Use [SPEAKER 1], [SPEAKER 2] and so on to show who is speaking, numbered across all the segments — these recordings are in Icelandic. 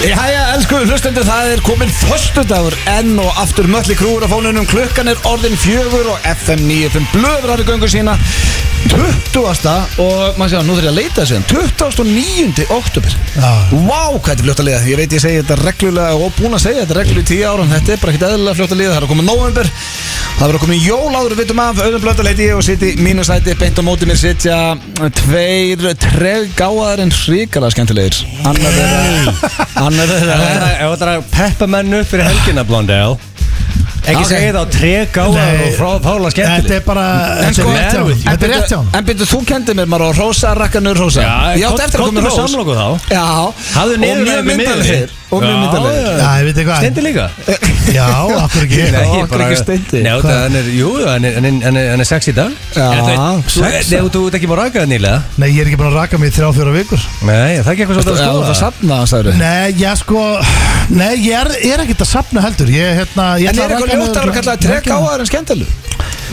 [SPEAKER 1] Jæja, elsku hlustendur, það er komin Föstudagur enn og aftur mölli krúur á fónunum Klukkan er orðin fjögur og FM 95 blöður ári göngu sína 20. og maður sjá, nú þarf ég að leita þessu 29. oktober Vá,
[SPEAKER 2] Já.
[SPEAKER 1] hvað þetta er fljótt að liða Ég veit ég segi þetta reglulega og búin að segja þetta reglulega í tíu ára en Þetta er bara ekkert eðlilega fljótt að liða Það er að koma november Það verður að koma í jól áður við vitum af Öðum blöndal heiti ég og sitt í mínu sæti Beint á móti mér sitja Tveir, treg gáðar en hrikalega skemmtilegir Annar þeirra Annar
[SPEAKER 3] Ef þú ætlar að peppa menn upp fyrir helgina Blondell Ekki
[SPEAKER 1] Ok.
[SPEAKER 3] segja það á tregáðar og frá fála
[SPEAKER 2] Þetta
[SPEAKER 3] skemmtileg
[SPEAKER 2] er bara,
[SPEAKER 1] En
[SPEAKER 2] þetta
[SPEAKER 1] sko,
[SPEAKER 2] er rétt hjá hann
[SPEAKER 1] en
[SPEAKER 2] Þetta er rétt hjá hann
[SPEAKER 1] byrju- En byrju, þú kendir mér maður á Rósa, rakkanur Rósa
[SPEAKER 3] Já,
[SPEAKER 1] Ég átti eftir
[SPEAKER 3] kom-
[SPEAKER 1] að koma
[SPEAKER 3] komdu
[SPEAKER 1] með
[SPEAKER 3] með
[SPEAKER 1] Rós
[SPEAKER 3] samloku þá.
[SPEAKER 1] Já,
[SPEAKER 3] Hafðu
[SPEAKER 1] og
[SPEAKER 3] niður
[SPEAKER 1] mjög
[SPEAKER 3] með
[SPEAKER 1] myndalegir Og mjög myndalegir
[SPEAKER 2] Já, ég veit ekki hvað.
[SPEAKER 3] Stendi líka
[SPEAKER 2] Já, akkur ekki
[SPEAKER 1] Nei. okkur ekki Steindi.
[SPEAKER 3] Nei, þetta- hann er, jú, hann er, hann er, hann er, hann er sex í dag
[SPEAKER 1] Já,
[SPEAKER 3] En þú-
[SPEAKER 1] sex,
[SPEAKER 3] þú- Nei, þú ert ekki búin að raka það nýlega
[SPEAKER 2] Nei, ég er ekki búin að raka mig í þrjá fjóra vikur
[SPEAKER 3] Nei, það er ekki
[SPEAKER 1] Já,
[SPEAKER 3] eitthvað svolítið
[SPEAKER 1] þú
[SPEAKER 3] að
[SPEAKER 1] ert að
[SPEAKER 3] skoða
[SPEAKER 1] safna, sagður
[SPEAKER 2] Nei, ég sko Nei, ég er, er ekkert að safna heldur Ég, hérna, ég
[SPEAKER 1] En
[SPEAKER 2] ætla
[SPEAKER 1] er eitthvað
[SPEAKER 2] raka mig
[SPEAKER 1] ljóttar að
[SPEAKER 2] örugglega-
[SPEAKER 1] kalla það trek áhæður en skemmtileg?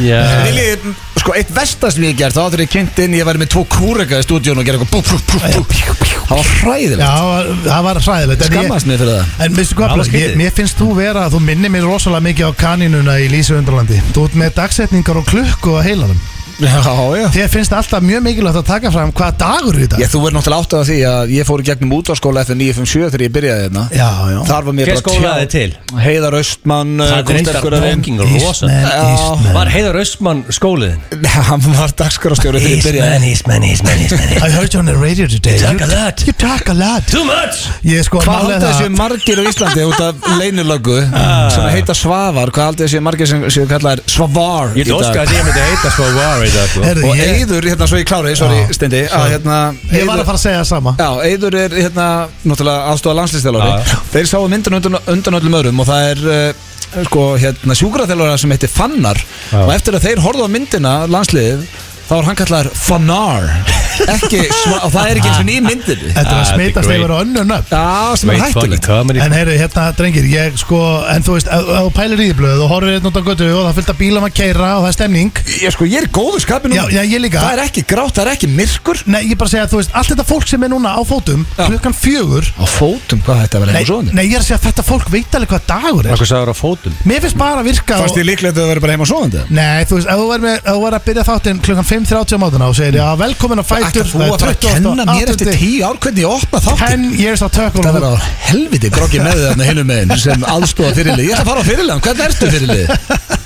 [SPEAKER 3] Já.
[SPEAKER 1] Viljið, sko, eitt versta sem ég hef gert Þá áttur ég kynnt inn, ég væri með tvo kúreka í stúdíun og gera eitthvað bú, bú, bú, bú, bú. Það var
[SPEAKER 2] Já,
[SPEAKER 1] hræðilegt
[SPEAKER 2] það var hræðilegt en ég-
[SPEAKER 1] Skammast mér fyrir það
[SPEAKER 2] En veistu
[SPEAKER 3] Það
[SPEAKER 2] hvað,
[SPEAKER 3] var
[SPEAKER 2] Blöð,
[SPEAKER 3] skrítið.
[SPEAKER 2] mér, mér finnst þú vera að þú minnir mér rosalega mikið á kanínuna í Lísu undralandi Þú ert með dagsetningar og klukku á heilanum
[SPEAKER 1] Já, já
[SPEAKER 2] Þér finnst alltaf mjög mikilvægt að taka fram hvaða dagur er í dag
[SPEAKER 1] Ég, þú verður náttúrulega áttið að því að ég fór í gegnum útvarskóla eftir 957 þegar ég byrjaði hérna
[SPEAKER 2] Já, já
[SPEAKER 1] Þar var mér
[SPEAKER 3] Hver
[SPEAKER 1] bara
[SPEAKER 3] skólaði
[SPEAKER 1] tjá-
[SPEAKER 3] til?
[SPEAKER 1] Heiðar Östmann uh,
[SPEAKER 3] Það er
[SPEAKER 1] Gústaf
[SPEAKER 3] reyndar
[SPEAKER 1] Guðrafinn.
[SPEAKER 3] fucking rosa
[SPEAKER 1] Já.
[SPEAKER 3] Var Heiðar Östmann skóliðin?
[SPEAKER 1] Nei, hann var dagskarastjóri þegar ég byrjaði
[SPEAKER 3] Ísmann, Ísmann, Ísmann
[SPEAKER 2] I heard you on the radio
[SPEAKER 3] You
[SPEAKER 2] today
[SPEAKER 3] talk a lot.
[SPEAKER 2] You talk a lot
[SPEAKER 3] Too much!
[SPEAKER 2] Ég sko
[SPEAKER 1] Hvað um-
[SPEAKER 2] málið
[SPEAKER 1] haldið þessi margir
[SPEAKER 2] er
[SPEAKER 1] á Íslandi út af leynilöggu
[SPEAKER 2] Ah.
[SPEAKER 1] sem heita Svavar hvað haldið þessi margir sem séu kallaðir Svavar
[SPEAKER 3] Ég
[SPEAKER 1] í dag?
[SPEAKER 3] óska að ég myndi heita svo var í dag sko.
[SPEAKER 2] Herðu,
[SPEAKER 1] og
[SPEAKER 2] ég,
[SPEAKER 1] Eður, hérna svo ég klári, sorry
[SPEAKER 2] Já,
[SPEAKER 1] Steindi að hérna
[SPEAKER 2] ég var að fara að segja það sama
[SPEAKER 1] Já, Eður er hérna náttúrulega aðstofa
[SPEAKER 3] Já,
[SPEAKER 1] landslýstjálfari
[SPEAKER 3] já.
[SPEAKER 1] Þeir sáu myndin undan, undan öllum öðrum og það er uh, sko, hérna, sjúkraþjálfara sem heitir Fannar
[SPEAKER 3] Já.
[SPEAKER 1] og eftir að þeir horfðu á myndina landsliðið þá er hann kallaðar Fannar ekki, sva, og það er ekki eins og ný myndin
[SPEAKER 3] Ah,
[SPEAKER 2] Þetta er að
[SPEAKER 3] þetta er
[SPEAKER 2] smitast
[SPEAKER 3] great.
[SPEAKER 2] yfir á önnur nöfn
[SPEAKER 1] Já, sem er
[SPEAKER 3] Great fucking
[SPEAKER 1] hættulegt
[SPEAKER 3] comedy
[SPEAKER 2] En heyrðu, hérna, drengir, ég sko En þú veist, ef ef þú pælir í því blöð og horfir hérna út á götu og það er fullt af bílum að keira og það er stemning
[SPEAKER 1] Ég sko, ég er í góðu skapinu
[SPEAKER 2] Já, já, ég líka.
[SPEAKER 1] Það er ekki grátt, það er ekki myrkur
[SPEAKER 2] Nei, ég bara segja að þú veist, allt þetta fólk sem er núna á fótum
[SPEAKER 1] Já.
[SPEAKER 2] klukkan fjögur
[SPEAKER 1] Á fótum, hvað þetta verður
[SPEAKER 2] nei, nei, ég er að segja að þetta fólk veit alveg hvað dagur er
[SPEAKER 3] Akkur sagður á fótum
[SPEAKER 2] Mér finnst bara að virka
[SPEAKER 1] Fast
[SPEAKER 2] og,
[SPEAKER 1] ég líklegt að það verður bara heima svoðandi
[SPEAKER 2] Nei, þú veist, ef þú verður ef þú verður að byrja þáttinn klukkan 5.30 á mátuna og segir, já, velkomin á fætur
[SPEAKER 1] Ætlar þú að fara að kenna mér eftir tíu ár hvernig ég opna þáttin?
[SPEAKER 2] 10 years á tökum
[SPEAKER 1] Það verður á helviti groggi með þarna hinum meginn sem aðstóða fyrirlið Ég ætla að fara á fyrirlið, hvernig ertu fyrirlið?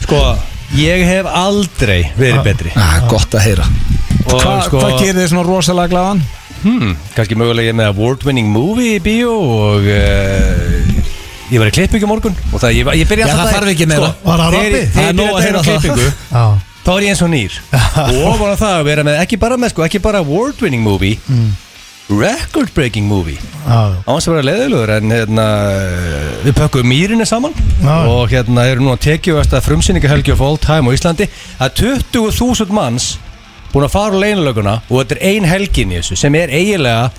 [SPEAKER 3] Sko, ég hef aldrei verið betri
[SPEAKER 1] Ah, gott að heyra
[SPEAKER 3] Og
[SPEAKER 1] Hva,
[SPEAKER 3] sko-
[SPEAKER 1] Hvað gerir þið svona rosalega glaðan?
[SPEAKER 3] hmm, Kanski mögulega ég með award winning movie í bíó Og uh, ég var í klippingu í morgun Og það, ég, ég byrja
[SPEAKER 1] Já, það þarf ekki meira.
[SPEAKER 2] Var það
[SPEAKER 3] Sko, þegar-
[SPEAKER 2] Robby?
[SPEAKER 1] Það er
[SPEAKER 3] Þegar ég
[SPEAKER 1] nóg að
[SPEAKER 3] byrja
[SPEAKER 1] heyra
[SPEAKER 3] að
[SPEAKER 1] það.
[SPEAKER 3] heyra klippingu
[SPEAKER 2] Já,
[SPEAKER 3] Þá er ég eins og nýr Og ofan á það að vera með ekki bara með sko Ekki bara award winning movie
[SPEAKER 1] Hmm.
[SPEAKER 3] Record breaking movie
[SPEAKER 2] já,
[SPEAKER 3] Áns að vera leiðilegur en hérna, við pökkum mýrinni saman
[SPEAKER 2] Já.
[SPEAKER 3] og hérna eru núna tekjuvæsta frumsýningahelgi of all time á Íslandi að 20.000 manns búin að fara á leiðileguna og þetta er ein helgin í þessu sem er eiginlega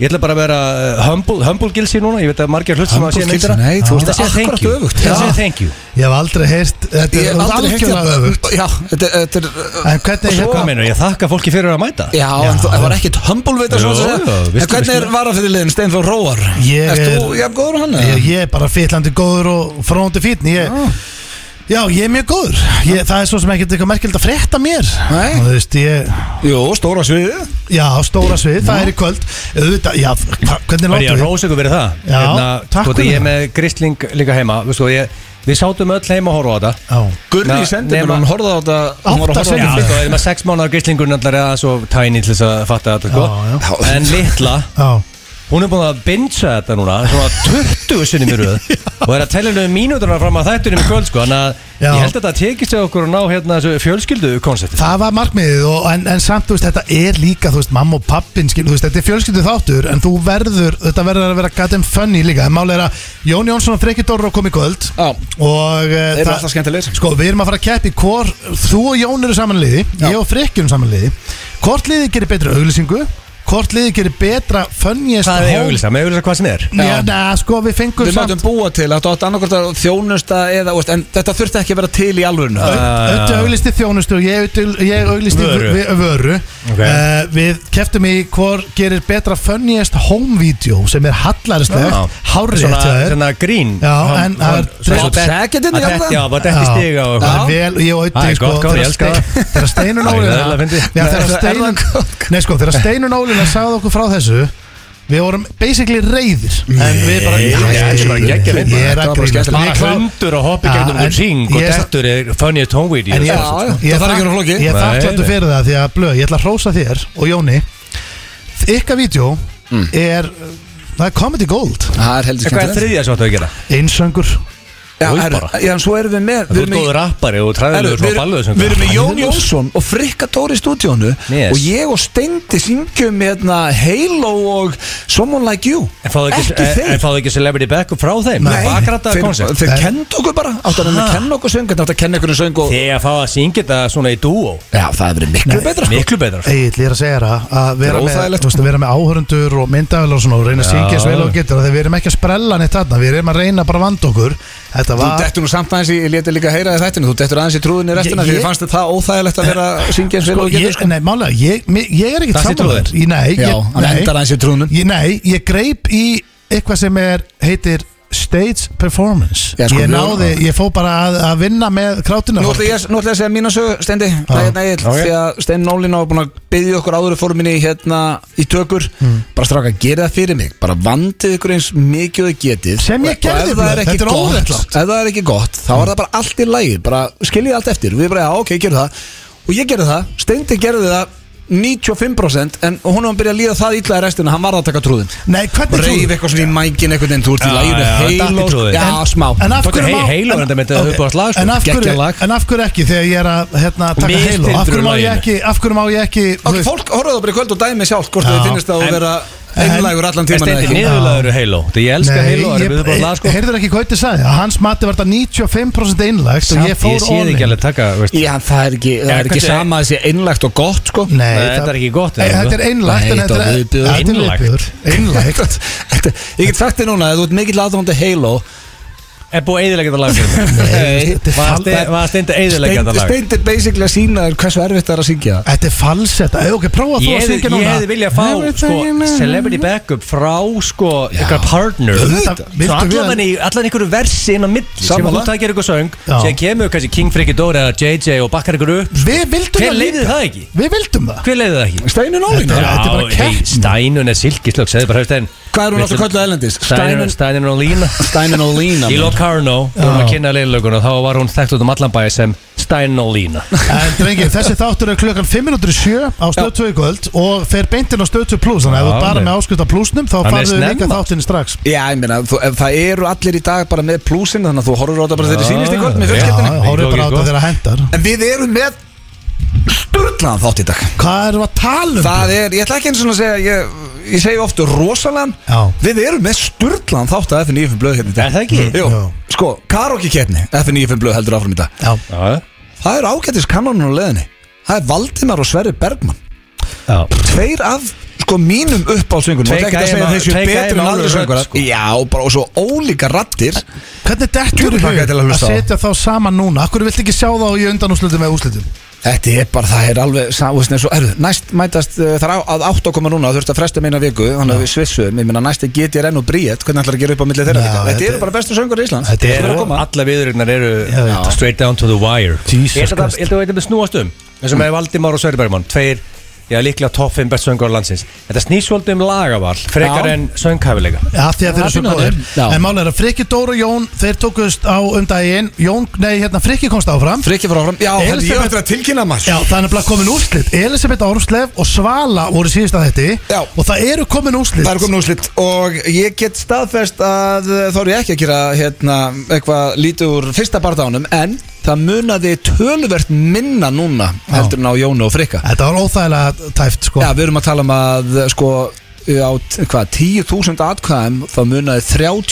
[SPEAKER 3] ég ætla bara að vera uh, humble, humble gilsi núna ég veit að margir hlut sem að sé
[SPEAKER 1] Humble
[SPEAKER 3] myndina
[SPEAKER 1] Gilsi, nei, þú
[SPEAKER 3] Ég
[SPEAKER 1] veist
[SPEAKER 3] ætla að segja
[SPEAKER 1] akkurat
[SPEAKER 3] thank you.
[SPEAKER 1] öfugt.
[SPEAKER 3] Ég ætla
[SPEAKER 1] Já.
[SPEAKER 3] að segja thank you
[SPEAKER 2] ég hef aldrei heyrt Þetta
[SPEAKER 1] Ég
[SPEAKER 2] er
[SPEAKER 1] hef aldrei heyrt
[SPEAKER 2] algjörlega
[SPEAKER 1] hérna-
[SPEAKER 2] öfugt
[SPEAKER 1] Já, þetta þetta er
[SPEAKER 2] En hvernig,
[SPEAKER 3] Svo
[SPEAKER 2] hérna,
[SPEAKER 3] kominu, ég þakka fólki fyrir að mæta
[SPEAKER 1] Já, en þú- það var ekkit humbulveita
[SPEAKER 3] Jó,
[SPEAKER 1] svona að
[SPEAKER 3] já,
[SPEAKER 1] segja En
[SPEAKER 3] vissulega,
[SPEAKER 1] hvernig er
[SPEAKER 3] vissulega.
[SPEAKER 1] varafyrirliðin Steinfjörn Róar?
[SPEAKER 2] Ég
[SPEAKER 1] Erst
[SPEAKER 2] er-
[SPEAKER 1] þú, já, góður og hann? eða?
[SPEAKER 2] ég, ég er bara fyllandi góður og fróndi fítni ég, Já, ég er mjög góður ég, Það er svo sem ekkert eitthvað merkild að frétta mér
[SPEAKER 1] Nei.
[SPEAKER 2] Og Þú veist, ég
[SPEAKER 1] Jú, stóra sviðið
[SPEAKER 2] Já, á stóra svið, það er í kvöld Auðvitað, já, hva, hvernig
[SPEAKER 3] Var ég að
[SPEAKER 2] látum við?
[SPEAKER 3] rósa ykkur verið það
[SPEAKER 2] Já, takk
[SPEAKER 3] sko, þetta
[SPEAKER 2] fyrir
[SPEAKER 3] Ég er
[SPEAKER 2] það.
[SPEAKER 3] með gristling líka heima við, sko, ég, við sátum öll heima að horfa á þetta
[SPEAKER 2] Já,
[SPEAKER 1] Gurri
[SPEAKER 3] Na,
[SPEAKER 1] sendi mér,
[SPEAKER 3] nema-
[SPEAKER 1] hún horfði á þetta Hún var að
[SPEAKER 2] Átta
[SPEAKER 1] horfa á
[SPEAKER 2] sekúndur.
[SPEAKER 3] Já,
[SPEAKER 1] þetta
[SPEAKER 3] sko, eða sex mánuðar gríslingur náttúrulega er það svo tæni til þess að fatta þetta sko.
[SPEAKER 2] Já,
[SPEAKER 1] já.
[SPEAKER 3] En litla,
[SPEAKER 2] já
[SPEAKER 3] hún er búin að bingea þetta núna Svona 20 sinni mér röð Og er að tella henni um mínúturna fram að þættunum í kvöld sko. Þannig að
[SPEAKER 2] Já.
[SPEAKER 3] ég held að þetta tekist við okkur að ná hérna þessu fjölskyldu konsepti
[SPEAKER 2] Það var markmiðið og, en, en samt, þú veist, þetta er líka, þú veist, mamma og pappin, skil, þú veist, þetta er fjölskyldu þáttur en þú verður, þetta verður að vera goddamn funny líka en málega er að Jón Jónsson og Freki Dóru kom í kvöld
[SPEAKER 1] Já.
[SPEAKER 2] og uh,
[SPEAKER 1] Þeir eru alltaf skemmtilegir.
[SPEAKER 2] Sko, við erum að fara að keppi hvor, þú og Jón eru samanliði,
[SPEAKER 1] Já.
[SPEAKER 2] ég og Freki eru samanliði hvort liði gerir betri auglýsingu hvort liði gerir betra fönniest
[SPEAKER 3] Hvað er ég að auglýsa? Með auglýsa hvað sem er
[SPEAKER 2] Já, neða, sko, við fengum
[SPEAKER 1] Við möttum búa til, þetta átti annarkvæmt að þjónusta eða, veist, en þetta þurfti ekki að vera til í alvörinu
[SPEAKER 2] Öttu auglisti þjónustu og ég, auddi- ég auglisti
[SPEAKER 3] Vöru.
[SPEAKER 2] vöru, vöru.
[SPEAKER 3] Ok.
[SPEAKER 2] Uh, Við keftum í hvor gerir betra funniest home video sem er
[SPEAKER 3] Já.
[SPEAKER 2] hallarslegt, hárið
[SPEAKER 3] Svona, svona grín
[SPEAKER 2] Já, en það er-
[SPEAKER 3] Svona
[SPEAKER 1] Bob
[SPEAKER 3] bet-
[SPEAKER 1] Saget inn í
[SPEAKER 3] að
[SPEAKER 1] þetta?
[SPEAKER 3] þetta- Já, bara detti stiga og
[SPEAKER 2] Það er
[SPEAKER 3] eitthvað
[SPEAKER 2] vel, ég og
[SPEAKER 3] Það
[SPEAKER 2] Ötti
[SPEAKER 3] er
[SPEAKER 2] sko
[SPEAKER 3] gott, Kári, ég elska það.
[SPEAKER 2] Þegar Steinun
[SPEAKER 3] Það er
[SPEAKER 2] Ólina
[SPEAKER 3] eðlilega fyndið.
[SPEAKER 2] Já,
[SPEAKER 1] Það
[SPEAKER 2] þegar
[SPEAKER 1] er
[SPEAKER 2] Steinun
[SPEAKER 1] það gott,
[SPEAKER 2] Nei sko, þegar Steinun Ólina sagði okkur frá þessu Við vorum basically reyðir En við bara
[SPEAKER 3] Nei,
[SPEAKER 2] Já,
[SPEAKER 3] þetta er bara geggjað mynd,
[SPEAKER 2] Ég er
[SPEAKER 1] þetta var
[SPEAKER 2] að
[SPEAKER 1] bara
[SPEAKER 2] grína
[SPEAKER 1] skemmtilegt.
[SPEAKER 3] Bara hundur að hoppa í gegnum um ring og dettur er funniest home video
[SPEAKER 2] En ég,
[SPEAKER 1] Já, já, það
[SPEAKER 2] ég,
[SPEAKER 1] þarf ekki að vera flókið.
[SPEAKER 2] Ég er
[SPEAKER 3] Nei,
[SPEAKER 2] þakkláttur
[SPEAKER 3] nei.
[SPEAKER 2] fyrir það því að blöð, ég ætla að hrósa þér og Jóni Ykkar vídeo er Það er comedy gold
[SPEAKER 1] Það er heldur
[SPEAKER 3] En Hvað er
[SPEAKER 1] skemmtilegt
[SPEAKER 3] þriðja sem áttu að gera?
[SPEAKER 2] Einsöngur
[SPEAKER 1] Já,
[SPEAKER 3] Oj,
[SPEAKER 1] herru,
[SPEAKER 3] bara.
[SPEAKER 1] Já, en svo erum við með
[SPEAKER 3] Þú
[SPEAKER 1] Við
[SPEAKER 3] ert
[SPEAKER 1] erum í-
[SPEAKER 3] góður rappari og
[SPEAKER 1] Herru,
[SPEAKER 3] træðilegur
[SPEAKER 1] Við
[SPEAKER 3] svona
[SPEAKER 1] erum-
[SPEAKER 3] balluðsöngur
[SPEAKER 1] við erum með Jón Jónsson og Frikka Dóri í stúdíónu
[SPEAKER 3] Yes.
[SPEAKER 1] og ég og Steindi syngjum hérna, Halo og Someone Like You
[SPEAKER 3] En fáðu ekki,
[SPEAKER 1] ekki
[SPEAKER 3] en-
[SPEAKER 1] þeir
[SPEAKER 3] en fáðu ekki celebrity back frá þeim?
[SPEAKER 1] Nei,
[SPEAKER 3] Bakrata
[SPEAKER 1] þeir,
[SPEAKER 3] koncept
[SPEAKER 1] þeir
[SPEAKER 2] Nei.
[SPEAKER 1] kendu okkur bara Áttu að reyna að
[SPEAKER 3] Ha?
[SPEAKER 1] kenna okkur söng Þetta áttu að kenna okkur söng og...
[SPEAKER 3] Þegar að fá að syngja þetta svona í dúo
[SPEAKER 1] Já, það hefur verið miklu betra sko.
[SPEAKER 3] Miklu betra sko.
[SPEAKER 2] Egil, ég er að segja það að
[SPEAKER 1] er
[SPEAKER 2] vera með,
[SPEAKER 1] óþægilegt.
[SPEAKER 2] þú veist, að vera með áhörundur og myndavel og svona og reyna að
[SPEAKER 3] Já.
[SPEAKER 2] syngja svo vel og getur þegar við erum ekki að sprella neitt þarna við erum að reyna bara að vanda okkur Þetta
[SPEAKER 1] Þú
[SPEAKER 2] var
[SPEAKER 1] dettur nú samt aðeins í, ég leti líka að heyra þér þættinu Þú dettur aðeins í trúðinni restina
[SPEAKER 2] Ég-
[SPEAKER 1] Því ég
[SPEAKER 2] ég-
[SPEAKER 1] fannst þetta það óþægilegt að vera að syngja eins vel og þú getur
[SPEAKER 2] ég,
[SPEAKER 1] sko.
[SPEAKER 2] Nei, málega, ég, mi- ég er ekki
[SPEAKER 3] Það situr
[SPEAKER 2] sammálaður
[SPEAKER 3] þú
[SPEAKER 2] Ég- Nei,
[SPEAKER 1] Já,
[SPEAKER 2] ég-
[SPEAKER 1] hann
[SPEAKER 2] nei.
[SPEAKER 1] endar aðeins í trúnum.
[SPEAKER 2] Ég- Nei, ég greip í eitthvað sem er, heitir stage performance
[SPEAKER 1] Já, sko,
[SPEAKER 2] Ég
[SPEAKER 1] við-
[SPEAKER 2] náði, ég fó bara að, að vinna með krátina
[SPEAKER 1] Nú ætla ég nú ætla ég að segja mína sögu, Steindi Það er hérna Egil,
[SPEAKER 3] ok.
[SPEAKER 1] því að Stein Nólina var búin að byggja okkur áður forminni hérna í tökur
[SPEAKER 2] Hmm.
[SPEAKER 1] Bara stráka, gera það fyrir mig Bara vandið ykkur eins mikið og þið getið
[SPEAKER 2] Sem
[SPEAKER 1] Og-
[SPEAKER 2] ég
[SPEAKER 1] og
[SPEAKER 2] gerði,
[SPEAKER 1] ef það
[SPEAKER 2] blöð,
[SPEAKER 1] er ekki
[SPEAKER 2] þetta er
[SPEAKER 1] gott-
[SPEAKER 2] óréttlátt.
[SPEAKER 1] Ef það er ekki gott, þá er það bara allt í lagi Bara skiljið allt eftir, við bara, já, ok, gerum það Og ég gerði það, Steindi gerði það 95% en hún var að byrja að líða það illa í restina, hann var að taka trúðin
[SPEAKER 2] Nei, hvernig
[SPEAKER 1] og
[SPEAKER 2] trúður?
[SPEAKER 1] reyf eitthvað svona í mækin einhvern veginn, þú ert í
[SPEAKER 3] Já,
[SPEAKER 1] læginu
[SPEAKER 3] já, datt í
[SPEAKER 1] heil
[SPEAKER 3] trúðin.
[SPEAKER 1] já,
[SPEAKER 2] En-
[SPEAKER 1] smá
[SPEAKER 2] En af
[SPEAKER 3] Tók
[SPEAKER 2] hverju
[SPEAKER 3] ég
[SPEAKER 2] má
[SPEAKER 3] Hey- Halo
[SPEAKER 2] en-
[SPEAKER 3] er þetta mitt
[SPEAKER 2] ok.
[SPEAKER 3] uppáhalds lag, sko.
[SPEAKER 2] En af hverju,
[SPEAKER 1] Geggjað lag.
[SPEAKER 2] en af hverju ekki þegar ég er að hérna, taka
[SPEAKER 3] Mistildur
[SPEAKER 2] Halo Af hverju má ég
[SPEAKER 3] laginu.
[SPEAKER 2] ekki Af hverju má ég ekki þú
[SPEAKER 1] Ok,
[SPEAKER 2] veist-
[SPEAKER 1] fólk horfðu bara í kvöld og dæmi sjálf hvort
[SPEAKER 2] Já,
[SPEAKER 1] þið finnist það að
[SPEAKER 3] en-
[SPEAKER 1] vera einlægur allan
[SPEAKER 3] En
[SPEAKER 1] tíman eða
[SPEAKER 3] stendir
[SPEAKER 1] ekki
[SPEAKER 3] niðurlaður Halo Þegar ég elska
[SPEAKER 2] Nei,
[SPEAKER 3] Halo Það er
[SPEAKER 2] ég-
[SPEAKER 3] við bara lag sko
[SPEAKER 2] heyrðir ekki hvað þetta sagði Að hans mati var þetta 95% einlagt Og ég
[SPEAKER 3] Samt,
[SPEAKER 2] fór
[SPEAKER 3] Ég sé
[SPEAKER 2] all
[SPEAKER 3] þið ekki
[SPEAKER 2] in.
[SPEAKER 3] alveg taka veist.
[SPEAKER 1] Já, það er ekki, það
[SPEAKER 3] Já,
[SPEAKER 1] er ekki
[SPEAKER 3] hvernig-
[SPEAKER 1] sama að sé einlægt og gott sko
[SPEAKER 2] Nei,
[SPEAKER 3] Nei, þetta er ekki gott,
[SPEAKER 2] Nei,
[SPEAKER 3] eða?
[SPEAKER 2] Þetta er einlægt
[SPEAKER 1] Nei,
[SPEAKER 2] en
[SPEAKER 1] þetta
[SPEAKER 2] þetta
[SPEAKER 1] var
[SPEAKER 2] er-
[SPEAKER 1] viðbjóður.
[SPEAKER 2] þetta er
[SPEAKER 3] Einlægt.
[SPEAKER 2] viðbjóður. Einlægt
[SPEAKER 1] Þetta- Ég get sagt þér núna að þú ert mikill aðdóndi Halo
[SPEAKER 3] Er búið eiðilegget að laga fyrir mig?
[SPEAKER 2] Nei, þetta er
[SPEAKER 3] Var
[SPEAKER 2] fal-
[SPEAKER 3] Stein- var Steindi eiðilegget að laga?
[SPEAKER 1] Steint er basically að sína þér hversu erfitt það er að syngja það.
[SPEAKER 2] Þetta er falsett Æ, Ok, prófa þú
[SPEAKER 3] Ég
[SPEAKER 2] að
[SPEAKER 3] hefði,
[SPEAKER 2] syngja
[SPEAKER 3] ég
[SPEAKER 2] núna
[SPEAKER 3] hefði viljað fá sko, celebrity backup frá sko, ykkar partner
[SPEAKER 2] Auðvitað,
[SPEAKER 3] Svo
[SPEAKER 2] viltu við-
[SPEAKER 3] allan, í, allan ykkur versi inn á milli sem að
[SPEAKER 1] Sammála.
[SPEAKER 3] þú takir ykkur söng
[SPEAKER 2] Já.
[SPEAKER 3] sem kemur kannski King Friki Dóri eða JJ og bakkar ykkur upp
[SPEAKER 2] Við vildum
[SPEAKER 3] Hver
[SPEAKER 2] það
[SPEAKER 3] leiði
[SPEAKER 2] líka
[SPEAKER 3] það ekki?
[SPEAKER 2] Við vildum það
[SPEAKER 3] Hver leiði það ekki?
[SPEAKER 1] Steinun
[SPEAKER 2] Þetta
[SPEAKER 1] Ólína
[SPEAKER 2] er- þetta er bara keppni.
[SPEAKER 3] Stænun er silkislögg, segði bara hefstein
[SPEAKER 1] Hvað er hún aftur kölluð erlendis? Steinun-
[SPEAKER 3] Stænun, Stænun og Lína
[SPEAKER 1] Steinun Ólína
[SPEAKER 3] Í
[SPEAKER 1] maður.
[SPEAKER 3] Locarno, við vorum að kynna leilögun og þá var hún þekkt út um allan bæði sem Stænun og Lína
[SPEAKER 2] En drengi, þessi þáttur er klukkan 507 á Stöð 2 í kvöld og fer beintinn á Stöð 2 plus þannig að ef
[SPEAKER 3] Já,
[SPEAKER 2] þú bara
[SPEAKER 3] nei.
[SPEAKER 2] með áskrift af plusnum þá
[SPEAKER 3] Hann er
[SPEAKER 2] farðu við líka
[SPEAKER 3] snemma.
[SPEAKER 2] þáttinn strax
[SPEAKER 1] Já, ég meina, þú- ef það eru allir í dag bara með plúsin þannig að þú horfur á þetta bara þegar þið sýnist í kvöld með
[SPEAKER 3] Já.
[SPEAKER 2] Já,
[SPEAKER 1] fjölskyldinni
[SPEAKER 2] horfðu
[SPEAKER 3] Ég
[SPEAKER 2] bara
[SPEAKER 3] tók
[SPEAKER 2] á
[SPEAKER 3] í
[SPEAKER 2] þetta þegar hendar
[SPEAKER 1] En við erum með sturglaðan þátt í dag
[SPEAKER 2] Hvað erum við að tala um?
[SPEAKER 1] Það er, ég ætla ekki eins og að segja Ég, ég segi ofta rosalan
[SPEAKER 2] Já.
[SPEAKER 1] Við erum með sturglaðan þátt að FN95 blöð hérna í
[SPEAKER 3] Er
[SPEAKER 1] dag
[SPEAKER 3] það ekki?
[SPEAKER 1] Jú,
[SPEAKER 2] Já.
[SPEAKER 1] sko, karaoke keppni FN95 blöð heldur áfram í dag
[SPEAKER 2] Já,
[SPEAKER 3] Já,
[SPEAKER 1] Það er ágætis kanonun á leðinni Það er Valdimar og Sverri Bergmann
[SPEAKER 3] já
[SPEAKER 1] Tveir af, sko, mínum uppálsöngur
[SPEAKER 3] Tveir
[SPEAKER 1] ekki að
[SPEAKER 3] gæja
[SPEAKER 1] segja
[SPEAKER 3] með-
[SPEAKER 1] þessu
[SPEAKER 3] tveir gæja
[SPEAKER 1] betri en
[SPEAKER 3] með
[SPEAKER 1] aðri
[SPEAKER 3] alvöru rödd,
[SPEAKER 1] söngur
[SPEAKER 3] sko.
[SPEAKER 1] Já, bara og svo ólíka rattir
[SPEAKER 2] hvernig dettur
[SPEAKER 1] Djöfull
[SPEAKER 2] í
[SPEAKER 1] hlakka ég
[SPEAKER 2] hug
[SPEAKER 1] til að
[SPEAKER 2] að
[SPEAKER 1] hlusta á.
[SPEAKER 2] setja þá saman núna? Akkur vilt ekki sjá þá í undanúslutum eða úslutum?
[SPEAKER 1] Þetta er bara, það er alveg sa- þú veist, eins og, heru, Næst mætast, uh, það er á- að átt að koma núna Þú ert að fresta meina viku, þannig að við svissum Ég meina næst er GTRN og Bríett, hvernig ætlar að gera upp á milli þeirra
[SPEAKER 2] Já,
[SPEAKER 1] líka
[SPEAKER 2] þetta
[SPEAKER 1] Þetta
[SPEAKER 2] er-
[SPEAKER 1] eru bara bestu söngur í Ísland
[SPEAKER 2] Þetta er-
[SPEAKER 3] Alla viðurinnar eru
[SPEAKER 2] Já, já.
[SPEAKER 3] straight down to the wire
[SPEAKER 2] Jesus
[SPEAKER 3] Ég held að það-
[SPEAKER 2] Christ.
[SPEAKER 3] ég held að þetta með snúast um eins og með Valdimár og Sverri Bergmann Tveir, já líklega topp 5 best söngur á landsins Þetta snýst svolítið um lagavall Frekar
[SPEAKER 1] Já.
[SPEAKER 3] en sönghæfilega
[SPEAKER 2] Já, því að þeir eru svo
[SPEAKER 1] Já,
[SPEAKER 2] góðir
[SPEAKER 1] já.
[SPEAKER 2] En málega er að Frikki, Dóra og Jón Þeir tókust á um daginn Jón, nei, hérna Frikki komst áfram
[SPEAKER 1] Frikki frá fram, já,
[SPEAKER 2] Elísabet-
[SPEAKER 1] þetta ég ætla að tilkynna maður
[SPEAKER 2] Já, það er nefnilega komin úrslit Elisabeth Árumslef og Svala voru síðust að þetta
[SPEAKER 1] Já.
[SPEAKER 2] Og það eru komin úrslit
[SPEAKER 1] Það er komin úrslit og ég get staðfest að uh, þá er ég ekki að gera hérna, eitthvað lítið úr fyrsta bardánum en það munaði töluvert minna núna heldur en á Jónu og Frikka
[SPEAKER 2] Þetta var óþægilega tæft sko
[SPEAKER 1] Já, við erum að tala um að sko á t- hvað, 10.000 atkvæðum þá munaði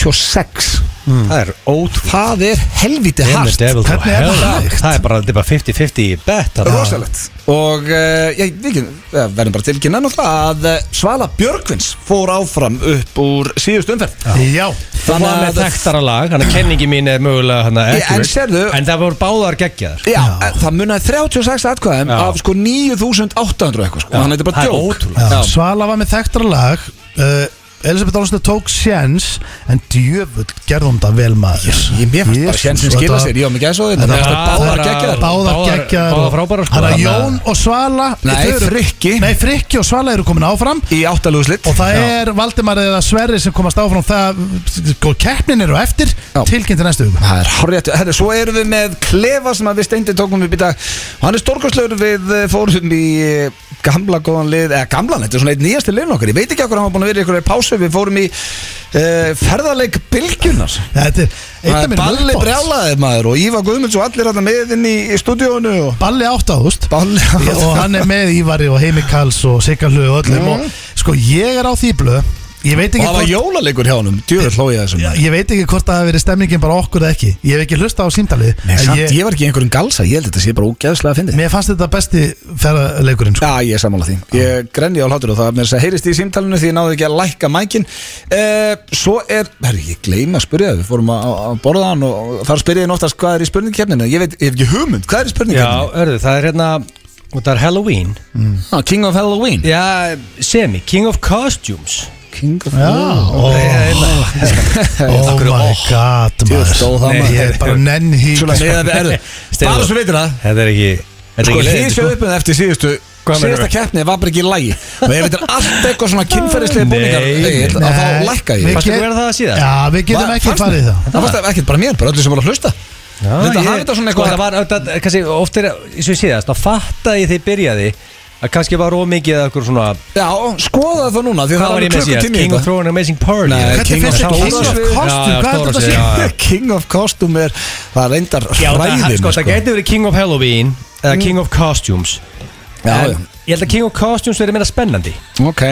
[SPEAKER 1] 36
[SPEAKER 2] Hmm.
[SPEAKER 3] Það er ótrúlega
[SPEAKER 1] það er helviti hart
[SPEAKER 3] Devil to
[SPEAKER 2] Hvernig er
[SPEAKER 3] hell.
[SPEAKER 2] það hægt?
[SPEAKER 3] Það er bara þetta er bara 50-50 í bet þarna.
[SPEAKER 1] rosalegt og uh, ég, við ekki, eh, verðum bara tilkynna náttúrulega að eh, Svala Björgvins fór áfram upp úr síðust umferð
[SPEAKER 2] Já,
[SPEAKER 3] Það var með þekktara lag, hann að kenningi mín er mögulega hann að
[SPEAKER 1] Ég- en sérðu-
[SPEAKER 3] En það voru báðar geggjaðar
[SPEAKER 1] Já, eh, það munaði 36 atkvæðum
[SPEAKER 3] Já.
[SPEAKER 1] af sko 9800 eitthvað sko.
[SPEAKER 3] Já,
[SPEAKER 1] þannig að þetta er bara
[SPEAKER 3] það er
[SPEAKER 1] djók
[SPEAKER 3] ótrúlegt.
[SPEAKER 1] Já.
[SPEAKER 2] Svala var með þekktara lag uh, Elisabeth Olsen tók sjens En djöfull gerði hún það vel maður
[SPEAKER 1] Ég mér fannst bara sjensin skila sér, ég á mig gæsa á þetta
[SPEAKER 2] Þetta-
[SPEAKER 1] Mér fannst það
[SPEAKER 3] þetta-
[SPEAKER 1] báðar geggjaðar
[SPEAKER 2] Báðar
[SPEAKER 3] Báðar-
[SPEAKER 2] geggjaðar
[SPEAKER 3] báðar
[SPEAKER 2] og-
[SPEAKER 3] frábærar, sko.
[SPEAKER 2] Þannig að
[SPEAKER 3] Þannig að-
[SPEAKER 2] Jón og Svala
[SPEAKER 1] Nei,
[SPEAKER 2] þau eru-
[SPEAKER 1] Frikki.
[SPEAKER 2] Nei, Frikki og Svala eru komin áfram
[SPEAKER 1] Í áttalúslitt
[SPEAKER 2] Og það er Valdimar eða Sverri sem komast áfram Það, sko, keppnin eru á eftir
[SPEAKER 1] Já.
[SPEAKER 2] Tilkynnt til næstu hugum
[SPEAKER 1] Það er horrið Herri, svo erum við með Klefa sem að við steindi tókum upp í dag og hann er stórkostlaugur við eh, fórum í eh, gamla góðan lið eða gamlan, þetta er svona eitt nýjasti liðin okkar ég veit ekki okkur hann var búin að vera í ykkur pásu við fórum í uh, ferðarleik bylgjunar
[SPEAKER 2] Þetta er eitt af
[SPEAKER 1] Það er
[SPEAKER 2] mínum
[SPEAKER 1] Balli
[SPEAKER 2] uppáhalds.
[SPEAKER 1] brjálaði maður og Ívar Guðmunds og allir hann með inn í, í stúdíónu og
[SPEAKER 2] Balli 8 ágúst
[SPEAKER 1] Balli
[SPEAKER 2] og hann er með Ívari og Heimi Kals og Sikarlu og öllum
[SPEAKER 1] Mm.
[SPEAKER 2] og sko ég er á því blöð ég veit
[SPEAKER 1] og
[SPEAKER 2] ekki
[SPEAKER 1] það var
[SPEAKER 2] hvort
[SPEAKER 1] jólalegur hjá honum djúður hlóið þessum
[SPEAKER 2] Já, ég veit ekki hvort það hefur verið stemningin bara okkur eða ekki ég hef ekki hlusta á síndalið
[SPEAKER 1] Nei, samt, ég var ekki í einhverjum galsa, ég held að þetta sé bara ógeðslega að fyndi
[SPEAKER 2] mér fannst þetta besti ferðarleikurinn sko.
[SPEAKER 1] Já, ég er sammála því Ég grenni á hlátur og það með þess að heyrist í símtalinu því ég náði ekki að lækka mækin uh, Svo er, herri, ég gleyma að spyrja það Við fórum að, að borða hann og og þar spyrja ég oftast hvað er í spurningkeppninu Ég veit, ég hef ekki hugmynd, hvað er í
[SPEAKER 3] Já,
[SPEAKER 1] spurningkeppninu?
[SPEAKER 3] örðu, það er hérna Það er Halloween
[SPEAKER 1] Ah, King of Halloween
[SPEAKER 3] Já, semi, King of Costumes
[SPEAKER 1] King of
[SPEAKER 2] já, ó, oh my god maður.
[SPEAKER 1] stóð það, maður.
[SPEAKER 2] ég er bara nenn hí
[SPEAKER 1] Svona meðan við erðum
[SPEAKER 3] Stefán.
[SPEAKER 1] Bara svo veitir það
[SPEAKER 3] Þetta er ekki Þetta er
[SPEAKER 1] Sko,
[SPEAKER 3] ekki
[SPEAKER 1] þið
[SPEAKER 3] leiðindi,
[SPEAKER 1] séu upp með eftir síðustu
[SPEAKER 3] Hvað meinarðu?
[SPEAKER 1] Síðasta keppni var bara ekki í lagi Og ef þetta er allt eitthvað svona kynferðislega búningar
[SPEAKER 3] Nei, nei.
[SPEAKER 1] Egill, að Þá lækka ég
[SPEAKER 2] Við
[SPEAKER 3] Fannst
[SPEAKER 2] get-
[SPEAKER 3] ykkur vera það síðan?
[SPEAKER 2] já, við getum
[SPEAKER 1] Va-
[SPEAKER 2] ekki
[SPEAKER 1] fannst
[SPEAKER 2] farið í
[SPEAKER 1] mér-
[SPEAKER 2] það
[SPEAKER 1] Það fannst ekki bara mér, bara öllu sem voru að hlusta
[SPEAKER 3] Já,
[SPEAKER 1] Þetta
[SPEAKER 3] ég-
[SPEAKER 1] hafði þetta svona
[SPEAKER 3] sko,
[SPEAKER 1] eitthvað
[SPEAKER 3] það var, það, kannski, oft er, eins og ég síðast, þá fattaði ég þegar ég byrjaði að kannski var ómikið eða eitthvað svona
[SPEAKER 1] Já, skoða það núna því að
[SPEAKER 3] Hvað
[SPEAKER 1] það
[SPEAKER 3] var ég með síðast?
[SPEAKER 1] klukkutími í
[SPEAKER 3] King of
[SPEAKER 1] þetta.
[SPEAKER 3] Throne and Amazing Party
[SPEAKER 1] sko. Nei,
[SPEAKER 3] eða?
[SPEAKER 1] Hvernig King of finnst þér Stóra King of svið?
[SPEAKER 3] Já, stóra
[SPEAKER 2] Costume? Hvað er þetta
[SPEAKER 3] svið,
[SPEAKER 2] að
[SPEAKER 3] já, já.
[SPEAKER 1] King of Costume er það er reyndar
[SPEAKER 3] Já, það,
[SPEAKER 1] hræðin
[SPEAKER 3] sko, það gæti verið King of Halloween eða King of Costumes
[SPEAKER 1] Já,
[SPEAKER 3] en
[SPEAKER 1] já.
[SPEAKER 3] ég held að King of Costumes verið meira spennandi
[SPEAKER 1] Ok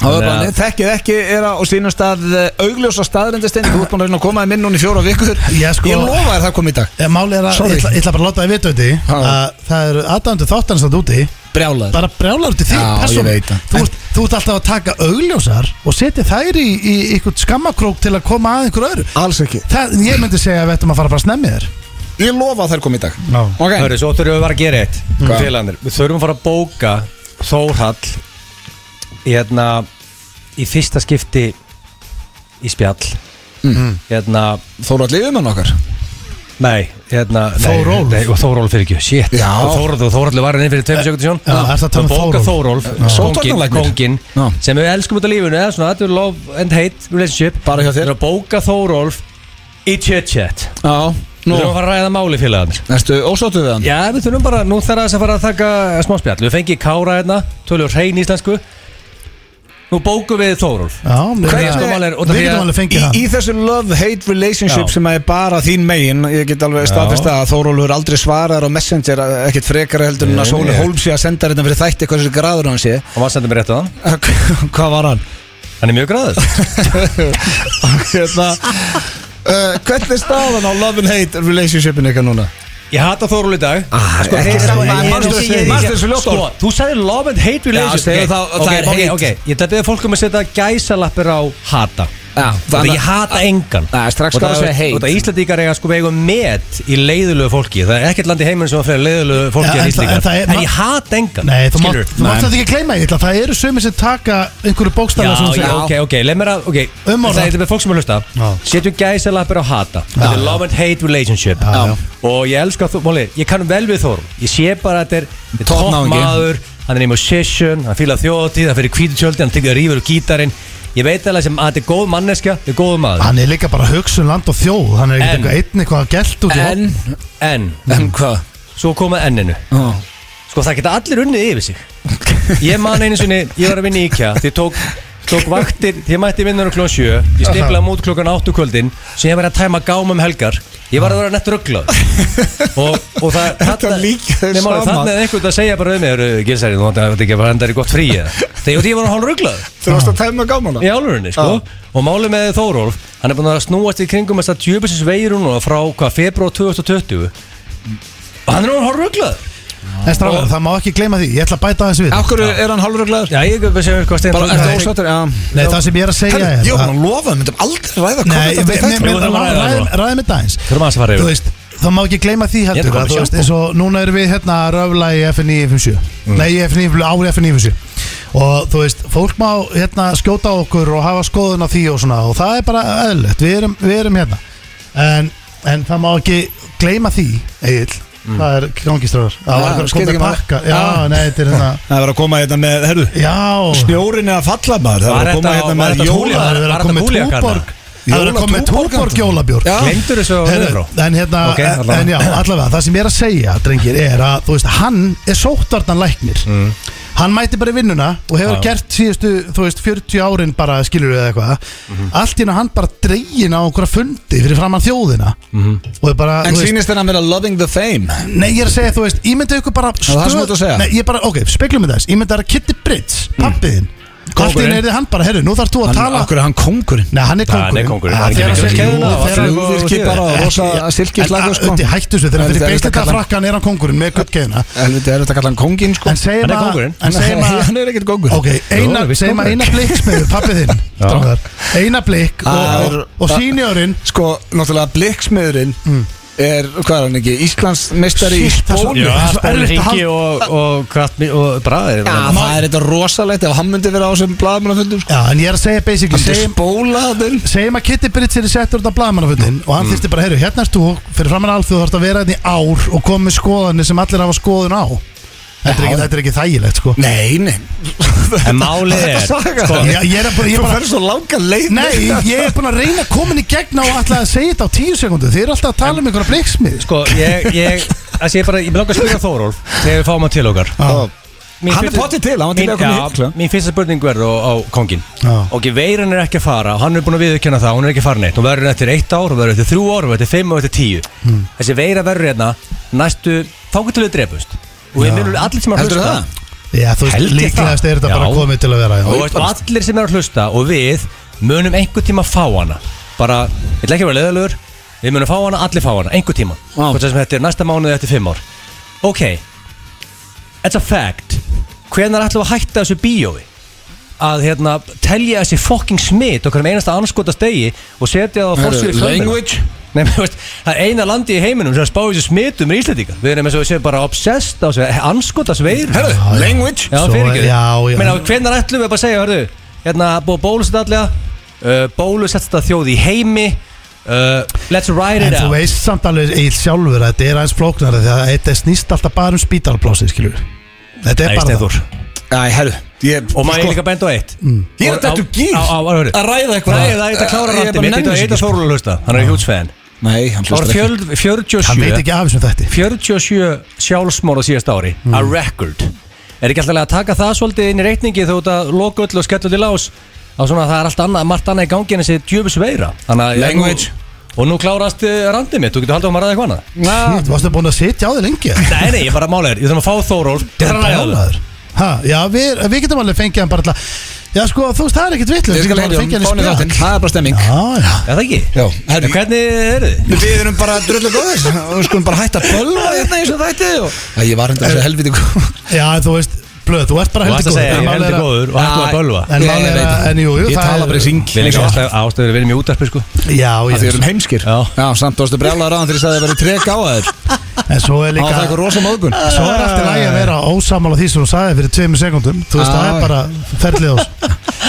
[SPEAKER 1] Það var
[SPEAKER 3] Þannig
[SPEAKER 1] bara,
[SPEAKER 3] að-
[SPEAKER 1] nei, þekkið ekki er á sínum stað eh, augljósa staðrendistinn Þú ert búin að reyna að koma þér minn núna í fjóra vikur
[SPEAKER 2] Já, sko-
[SPEAKER 1] Ég lofa þér það kom í dag
[SPEAKER 2] Eh, Máli er að,
[SPEAKER 1] Sorry.
[SPEAKER 2] ég ætla, ég ætla bara að láta það vita úti
[SPEAKER 1] Ha.
[SPEAKER 2] að það eru aðdæmdu þáttarins að úti
[SPEAKER 1] Brjálaður
[SPEAKER 2] bara brjálar út í þig
[SPEAKER 1] Já, ég
[SPEAKER 2] persónu.
[SPEAKER 1] veit það.
[SPEAKER 2] þú, ert- þú ert alltaf að taka augljósar og setja þær í, í einhvern skammakrók til að koma að einhver öðru
[SPEAKER 1] Alls ekki
[SPEAKER 2] það, ég myndi segja að við ættum að fara bara að snemmi þér
[SPEAKER 1] Ég lofa að þær kom í dag
[SPEAKER 2] Já.
[SPEAKER 1] Ok
[SPEAKER 3] Hörru, svo þurfum við bara að gera eitt
[SPEAKER 1] Hvað?
[SPEAKER 3] félagarnir. Við þurfum að fara að bóka Þórhall í, hérna, í fyrsta skipti í spjall
[SPEAKER 1] Mm.
[SPEAKER 3] hérna,
[SPEAKER 1] Þóra allir yfirmann okkar
[SPEAKER 3] nei, hérna nei,
[SPEAKER 2] Þórólf.
[SPEAKER 3] nei, og Þórólf fyrir ekki, shit
[SPEAKER 1] Já.
[SPEAKER 3] og Þórólf, og Þórólf var henni fyrir tveim sekundum sjón
[SPEAKER 2] Já, ertu að tala um
[SPEAKER 3] bóka Þórólf,
[SPEAKER 2] Þórólf?
[SPEAKER 3] kóngin,
[SPEAKER 1] Sóttvarnalæknir.
[SPEAKER 3] kóngin
[SPEAKER 1] Já.
[SPEAKER 3] sem við elskum út af lífinu, eða svona þetta er love and hate relationship,
[SPEAKER 1] Bara hjá
[SPEAKER 3] við
[SPEAKER 1] þér
[SPEAKER 3] erum að bóka Þórólf í chit-chat
[SPEAKER 1] Já
[SPEAKER 3] Við
[SPEAKER 1] Nú
[SPEAKER 3] þurfum að fara að ræða máli félagarnir
[SPEAKER 1] Næstu ósáttu við hann
[SPEAKER 3] Já, við þurfum bara, nú þarf þess að fara að taka smá spjall Við fengið Kára hérna, tölur hrein íslensku Nú bókum við Þórólf
[SPEAKER 2] Já, við
[SPEAKER 1] Hvernig-
[SPEAKER 2] við
[SPEAKER 3] sko mál er- út af því
[SPEAKER 2] getum
[SPEAKER 3] að-
[SPEAKER 2] alveg
[SPEAKER 1] í,
[SPEAKER 2] fengið það
[SPEAKER 1] í þessu love-hate relationship
[SPEAKER 3] Já.
[SPEAKER 1] sem að er bara þín megin ég get alveg
[SPEAKER 3] Já.
[SPEAKER 1] staðfest að Þórólfur aldrei svarar á messenger eh, ekkert frekar heldur en
[SPEAKER 3] Nei,
[SPEAKER 1] að Sóli
[SPEAKER 3] nei.
[SPEAKER 1] Holmes sé að senda hérna fyrir þætti hvað þessi graður hann sé
[SPEAKER 3] Og maður sendir mér rétt á hann
[SPEAKER 1] hvað var hann?
[SPEAKER 3] Hann er mjög græður
[SPEAKER 1] hérna uh, hvernig er staðan á love and hate relationshipin ykkar núna?
[SPEAKER 3] Ég hata Þórólf í dag
[SPEAKER 1] Ah,
[SPEAKER 3] Sko,
[SPEAKER 1] ekki
[SPEAKER 3] þeir-
[SPEAKER 1] sama,
[SPEAKER 3] ég- ég-
[SPEAKER 1] manstu-
[SPEAKER 3] ég- ég-
[SPEAKER 1] manstu þessu
[SPEAKER 3] ég-
[SPEAKER 1] ljótt
[SPEAKER 3] Sko, þú sagði love and hate relationship
[SPEAKER 1] segðu
[SPEAKER 3] Ok,
[SPEAKER 1] þá- það
[SPEAKER 3] ok,
[SPEAKER 1] er
[SPEAKER 3] ok,
[SPEAKER 1] hate.
[SPEAKER 3] ok, Ég ætla að beða fólkum að setja gæsalappir á hata
[SPEAKER 1] Já,
[SPEAKER 3] Þannig ég hata engan
[SPEAKER 1] Nei, strax
[SPEAKER 3] Og það-
[SPEAKER 1] skal að segja hate.
[SPEAKER 3] Og það Íslandíkar eiga sko við eigum met í leiðulegu fólki Það er ekkert land í heiminn sem að fyrir leiðulegu fólki en
[SPEAKER 2] Ja, en það- en
[SPEAKER 3] Íslandíkar
[SPEAKER 2] það er-
[SPEAKER 3] En ég hata engan
[SPEAKER 2] Nei, þú
[SPEAKER 3] skilurðu?
[SPEAKER 2] mátt þú mátt þetta ekki gleyma ég ætla það eru sömur sem taka einhverju bókstala
[SPEAKER 3] Já, já, ok, ok, leið mér að, ok
[SPEAKER 2] Umorða.
[SPEAKER 3] Það er þetta með fólk sem er að
[SPEAKER 2] Já.
[SPEAKER 3] hlusta Setjum gæsalappir á hata Þetta er
[SPEAKER 2] já.
[SPEAKER 3] love and hate relationship
[SPEAKER 2] Já, já.
[SPEAKER 3] Og ég elska þú, Móli, ég kann vel við Þórum Ég sé bara að þetta er- þetta er
[SPEAKER 1] Topp
[SPEAKER 3] topp
[SPEAKER 1] náungi.
[SPEAKER 3] maður Hann er í musician, hann fýlar þjóðatíð Hann fyrir kvítutjöldi, hann tekur rífur og gítarinn Ég veit alveg sem að þetta er góð manneskja Þetta er góð maður
[SPEAKER 2] hann er líka bara hugsun land og þjóð hann er ekkert
[SPEAKER 3] En-
[SPEAKER 2] eitthvað einn eitthvað gælt út í
[SPEAKER 1] en,
[SPEAKER 3] En,
[SPEAKER 1] en hvað?
[SPEAKER 3] svo komað enninu
[SPEAKER 1] Oh.
[SPEAKER 3] Sko það geta allir unnið yfir sig Ég man einu sinni, ég var að vinna í IKEA Því ég tók, tók hérna vaktir, því ég mætti vinnar um klón 7 Ég stiplaði mút klokkan 8 kvöldin Svo ég var að tæma gámum helgar Ég var að vera nett rugglað og, og það
[SPEAKER 1] Þetta líka er
[SPEAKER 3] Nei, máli,
[SPEAKER 1] sama.
[SPEAKER 3] Þannig að einhvern að segja bara um mig Gilsæri, þú vantar ekki að henda þér í gott frí eða?" Þegar ég var hálf rugglað
[SPEAKER 1] Þú varst að tæma gámana
[SPEAKER 3] í álurinni sko. og máli með Þórólf hann er búin að snúast í kringum þess að djöfisins veirun og frá hvað februar 2020 og hann er orðin hálf rugglað
[SPEAKER 2] En strafgar, það má ekki gleyma því, ég ætla að bæta aðeins við
[SPEAKER 1] Akkur er hann hálfuruglaður?
[SPEAKER 3] Já, ég hef sér hvað stein
[SPEAKER 1] Bara
[SPEAKER 3] Þórólfur-
[SPEAKER 1] eftir ósáttur, já
[SPEAKER 2] Nei, það sem ég er að segja
[SPEAKER 1] Herri,
[SPEAKER 2] er
[SPEAKER 1] Ég var
[SPEAKER 2] að-
[SPEAKER 1] búin að lofa, við myndum aldrei ræða COVID
[SPEAKER 2] Nei, mér- mér-
[SPEAKER 1] þetta
[SPEAKER 2] mér-
[SPEAKER 3] Jú, það var ræða
[SPEAKER 2] ræðum-
[SPEAKER 3] núna.
[SPEAKER 2] ræðum þetta aðeins
[SPEAKER 3] Þurfum aðeins að fara
[SPEAKER 2] Þú
[SPEAKER 3] yfir
[SPEAKER 2] veist, það má ekki gleyma því
[SPEAKER 3] Ég er að
[SPEAKER 2] heldur
[SPEAKER 3] koma
[SPEAKER 2] að,
[SPEAKER 3] með
[SPEAKER 2] Þú veist,
[SPEAKER 3] sjampó.
[SPEAKER 2] eins og núna erum við hérna að röfla í FNI 57 Nei, í FNI, ári FNI 57 Og þú veist, fólk má hérna skjóta á okkur og hafa skoðun á því og svona Og það er bara eðlilegt, við erum, við erum hérna en, en það má ekki gleyma því, Egil Það er gangiströður Það
[SPEAKER 1] Já,
[SPEAKER 2] var eitthvað
[SPEAKER 1] skiptir
[SPEAKER 2] komið
[SPEAKER 1] ekki máli.
[SPEAKER 2] pakka Já,
[SPEAKER 1] Já.
[SPEAKER 2] nei, þetta er hérna
[SPEAKER 1] Það var að koma hérna með, herru
[SPEAKER 2] Já,
[SPEAKER 1] Snjórin er að falla maður Það
[SPEAKER 3] Var
[SPEAKER 1] var að koma
[SPEAKER 3] þetta-
[SPEAKER 1] hérna
[SPEAKER 3] var
[SPEAKER 1] með
[SPEAKER 3] þetta
[SPEAKER 1] jóla
[SPEAKER 2] það er verið
[SPEAKER 3] Var
[SPEAKER 2] að
[SPEAKER 3] þetta
[SPEAKER 2] koma með
[SPEAKER 3] búlíakarna?
[SPEAKER 2] túborg Það er verið að koma með
[SPEAKER 1] Jólatúborg,
[SPEAKER 2] túborg
[SPEAKER 1] Anton.
[SPEAKER 2] jólabjórg
[SPEAKER 1] Já.
[SPEAKER 3] Glemdur þessu á
[SPEAKER 2] Herru,
[SPEAKER 3] niðurfrá
[SPEAKER 2] en hérna,
[SPEAKER 3] Ok, allavega.
[SPEAKER 2] en já, allavega það sem ég er að segja, drengir, er að þú veist, hann er sóttvarnan læknir hann mæti bara í vinnuna og hefur
[SPEAKER 3] Mm. Já.
[SPEAKER 2] gert síðustu, þú veist, 40 árin bara skilur við eitthvað,
[SPEAKER 3] Mhm.
[SPEAKER 2] allt í hann hann bara dregin á einhverja fundi fyrir framann þjóðina
[SPEAKER 3] Mhm.
[SPEAKER 2] og er bara,
[SPEAKER 1] En
[SPEAKER 2] þú veist,
[SPEAKER 1] sýnist henni að vera loving the fame
[SPEAKER 2] nei, ég er að segja, þú veist ímyndaðu ykkur bara
[SPEAKER 1] það sem þú ert að segja?
[SPEAKER 2] nei, ég bara, ok, speklum við þess, ímyndaðu að Kitty Brits
[SPEAKER 3] Mm.
[SPEAKER 2] pappiðinn, allt í
[SPEAKER 3] Kóngurinn.
[SPEAKER 2] hann er þið hann bara, herru, nú þarf þú að
[SPEAKER 1] Hann,
[SPEAKER 2] tala
[SPEAKER 1] okkur er hann kongurinn
[SPEAKER 2] Nei, hann er
[SPEAKER 3] Hann er
[SPEAKER 2] kóngurinn
[SPEAKER 3] kóngurinn, hann er ekki
[SPEAKER 2] Þegar
[SPEAKER 3] mikið
[SPEAKER 2] hann-
[SPEAKER 3] við keðuna
[SPEAKER 2] Jú,
[SPEAKER 3] og
[SPEAKER 2] þegar hann-
[SPEAKER 3] flugvél.
[SPEAKER 1] Flugvirki bara og rosa silkislæður sko
[SPEAKER 2] Ötti, hættu þessu, þegar
[SPEAKER 1] Helviti,
[SPEAKER 2] fyrir
[SPEAKER 1] er
[SPEAKER 2] beist
[SPEAKER 1] þetta
[SPEAKER 2] þetta
[SPEAKER 1] kallan-
[SPEAKER 2] frakkan er hann kóngurinn með guttgeðina
[SPEAKER 1] Helviti, er þetta að kalla hann konginn sko
[SPEAKER 2] En segjum
[SPEAKER 3] Hann er
[SPEAKER 2] að-
[SPEAKER 3] kóngurinn.
[SPEAKER 2] En segjum
[SPEAKER 1] Nei,
[SPEAKER 2] að
[SPEAKER 1] Hann er ekkert kongur
[SPEAKER 2] Ok, eina,
[SPEAKER 3] Jú, víst
[SPEAKER 2] segjum að
[SPEAKER 3] kóngurinn.
[SPEAKER 2] eina blikk smiður, pappi þinn
[SPEAKER 3] Já.
[SPEAKER 2] strákar. Eina blikk og,
[SPEAKER 1] Að-
[SPEAKER 2] og sínjörinn
[SPEAKER 1] Sko, náttúrulega blikksmiðurinn Er, hvað er hann ekki, Íslandsmeistari í
[SPEAKER 2] Mm. Shit, það er svo-
[SPEAKER 1] spónu
[SPEAKER 2] Já, það er
[SPEAKER 3] Spóli
[SPEAKER 2] erfitt að
[SPEAKER 3] Ringi og, og, og, og Braði
[SPEAKER 1] Já, það er þetta rosalegt ef hann myndi vera á þessum blaðmannafundum sko.
[SPEAKER 2] Já, en ég er að segja basically
[SPEAKER 1] Hann myndi
[SPEAKER 2] Segjum,
[SPEAKER 1] spóla þarna
[SPEAKER 2] segjum að Kitty Brits er settur út af blaðmannafundin og hann mm. þyrfti bara, heyrðu, hérna ert þú fyrir framann alþjóð þú þarfst að vera hérna í ár og koma með skoðanir sem allir hafa skoðun á Þetta
[SPEAKER 1] Já.
[SPEAKER 2] er ekki, þetta er ekki þægilegt, sko
[SPEAKER 1] Nei, nei
[SPEAKER 3] En málið
[SPEAKER 1] Þetta
[SPEAKER 3] er
[SPEAKER 1] saga
[SPEAKER 3] sko,
[SPEAKER 2] Ég, ég er að bara, ég
[SPEAKER 1] Þú
[SPEAKER 2] er bara
[SPEAKER 1] fer svo langa leið
[SPEAKER 2] Nei, ég er búin að reyna að koma inn í gegna og alltaf að segja þetta á tíu sekundu Þið eru alltaf að tala um einhverja blikksmið sko.
[SPEAKER 3] sko, ég, ég, þessi, ég, bara, ég langa að spyrja Þórólf Þegar við fáum hann til okkar
[SPEAKER 2] Já.
[SPEAKER 3] Mín
[SPEAKER 1] Hann er
[SPEAKER 3] fyrstu-
[SPEAKER 1] pottið til, hann var til í
[SPEAKER 3] Mín-
[SPEAKER 1] að koma sko. í
[SPEAKER 3] já,
[SPEAKER 1] hikla.
[SPEAKER 3] Mín fyrsta spurning verður á, á kongin
[SPEAKER 2] Já.
[SPEAKER 3] Ok, veiran er ekki að fara og Hann er búin að viðurkenna það, hún er ekki að fara neitt Hún verður eftir eitt ár, hún verður eftir þrjú ár, hún verður eftir fimm og eftir tíu
[SPEAKER 1] Hmm.
[SPEAKER 3] Þessi veira verður hérna næstu Þangur til við drefust Og við munum allir sem er að
[SPEAKER 1] Heldurðu
[SPEAKER 3] hlusta
[SPEAKER 1] það?
[SPEAKER 2] Já, þú
[SPEAKER 3] Held
[SPEAKER 2] veist,
[SPEAKER 3] ég
[SPEAKER 2] líklegast
[SPEAKER 3] það.
[SPEAKER 2] er þetta bara
[SPEAKER 3] Já.
[SPEAKER 2] komið til að vera
[SPEAKER 3] Og
[SPEAKER 2] já.
[SPEAKER 3] veist, allir sem er að hlusta og við munum einhver tíma fá hana Bara, ég ætla ekki að vera leðalur Við munum fá hana, allir fá hana, einhver tíma
[SPEAKER 1] Vá.
[SPEAKER 3] Hvort sem þetta er næsta mánuði eftir fimm ár Ok, it's a fact Hvenær ætlum við að hætta þessu bíói? Að hérna, telja þessi fucking smit okkur um einasta anskota stegi og setja það á fórsvíðu
[SPEAKER 1] Language
[SPEAKER 3] Nei, menn, þú veist, það er eina landi í heiminum sem spáði þessu smitum í Íslandíka Við erum eins og við séum bara obsessed á þessu anskotas veir
[SPEAKER 1] Herðu,
[SPEAKER 2] já.
[SPEAKER 1] language
[SPEAKER 3] Já,
[SPEAKER 2] Svo-
[SPEAKER 3] fyrir ekki
[SPEAKER 2] já, já.
[SPEAKER 3] Meina, hvernig ætlum við bara að segja, hörðu Hérna, búið að bólusett allega uh, Bólusett þetta þjóð í heimi uh, Let's ride
[SPEAKER 2] En
[SPEAKER 3] it
[SPEAKER 2] þú
[SPEAKER 3] out
[SPEAKER 2] veist samt alveg eitt sjálfur að þetta er aðeins flóknara því að þetta snýst alltaf bara um spítalblásið, skilur við. Þetta er
[SPEAKER 3] Nei,
[SPEAKER 2] bara
[SPEAKER 3] Steinþór.
[SPEAKER 1] Æ, herru ég-
[SPEAKER 3] Og maður
[SPEAKER 1] sko,
[SPEAKER 3] er líka bend á eitt
[SPEAKER 1] Ég er þetta eftir gýr
[SPEAKER 3] Á, á, á, hörðu
[SPEAKER 1] Að ræða eitthvað
[SPEAKER 3] Nei, það er þetta klára
[SPEAKER 1] Ég er
[SPEAKER 3] randi
[SPEAKER 1] bara
[SPEAKER 3] mitt
[SPEAKER 1] nenni
[SPEAKER 3] Þetta er
[SPEAKER 1] þessu
[SPEAKER 3] þetta
[SPEAKER 1] ekki.
[SPEAKER 3] fórulega hlusta Hann er hjúts fan
[SPEAKER 1] Nei, hann
[SPEAKER 3] Það
[SPEAKER 1] hlustar ekki
[SPEAKER 3] voru
[SPEAKER 2] Hann
[SPEAKER 3] 47
[SPEAKER 2] veit ekki af um þessum þætti
[SPEAKER 3] 47 sjálfsmór á síðast ári A record Er ekki alltaf að taka það svolítið inn í reikningi þú ert að loka öll og skella öll í lás á svona að það er allt annað, margt annað í gangi en þessi djöfus veira Þannig að
[SPEAKER 1] Language.
[SPEAKER 3] Og nú klárast eh, randið mitt, þú getur haldið á maður að ræða eitthvað annað
[SPEAKER 2] Shit, Varstu búin að sitja á því lengi?
[SPEAKER 3] Nei, nei, ég bara mála þér, ég þarf að fá Þórólf Ég þarf að ræða það
[SPEAKER 2] Brjálaður. Ha, Já, við við getum alveg fengið hann bara alltaf Já, sko, þú veist, það er ekkit vitlega
[SPEAKER 1] Ég skal um heyri hann Fáni þáttinn Það er bara stemming
[SPEAKER 2] Já, já
[SPEAKER 3] Er það ekki?
[SPEAKER 1] Já,
[SPEAKER 3] En
[SPEAKER 1] herru
[SPEAKER 3] Hvernig er þið?
[SPEAKER 1] Við erum bara drullu góðir og við skulum bara hætta að bölva hérna eins og þætti og Æ, ég var hendur þessu helviti góð
[SPEAKER 2] Já, en þú veist, blöð, þú ert bara
[SPEAKER 3] Þú
[SPEAKER 2] heldur
[SPEAKER 3] ætti að segja, ég er heldur góður og hættu
[SPEAKER 1] Já,
[SPEAKER 3] að bölva
[SPEAKER 2] En
[SPEAKER 1] Ég
[SPEAKER 2] málið er
[SPEAKER 1] veit
[SPEAKER 2] að-
[SPEAKER 1] það.
[SPEAKER 2] en jú, jú,
[SPEAKER 1] Ég
[SPEAKER 2] það
[SPEAKER 1] tala
[SPEAKER 2] er-
[SPEAKER 1] bara í syng
[SPEAKER 3] Við erum ekki ástöður, við erum í útarpi sko
[SPEAKER 2] Já, já
[SPEAKER 1] Því við erum heimskir
[SPEAKER 3] Já.
[SPEAKER 1] samt ástu brjálaður á hann þegar ég sagði að það verið trek á þér
[SPEAKER 2] En svo er
[SPEAKER 1] Á það
[SPEAKER 2] líka
[SPEAKER 1] eitthvað rosa móðgun
[SPEAKER 2] Svo er alltaf lægi að vera ósamála því sem þú sagði fyrir tveimur sekundum Þú
[SPEAKER 1] Já,
[SPEAKER 2] veist, það
[SPEAKER 1] já.
[SPEAKER 2] er bara ferlið ás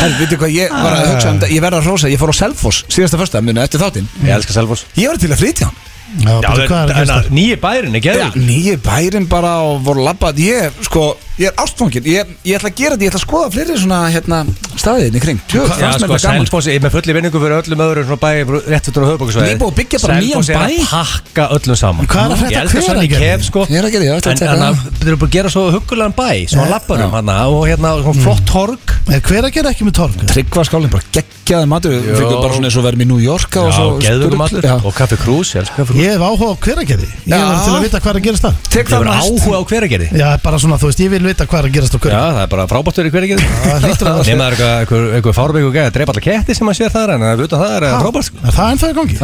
[SPEAKER 1] Herru, veitu hvað, ég var að hugsa um þetta Ég verð að rosa, ég fór á Selfoss síðasta första muni eftir þáttinn
[SPEAKER 3] Ég elska Selfoss
[SPEAKER 1] Ég var til að flytja hann
[SPEAKER 2] Já, betur hvað
[SPEAKER 3] hérna
[SPEAKER 2] er að gerast þar?
[SPEAKER 3] Nýji bærin, ekki
[SPEAKER 1] Já, nýju bærin bara og voru labbað Ég, sko, ég er ástfangin Ég, ég ætla að gera þetta, ég ætla að skoða fleiri svona hérna, staðiðin í kring Tjóð,
[SPEAKER 3] Já,
[SPEAKER 1] fannst mér
[SPEAKER 3] sko,
[SPEAKER 1] þetta gaman
[SPEAKER 3] Selfoss er með fulli vinningu fyrir öllum öðrum svona bæ rétt fyrir höfubókisvæði
[SPEAKER 1] Líka búið að byggja bara nýjan
[SPEAKER 3] Selfoss er
[SPEAKER 1] bæ.
[SPEAKER 3] að pakka öllum saman
[SPEAKER 2] Hvað er að frétta
[SPEAKER 3] Ég elska Svenni
[SPEAKER 2] Hveragerði?
[SPEAKER 3] Kef, sko
[SPEAKER 1] Ég er að gera, ég ætla að
[SPEAKER 3] En
[SPEAKER 1] tjekka
[SPEAKER 3] hann
[SPEAKER 1] það.
[SPEAKER 3] að- þeir eru búin að gera svo huggulegan bæ Svo hann lappar um hann og hérna svona flott horg
[SPEAKER 2] Er hver að gera ekki með torg?
[SPEAKER 1] Tryggvarskálinn, bara geggjaði matur Við
[SPEAKER 3] Jó.
[SPEAKER 1] fengum bara svona eins og verðum í New York og svo
[SPEAKER 3] geðvöku matur
[SPEAKER 1] Já.
[SPEAKER 3] Og kaffi krús, ég elskar kaffi krús
[SPEAKER 2] Ég hef áhuga á hver að gera því Ég
[SPEAKER 1] Já.
[SPEAKER 2] hef til að vita hvað er að gerast það
[SPEAKER 1] Tek
[SPEAKER 3] Ég
[SPEAKER 1] það
[SPEAKER 3] verður
[SPEAKER 1] næst
[SPEAKER 3] áhuga á hveragerði
[SPEAKER 2] Já, bara svona, þú veist, ég vil vita hvað er að gerast á hver
[SPEAKER 3] Já, það er bara frábært verið í hveragerði
[SPEAKER 2] Það hlýtur að-
[SPEAKER 3] Nefna það er eitthvað- einhver, einhver fárbygg og gæði að drepa alla ketti sem að sér þar En að utan það er eh, frábært sko.
[SPEAKER 2] Er það ennþá í gangi?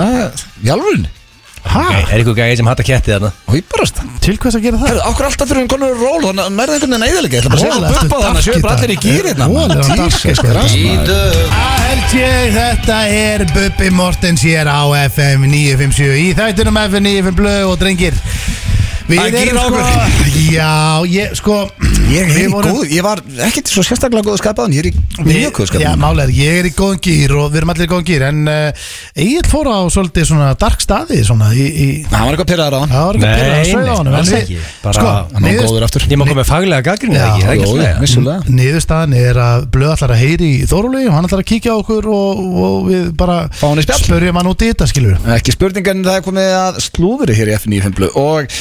[SPEAKER 1] Jálfurinn
[SPEAKER 2] Hæ?
[SPEAKER 3] Nei, Er eitthvað gæði sem hattar ketti þarna
[SPEAKER 1] Og ég barast
[SPEAKER 2] Til hvers að gera það?
[SPEAKER 1] Herru, okkur alltaf fyrir hún konur að ról Þannig að nærði einhvern veginn eðalega Ég ætla bara að segja
[SPEAKER 2] Rólega,
[SPEAKER 1] það upp
[SPEAKER 2] ertu
[SPEAKER 1] á þannig
[SPEAKER 2] dark
[SPEAKER 1] Sjöfum bara
[SPEAKER 2] í dag.
[SPEAKER 1] allir í gýrin
[SPEAKER 2] Rólega, ertu dark í dag, sko. ALG, þetta er Bubbi Mortens hér á FM 957 í þættunum FM 95 blöð og drengir Við
[SPEAKER 1] Að
[SPEAKER 2] erum
[SPEAKER 1] gíra
[SPEAKER 2] sko Já, ég sko
[SPEAKER 1] Ég
[SPEAKER 2] við
[SPEAKER 1] er í
[SPEAKER 2] vorum-
[SPEAKER 1] góð Ég var ekkert svo sérstaklega góð skapaðan Ég er í
[SPEAKER 2] Við-
[SPEAKER 1] mjög góð
[SPEAKER 2] Já,
[SPEAKER 1] skapaðan
[SPEAKER 2] málega, ég er í góðan gýr og við erum allir í góðan gýr En uh, ég fór á svolítið svona dark staði svona í, í
[SPEAKER 1] Það var eitthvað pyrraðar á hann
[SPEAKER 2] Það var ekki að pyrra að sögja á honum en
[SPEAKER 3] alls
[SPEAKER 2] við-
[SPEAKER 3] ekki Bara,
[SPEAKER 2] Sko,
[SPEAKER 1] Hann var
[SPEAKER 2] niðurst-
[SPEAKER 1] góður aftur
[SPEAKER 3] Ég má koma með faglega gaggrinni
[SPEAKER 2] Já,
[SPEAKER 3] ekki, það er ekki
[SPEAKER 1] Jó,
[SPEAKER 3] að
[SPEAKER 1] já,
[SPEAKER 3] slega
[SPEAKER 1] vissulega
[SPEAKER 2] Niðurstaðan er að blöð allar að heyri í Þórulegi og hann allar að kíkja á okkur og, og við bara
[SPEAKER 1] Fá hann í spjall.
[SPEAKER 2] spörjum hann út í þetta skilur
[SPEAKER 1] Ekki spurning en það er komið að slúðri hér í F95 blöð. og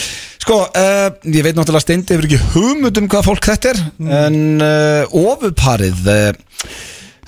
[SPEAKER 1] sko, uh, ég veit náttúrulega steindi hefur ekki hugmynd um hvað fólk þetta er en uh, ofuparið uh,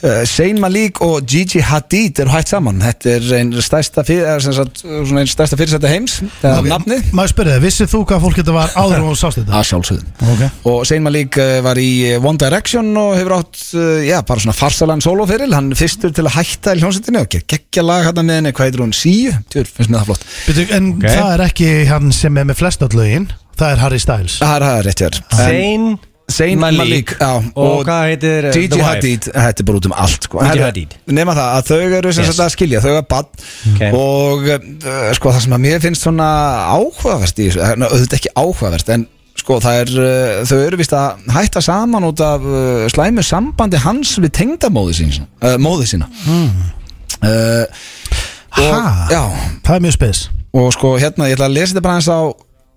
[SPEAKER 1] uh, Sein Malik og Gigi Hadid eru hægt saman þetta er einn stærsta, fyrir, er, sem sagt, svona einn stærsta fyrirsætta heims það er nafnið
[SPEAKER 2] Maður spyrði það, vissið þú hvað fólk þetta var áður og sást þetta?
[SPEAKER 1] að sjálfsögðum
[SPEAKER 2] Ok
[SPEAKER 1] og Sein Malik eh, var í eh, One Direction og hefur átt, eh, já, bara svona farsalan soloferil, hann er fyrstur til að hætta í hljónsettinu og geggja lag hérna með henni hvað heitir hún, Síu, tjör, finnst mér það flott
[SPEAKER 2] Byrju, En
[SPEAKER 3] Ok.
[SPEAKER 2] það er ekki hann sem er með flest öll lögin Það er Harry Styles
[SPEAKER 1] það er það er rétt hjá þér. En-
[SPEAKER 3] Zayn
[SPEAKER 1] Zayn Malik, já,
[SPEAKER 3] og,
[SPEAKER 1] og uh,
[SPEAKER 3] hvað heitir eh, The
[SPEAKER 1] Gigi
[SPEAKER 3] Wife?
[SPEAKER 1] Hadid, þetta er bara út um allt sko.
[SPEAKER 3] Gigi
[SPEAKER 1] Herra,
[SPEAKER 3] Hadid.
[SPEAKER 1] Nema það að þau eru sem
[SPEAKER 3] Yes.
[SPEAKER 1] sagt að skilja, þau eru bann
[SPEAKER 3] Ok.
[SPEAKER 1] Og uh, sko það sem að mér finnst svona áhugavert í þessu eh, ná, Auðvitað ekki áhugavert, en sko það er uh, Þau eru vist að hætta saman út af uh, slæmu sambandi hans við tengdamóði sína uh, Móði sína
[SPEAKER 3] Hmm.
[SPEAKER 1] uh,
[SPEAKER 2] Ha?
[SPEAKER 1] og, Já,
[SPEAKER 2] Það er mjög spes
[SPEAKER 1] og sko hérna ég ætla að lesa þetta bara eins á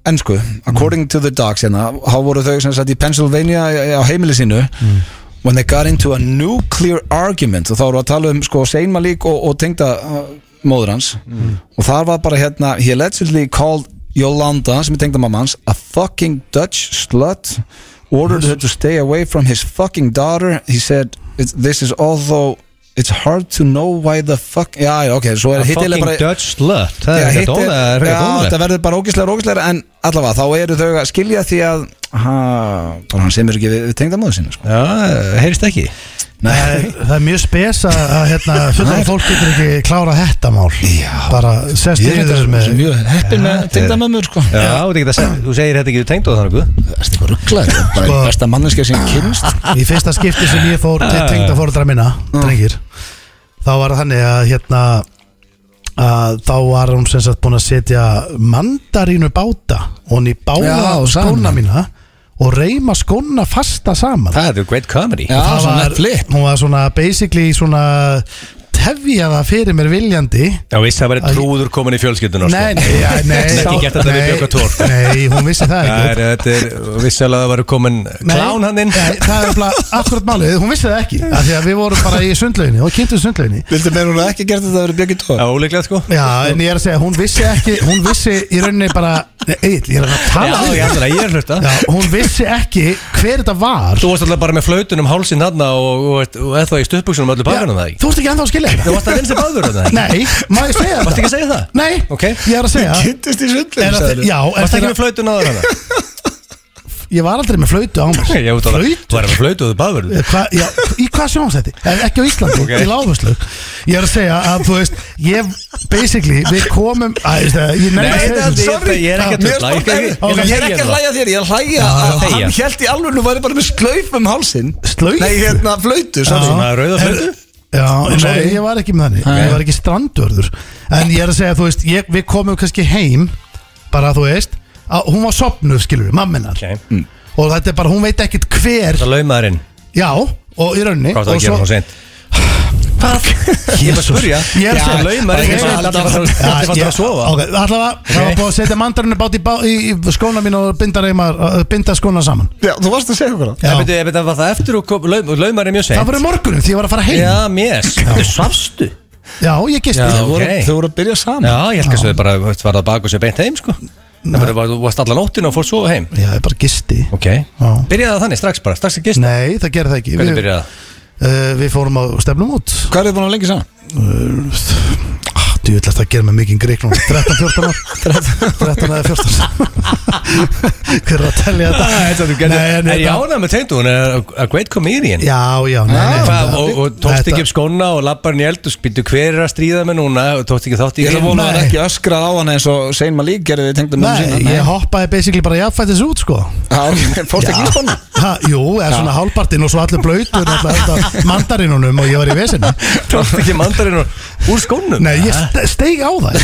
[SPEAKER 1] ennsku according to the dogs hérna þá voru þau sem sagt í Pennsylvania eh, á heimili sínu when they got into a nuclear argument og þá voru að tala um sko Sein Malik og, og tengda uh, móður hans og þar var bara hérna he allegedly called Yolanda sem er tengda mamma hans a fucking Dutch slut ordered her to stay away from his fucking daughter he said "It's- this is although it's hard to know why the fuck já, já, ok, svo er
[SPEAKER 3] A
[SPEAKER 1] hittilega
[SPEAKER 3] fucking
[SPEAKER 1] bara
[SPEAKER 3] Dutch slut
[SPEAKER 1] Já,
[SPEAKER 3] Það er
[SPEAKER 1] hitt
[SPEAKER 3] ekki dóla, það er
[SPEAKER 1] já,
[SPEAKER 3] ekki
[SPEAKER 1] þetta
[SPEAKER 3] dóla
[SPEAKER 1] verður bara ógíslega ógíslega en allavega þá eru þau að skilja því að ha, bara hann semur ekki við, við tengdamóðu sinni sko.
[SPEAKER 3] Já, heyrist ekki
[SPEAKER 2] Það er, það er mjög spes að, að hérna, fullum fólk getur ekki klára þetta mál
[SPEAKER 1] Já.
[SPEAKER 2] Bara sest
[SPEAKER 1] Ég er
[SPEAKER 2] yfir
[SPEAKER 1] þetta
[SPEAKER 2] með
[SPEAKER 1] mjög heppin með tengdamömmur sko.
[SPEAKER 3] Já, þú veit ekki að segja- þú segir þetta ekki þú tengd og þannig
[SPEAKER 1] Það er eitthvað rugglaður, bara sko.
[SPEAKER 2] Sko.
[SPEAKER 1] besta manneskja sem kynst
[SPEAKER 2] Í fyrsta skipti sem ég fór til tengda fóruðra minna drengir þá var það þannig að hérna að þá var hún sem sagt búin að setja mandarínu báta og hún í bála
[SPEAKER 1] Já, saman.
[SPEAKER 2] skóna mína og reyma skóna fasta saman
[SPEAKER 3] Það er great comedy
[SPEAKER 1] Já,
[SPEAKER 2] það
[SPEAKER 1] svona
[SPEAKER 2] var,
[SPEAKER 1] flip
[SPEAKER 2] hún var svona basically svona tefjaða fyrir mér viljandi
[SPEAKER 3] Já, vissi það verið trúður komin í fjölskyldunar
[SPEAKER 2] Nei, nei, já, nei,
[SPEAKER 3] sko. Ekki gert þetta við
[SPEAKER 2] nei,
[SPEAKER 3] Björgvin Thor. sko.
[SPEAKER 2] Nei, hún vissi það
[SPEAKER 3] Það
[SPEAKER 2] ekki
[SPEAKER 3] er, þetta er, vissi alveg að það verið komin
[SPEAKER 2] Nei,
[SPEAKER 3] klán hann inn
[SPEAKER 2] Nei, það er bara akkurat málið, hún vissi það ekki af því að við vorum bara í sundlauginni og kynntum sundlauginni
[SPEAKER 1] Vildu meira hún ekki gert þetta að vera bjöggi tóð?
[SPEAKER 3] Já, óleiklega sko
[SPEAKER 2] Já, en ég er að segja, hún vissi ekki hún vissi í rauninni bara Egil, ég er að
[SPEAKER 3] Já,
[SPEAKER 2] tala við
[SPEAKER 3] ég
[SPEAKER 2] þig.
[SPEAKER 3] ætla, ég er hlusta
[SPEAKER 2] Já, hún vissi ekki hver þetta var
[SPEAKER 3] Þú varst alltaf bara með flautunum um hálsinn hann og, og, og eða þá í stuðbuksunum öllu
[SPEAKER 2] Já,
[SPEAKER 3] bakarinn það ekki
[SPEAKER 2] Þú ert ekki ennþá að skilja
[SPEAKER 3] Þú
[SPEAKER 2] þetta
[SPEAKER 3] varst að vinna sem baður það ekki
[SPEAKER 2] Nei, má ég segja
[SPEAKER 3] Varst ekki
[SPEAKER 2] þetta?
[SPEAKER 3] að segja það?
[SPEAKER 2] Nei,
[SPEAKER 3] Ok.
[SPEAKER 2] ég er að segja
[SPEAKER 1] Kynntist í
[SPEAKER 2] er að þi-
[SPEAKER 1] sundlegum
[SPEAKER 2] Já,
[SPEAKER 3] Varst
[SPEAKER 2] eftir
[SPEAKER 3] ekki
[SPEAKER 2] að,
[SPEAKER 3] með flautun áður hann?
[SPEAKER 2] ég var aldrei með flautu á mér
[SPEAKER 3] Ég veit alveg,
[SPEAKER 2] Flautu?
[SPEAKER 3] þú varum með flautu og þú baður
[SPEAKER 2] Eh, Hva, já, í hvað sjónsætti? Ekki á Íslandi,
[SPEAKER 3] Ok.
[SPEAKER 2] okay. í lágvöslu Ég er að segja að þú veist Ég, basically, við komum Æ, ég veist það, ég nefnir að
[SPEAKER 3] Nei,
[SPEAKER 2] segja
[SPEAKER 3] þetta-
[SPEAKER 2] þessu.
[SPEAKER 3] Sorry. ég er ekki að
[SPEAKER 1] Mér
[SPEAKER 3] trufla, ég
[SPEAKER 1] spokka
[SPEAKER 3] er
[SPEAKER 1] þér.
[SPEAKER 3] ekki-
[SPEAKER 1] Ég
[SPEAKER 3] ég er
[SPEAKER 1] er ekki
[SPEAKER 3] ekki að
[SPEAKER 1] að
[SPEAKER 3] þegja
[SPEAKER 1] hlæja þér, ég er að hlæja
[SPEAKER 3] Já,
[SPEAKER 1] að
[SPEAKER 3] þegja.
[SPEAKER 1] hann held í alveg nú væri bara með slauf um hálsin
[SPEAKER 2] Slaufu?
[SPEAKER 1] Nei, hérna flöytu
[SPEAKER 2] Já.
[SPEAKER 1] Svona
[SPEAKER 3] Svona rauða flautu?
[SPEAKER 2] Já, en
[SPEAKER 1] Sorry.
[SPEAKER 2] ég var ekki með þannig
[SPEAKER 1] Nei.
[SPEAKER 2] Ég var ekki strandvörður En ég er að segja, þú veist, ég, við komum kannski heim Bara, þú veist að, Hún var sopnuð, skilur við, mamminar
[SPEAKER 3] Ok.
[SPEAKER 2] Og þetta er bara, hún veit ekkit hver
[SPEAKER 3] Það laumaður inn
[SPEAKER 2] Já, og í rauninni
[SPEAKER 3] Hvað það að
[SPEAKER 2] og
[SPEAKER 3] gera þá seint?
[SPEAKER 2] Ég
[SPEAKER 3] Ég er að spurja
[SPEAKER 2] Ég er að segja
[SPEAKER 3] Laumar inn
[SPEAKER 2] Ég-
[SPEAKER 3] Það er alltaf að sofa
[SPEAKER 2] Ok, allavega, það var búið að setja mandarinu bát í, bá, í, í skóna mín og binda, reymar, binda skóna saman
[SPEAKER 1] Já, þú varst að segja okkur
[SPEAKER 2] Já.
[SPEAKER 3] Það beti, beti, var það eftir og kom- laum- laumar inn mjög
[SPEAKER 2] Það
[SPEAKER 3] seint
[SPEAKER 2] voru morgunum því ég var að fara heim
[SPEAKER 3] Já, mér Þú svafstu
[SPEAKER 2] Já, ég gisti
[SPEAKER 3] Já.
[SPEAKER 1] Þau voru-
[SPEAKER 3] ok.
[SPEAKER 1] Þau voru að byrja saman
[SPEAKER 3] Já, ég held að þau bara þú veist, var það bak og sér beint heim sko Það bara var- þú varst allan óttin og fór svo heim
[SPEAKER 2] Já, ég bara gisti
[SPEAKER 3] Ok Byrjaði það þannig strax bara, strax að gist
[SPEAKER 2] Nei, það gerði það ekki
[SPEAKER 3] Hvernig
[SPEAKER 2] Við-
[SPEAKER 3] byrjaði það?
[SPEAKER 2] uh, Við fórum á stefnum út Ah,
[SPEAKER 1] Hvað er þið búin að vera lengi saman?
[SPEAKER 2] Þú ætlaði að gera með mikið greik núna 13-14 ár 13 eða 14 Hver er að tellja þetta? Nei,
[SPEAKER 3] Er
[SPEAKER 2] en
[SPEAKER 3] ég
[SPEAKER 2] þetta-
[SPEAKER 3] ánægð með tengdu, hún er a great comedian
[SPEAKER 2] Já, já, nei, nei,
[SPEAKER 3] Hvað,
[SPEAKER 2] þetta-
[SPEAKER 3] og, og tókst
[SPEAKER 2] þetta-
[SPEAKER 3] ekki upp skóna og lappar hann í eld og spýttu hver er að stríða með núna og tókst ekki þátt í
[SPEAKER 1] Ég ætla að vona að það
[SPEAKER 2] Nei.
[SPEAKER 1] er ekki öskrað á hann eins og Sein Malík gerði við tengdum um
[SPEAKER 2] Nei, ég hoppaði basically bara jafnfættis út sko
[SPEAKER 1] Já, fórst ekki í skona
[SPEAKER 2] ha, Jú, eða svona halvpartinn og svo allur blöytur alltaf mandarinunum og ég var í vesinu
[SPEAKER 3] Tókst ekki mandarinn úr skónum
[SPEAKER 2] Nei, ég ste- steig á það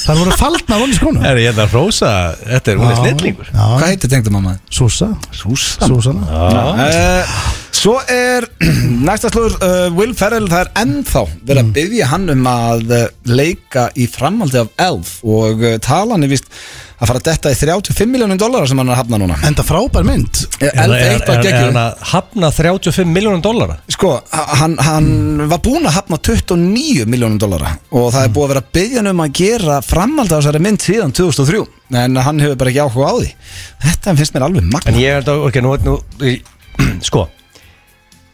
[SPEAKER 2] Það voru faldna von í skónum
[SPEAKER 3] Er ég það að hrósa, þetta er, hún er snillingur
[SPEAKER 1] Hvað
[SPEAKER 2] Já,
[SPEAKER 1] heitir tengdum mamma?
[SPEAKER 2] Súsa
[SPEAKER 1] Súsa
[SPEAKER 2] Súsana
[SPEAKER 1] Svo er næsta slúður uh, Will Ferrell, það er ennþá verið að byggja hann um að uh, leika í framhaldi af Elf og uh, talan er vist að fara að detta í 35 miljónum dólarar sem hann er að hafna núna
[SPEAKER 2] Enda frábær mynd
[SPEAKER 1] Elf
[SPEAKER 3] er,
[SPEAKER 1] eitt var
[SPEAKER 3] er, er hann
[SPEAKER 1] geggjum
[SPEAKER 3] að hafna 35 miljónum dollara
[SPEAKER 1] Sko, h- hann, hann var búinn að hafna 29 miljónum dollara og það er búið að vera byggjan um að gera framhald á þessari mynd síðan 2003 en hann hefur bara ekki áhuga á því Þetta finnst mér alveg magna
[SPEAKER 3] En ég er þetta, ok, nú, nú ég- Sko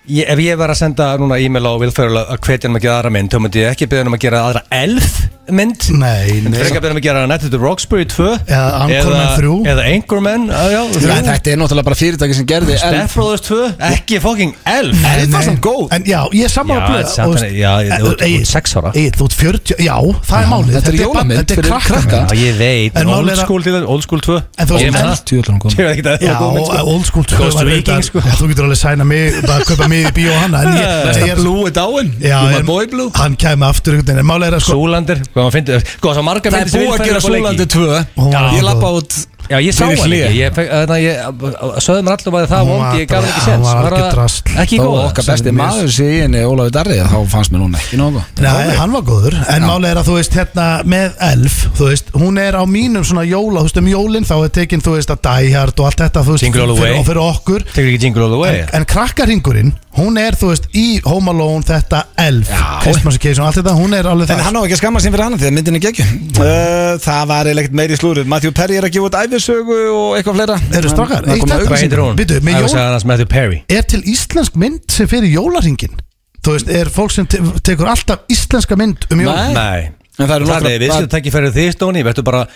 [SPEAKER 3] ég, Ef ég var að senda núna e-mail á Vilferðal að hvetja hann um að gera aðra mynd þá myndi ég ekki byrja hann um að gera aðra elf mynd
[SPEAKER 2] Nei,
[SPEAKER 3] Myndi
[SPEAKER 2] nei
[SPEAKER 3] frekar byrja hann um að gera Netted to Roxbury 2
[SPEAKER 2] Eða Anchorman 3.
[SPEAKER 3] Eða Anchorman, já, já
[SPEAKER 1] Nei, þetta er náttúrulega bara fyrirtæki sem gerði
[SPEAKER 3] Death Brothers 2, ekki fucking elf
[SPEAKER 2] Nei,
[SPEAKER 1] Elf var
[SPEAKER 2] nei.
[SPEAKER 1] samt góð.
[SPEAKER 2] En já, ég er sammála
[SPEAKER 3] Já,
[SPEAKER 2] blöð
[SPEAKER 3] samt
[SPEAKER 2] og-
[SPEAKER 3] hann- já, ég- þú ert- þú ert
[SPEAKER 2] Egill,
[SPEAKER 3] sex ára.
[SPEAKER 2] Egill, þú ert 40 Já, það er málið
[SPEAKER 1] þetta er
[SPEAKER 2] bara-
[SPEAKER 1] jólamynd
[SPEAKER 2] Þetta er
[SPEAKER 1] fyrir
[SPEAKER 2] krakka
[SPEAKER 1] krakka.
[SPEAKER 3] Já, ég veit,
[SPEAKER 2] En
[SPEAKER 3] en
[SPEAKER 2] málið
[SPEAKER 3] old
[SPEAKER 2] er að-
[SPEAKER 3] school, til- old school 2
[SPEAKER 2] En þú veist,
[SPEAKER 3] Ég meina
[SPEAKER 2] en-
[SPEAKER 3] það.
[SPEAKER 1] Tjóðlan
[SPEAKER 3] Ég veit ekki að
[SPEAKER 2] Já,
[SPEAKER 3] það er
[SPEAKER 2] old school
[SPEAKER 3] Þú veist, Viking, sko.
[SPEAKER 2] Já, Þú getur alveg sæna mig bara að kaupa mig í bíó og hana en ég, ég er
[SPEAKER 1] Blue er dáin,
[SPEAKER 2] Já,
[SPEAKER 1] Blue
[SPEAKER 2] en-
[SPEAKER 1] er boy blue
[SPEAKER 2] Hann kæmi aftur einhvern veginn En málega er að sko
[SPEAKER 3] Súlandir, hvað maður finnir Sko, það var margar
[SPEAKER 1] Það er
[SPEAKER 3] myndir sem
[SPEAKER 1] búið að
[SPEAKER 3] Will
[SPEAKER 1] gera
[SPEAKER 3] Ferrell var leik í.
[SPEAKER 1] Súlandi 2
[SPEAKER 2] Hún var
[SPEAKER 1] Ég
[SPEAKER 2] góð.
[SPEAKER 1] lappa út
[SPEAKER 3] Já, ég sá
[SPEAKER 1] Fyrir
[SPEAKER 3] hann
[SPEAKER 1] hlé.
[SPEAKER 3] ekki Ég fekk- Þannig að ég sögðu mér allum að það
[SPEAKER 2] Hún
[SPEAKER 3] vondi
[SPEAKER 2] var
[SPEAKER 3] Ég gaf hann ekki
[SPEAKER 2] bara-
[SPEAKER 3] sens
[SPEAKER 2] hún var
[SPEAKER 3] Bara
[SPEAKER 2] algjört drasl.
[SPEAKER 3] Ekki
[SPEAKER 1] Þó
[SPEAKER 3] góð
[SPEAKER 1] okkar besti
[SPEAKER 2] sem
[SPEAKER 1] maður sé í henni Ólafur Darri þá fannst mér núna ekki nógu
[SPEAKER 2] Nei, hann var góður En málega er að þú veist hérna með Elf Þú veist, hún er á mínum svona jóla Þú veist um jólin þá er tekin þú veist að Die Hard og allt þetta Þú veist,
[SPEAKER 3] Jingle All the
[SPEAKER 2] fyrir,
[SPEAKER 3] Way.
[SPEAKER 2] og fyrir okkur
[SPEAKER 3] Tekur ekki Jingle All The Way
[SPEAKER 2] En, en krakkarhingurinn, hún er þú veist í Home Alone þetta Elf Christmas Occasion, allt þetta, hún er alveg
[SPEAKER 1] En
[SPEAKER 2] það
[SPEAKER 1] hann á ekki að skamma sín fyrir hann því að myndin er geggju uh, Það var eiginlega ekkert meiri slúrið Matthew Perry er að gefa út æfisögu og eitthvað fleira
[SPEAKER 2] Eru strákar,
[SPEAKER 1] Það
[SPEAKER 2] eitt
[SPEAKER 1] kom að
[SPEAKER 2] þetta-
[SPEAKER 3] Hvað heitir hún?
[SPEAKER 2] Bíddu, með
[SPEAKER 3] Ég
[SPEAKER 2] Jón-
[SPEAKER 3] sagði hann hans Matthew Perry
[SPEAKER 2] Er til íslensk mynd sem fyrir jólaringin? Þú veist, er fólk sem te tekur alltaf íslenska mynd um
[SPEAKER 1] Nei.
[SPEAKER 2] jólin?
[SPEAKER 3] Nei
[SPEAKER 1] En það eru
[SPEAKER 3] Það
[SPEAKER 1] nokkrar-
[SPEAKER 3] er viðskiptæki fyrir því, Stóni Vertu bara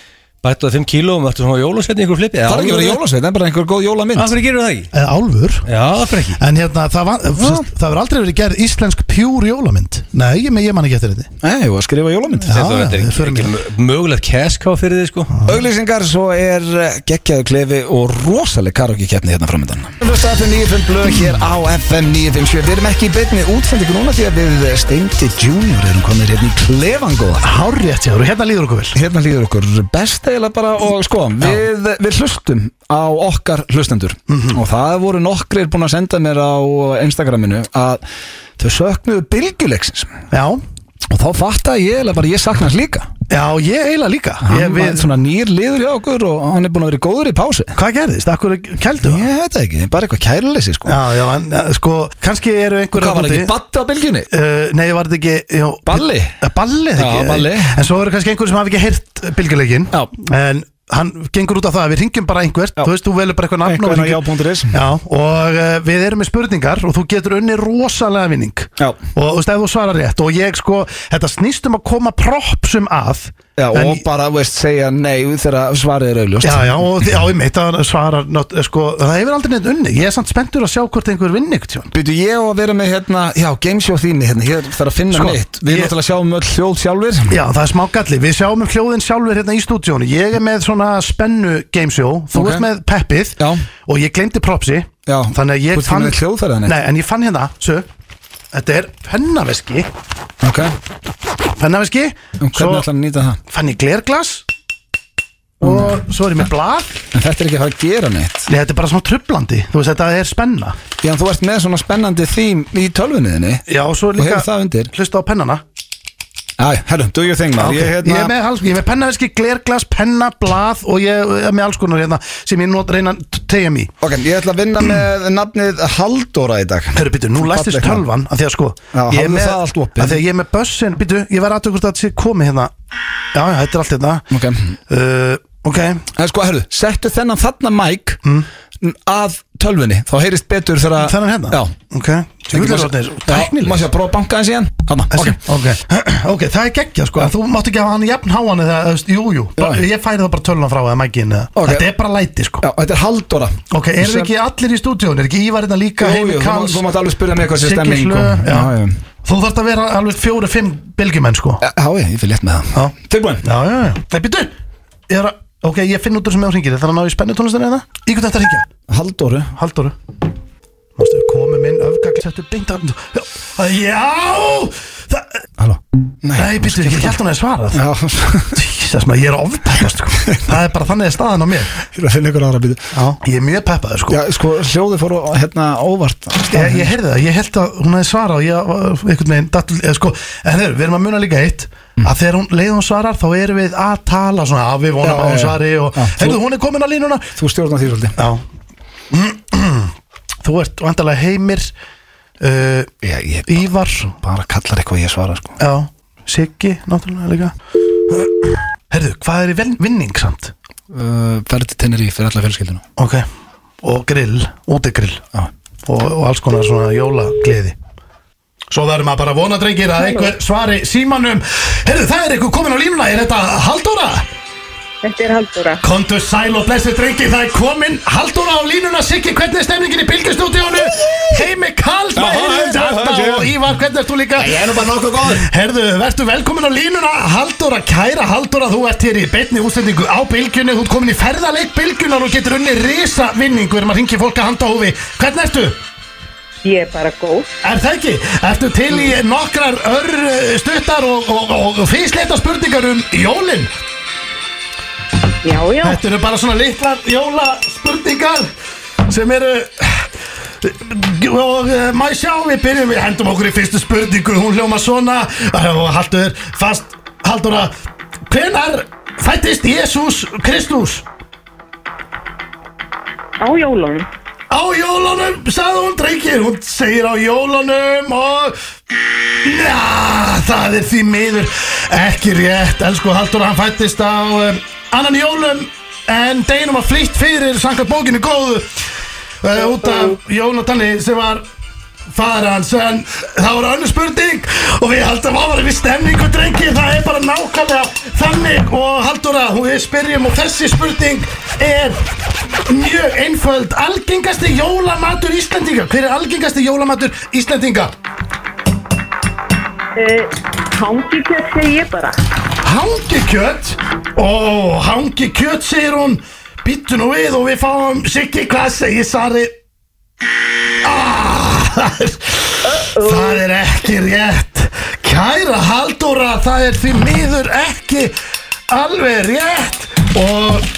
[SPEAKER 3] Bættu það 5 kíló og vertu svona jólasveitni í ykkur flipi
[SPEAKER 1] Það er ekki verið jólasveit, það er bara einhver góð jólamynd
[SPEAKER 3] Af hverju gerir það ekki?
[SPEAKER 2] Eða álfur?
[SPEAKER 3] Já, af hverju ekki?
[SPEAKER 2] En hérna, það, var, það verður aldrei verið gerð íslensk pjúr jólamynd Nei, ég, ég man ekki eftir þetta
[SPEAKER 1] Nei, ég var að skrifa jólamynd
[SPEAKER 2] Já,
[SPEAKER 3] Þetta er
[SPEAKER 2] já,
[SPEAKER 3] ekki-
[SPEAKER 2] förum í
[SPEAKER 3] ekki mögulegt cash cow fyrir því sko
[SPEAKER 1] Auglýsingar, svo er eh, geggjaður klefi og rosaleg karaoke-keppni hérna framöndan Hlusta FM 95 blöð hér á FM 957 Við erum ekki í beinni útsendingu núna því að við eh, Steindi Junior erum komin hérna í klefan góða
[SPEAKER 2] Hárrétt hjá, þér og hérna líður okkur vel
[SPEAKER 1] Hérna líður okkur best eiginlega bara og sko, við, við hlustum á okkar hlustendur og það voru nokkrir búin að senda mér á Instagraminu að þau söknuðu bylgjuleiksins
[SPEAKER 2] Já,
[SPEAKER 1] og þá fatta ég eiginlega bara ég saknast líka
[SPEAKER 2] já, ég eiginlega líka ég,
[SPEAKER 1] hann var
[SPEAKER 2] við,
[SPEAKER 1] svona nýr liður hjá okkur og hann er búin að vera góður í pási
[SPEAKER 2] Hvað gerðist? Akkur kældu það?
[SPEAKER 1] ég veit það ekki, bara eitthvað kærleysi sko
[SPEAKER 2] Já, já, en eh, sko, kannski eru einhverjum
[SPEAKER 1] hvað var ekki batta á bylgjunni?
[SPEAKER 2] Uh, nei, var þetta ekki já,
[SPEAKER 1] Balli?
[SPEAKER 2] Eh, Balli, eða
[SPEAKER 1] Já,
[SPEAKER 2] ekki?
[SPEAKER 1] balli.
[SPEAKER 2] En svo eru kannski einhverjum sem hafa ekki heyrt bylgjuleikin
[SPEAKER 1] Já.
[SPEAKER 2] En hann gengur út á það að við ringjum bara einhvert
[SPEAKER 1] Já.
[SPEAKER 2] Þú veist, þú velur bara eitthvað nafn og
[SPEAKER 1] Einhver
[SPEAKER 2] við hringjum-
[SPEAKER 1] á já.is.
[SPEAKER 2] Já, og uh, við erum með spurningar og þú getur unni rosalega vinning
[SPEAKER 1] Já.
[SPEAKER 2] Og þú veist, ef þú svarar rétt Og ég sko, þetta snýst um að koma propsum að
[SPEAKER 1] Já,
[SPEAKER 2] En-
[SPEAKER 1] og bara, veist, segja nei þegar svarið er auðljóst
[SPEAKER 2] Já, já, og já, ég meit að hann svarar not, sko, Það hefur aldrei neitt unni Ég er samt spenntur að sjá hvort einhver vinni ykkur tjón
[SPEAKER 1] Býtu ég á að vera með hérna, já, gameshow þínu hérna, ég þarf að finna
[SPEAKER 2] Sko,
[SPEAKER 1] mitt Við
[SPEAKER 2] ég-
[SPEAKER 1] náttúrulega sjáum öll hljóð sjálfur
[SPEAKER 2] Já, það er smá galli, við sjáum um hljóðin sjálfur hérna í stúdíónu Ég er með svona spennu gameshow, þú
[SPEAKER 1] Ok.
[SPEAKER 2] ert með peppið
[SPEAKER 1] Já.
[SPEAKER 2] Og ég glemdi propsi
[SPEAKER 1] Já.
[SPEAKER 2] Þannig að ég
[SPEAKER 1] Þú ert ekki með hljóðfærið, nei?
[SPEAKER 2] Nei, en ég fann hérna, svo Þetta er pennaveski
[SPEAKER 1] Ok,
[SPEAKER 2] Pennaveski
[SPEAKER 1] um hvernig
[SPEAKER 2] Svo
[SPEAKER 1] ætlar hann að nýta það?
[SPEAKER 2] fann ég glerglas Og svo er ég með blad
[SPEAKER 1] En þetta er ekki að fara að gera neitt
[SPEAKER 2] Nei, þetta er bara svona trublandi Þú veist, þetta er spenna
[SPEAKER 1] Já, en þú ert með svona spennandi þým í tölvunniðinni
[SPEAKER 2] Já, og svo er
[SPEAKER 1] Og
[SPEAKER 2] líka
[SPEAKER 1] hefur það undir?
[SPEAKER 2] Hlusta á pennana
[SPEAKER 1] Æ, herru, do your thing, maður hérna-
[SPEAKER 2] Ég, ég, er hérna- með, hals- ég er með pennaveski, glerglas, penna, blað Og ég er með alls konar hérna Sem ég not reyna að tegja mig í
[SPEAKER 1] Ok, ég ætla að vinna með nafnið Haldóra í dag
[SPEAKER 2] Hörru, býtu, nú læstist
[SPEAKER 1] Fallega.
[SPEAKER 2] tölvan að því að sko
[SPEAKER 1] Já,
[SPEAKER 2] ég er
[SPEAKER 1] hafðu
[SPEAKER 2] með-
[SPEAKER 1] það allt opið.
[SPEAKER 2] Af því að ég er með bussin, býtu, ég var aðtökur þetta sé komið hérna Já, já, þetta er allt hérna
[SPEAKER 1] Ok.
[SPEAKER 2] uh, Ok,
[SPEAKER 1] En sko, herru, settu þennan þarna mæk að tölvunni þá heyrist betur þegar að
[SPEAKER 2] Hmm? Þennan hérna?
[SPEAKER 1] Já
[SPEAKER 2] Ok Tjúklarotnir
[SPEAKER 1] Tæknileg Má sé að prófa að banka hans í hann Hanna, ok
[SPEAKER 2] Þessi, ok, ok, það er geggjað sko en Þú mátt ekki hafa hann jafn háan eða, þú veist, jú, jú bara,
[SPEAKER 1] Já.
[SPEAKER 2] Ég færi það bara tölvan frá eða mækin eða.
[SPEAKER 1] Ok.
[SPEAKER 2] Þetta er bara læti sko
[SPEAKER 1] Já, þetta er Haldóra
[SPEAKER 2] Ok, eru ekki allir í stúdíun, er ekki Ívar þetta líka
[SPEAKER 1] Jú,
[SPEAKER 2] Heimi
[SPEAKER 1] jú, þú má-
[SPEAKER 2] Kans,
[SPEAKER 1] Þú mátt alveg spyrja mig hvað sé
[SPEAKER 2] Siggi
[SPEAKER 1] stemning
[SPEAKER 2] Slö
[SPEAKER 1] og-
[SPEAKER 2] já.
[SPEAKER 1] sko. já, já.
[SPEAKER 2] Þú þarft að vera alveg fjóri, fimm bylgjumenn sko Já,
[SPEAKER 1] Já, já, ég fyrir létt með það
[SPEAKER 2] já,
[SPEAKER 1] Tilbúin
[SPEAKER 2] já, já Það býtu, ég er að Ok, ég finn út úr sem ég hringir, það er að ná í spennu tónlistin eða? Í hvernig þetta hringja?
[SPEAKER 1] Haldóru
[SPEAKER 2] Halldóru Mástu, komið minn öfgagl Settu beint að Já, já það,
[SPEAKER 1] Halló Nei
[SPEAKER 2] Nei, býttu, ég held hún að svara
[SPEAKER 1] Já,
[SPEAKER 2] Jesus, maður, ég er ofpeppast sko. Það er bara þannig að staðan á mér
[SPEAKER 1] ég er að finna ykkur aðra bíti
[SPEAKER 2] Ég er mjög peppaður sko
[SPEAKER 1] Já, sko, hljóði fór og hérna óvart
[SPEAKER 2] Ég, ég heyrði það, ég held að hún hefði svarað og ég var einhvern veginn dattul, eða sko, en þeir, við erum að muna líka eitt
[SPEAKER 1] Mm.
[SPEAKER 2] að þegar hún leið hún svarar þá erum við að tala svona, að við vonum
[SPEAKER 1] Já,
[SPEAKER 2] að hún
[SPEAKER 1] já, já.
[SPEAKER 2] svari og,
[SPEAKER 1] Já,
[SPEAKER 2] heyrðu, hún er komin að línuna
[SPEAKER 1] Þú stjórnar því svolítið
[SPEAKER 2] Já Þú ert vandalega heimir uh,
[SPEAKER 1] Já, ég
[SPEAKER 2] Ívar
[SPEAKER 1] bara kallar eitthvað ég svara, sko
[SPEAKER 2] Já, Siggi, náttúrulega líka Heyrðu, hvað er í vin- vinning samt?
[SPEAKER 1] uh, Ferði til tennir í fyrir alla fjölskyldinu
[SPEAKER 2] Ok, og grill, útigrill
[SPEAKER 1] Já
[SPEAKER 2] og, og alls konar svona jólagliði Svo verður maður bara að vona drengir að einhver svari símanum Herðu það er einhver komin á lífuna, er þetta Halldóra?
[SPEAKER 4] Þetta er Halldóra.
[SPEAKER 2] Kontu sæl og blessið drengir, það er komin Halldóra á línuna, Siggi, hvernig er stemningin í bylgjastúdíónu? Heimi Karls,
[SPEAKER 5] Já,
[SPEAKER 2] maður heyrðu
[SPEAKER 5] hæ,
[SPEAKER 2] þetta
[SPEAKER 5] hæ,
[SPEAKER 2] alltaf
[SPEAKER 5] hæ,
[SPEAKER 2] og
[SPEAKER 5] hæ.
[SPEAKER 2] Ívar, hvernig ert þú líka?
[SPEAKER 5] er nú bara nokkuð góð
[SPEAKER 2] Herðu, verður velkomin á línuna Halldóra, kæra Halldóra, þú ert hér í beinni útsendingu á bylgjunni Þú ert komin í ferðarleik bylgjunar og getur unni risa vinningu Erum að ringi fólk að handa á hófi Hvernig ertu?
[SPEAKER 4] Ég er bara góð.
[SPEAKER 2] Er það ekki? Ertu til í nokkrar ör eh, stuttar og, og, og, og físleita spurningar um jólinn?
[SPEAKER 4] Já, já.
[SPEAKER 2] Þetta eru bara svona litlar jólaspurningar sem eru og uh, maður sjá við byrjum við hendum okkur í fyrstu spurningu hún hljóma svona eh, og haldur fast haldura hvenar fættist Jésús Kristus?
[SPEAKER 4] Á jólunum.
[SPEAKER 2] Á jólunum, sagði hún drengir, hún segir á jólunum og... Já, það er því miður ekki rétt, elsku Haldur, hann fættist á um, annan jólum en deginum var flýtt fyrir sangat bókinu góðu uh, út af Jónatanni sem var fadir hans en það voru önnur spurning og við haldum áfram við stemningu drengi það er bara nákvæmlega þannig og Haldóra, hún- við spyrjum og þessi spurning er mjög einföld algengasti jólamatur Íslendinga hver er algengasti jólamatur Íslendinga?
[SPEAKER 4] Uh, Hangikjöld segi ég bara.
[SPEAKER 2] Hangikjöt Ó, hangikjöt segir hún Býttu nú við og við fáum Siggi, hvað segir Sari? Ah, það er- það er ekki rétt Kæra Halldóra, það er því miður ekki alveg rétt og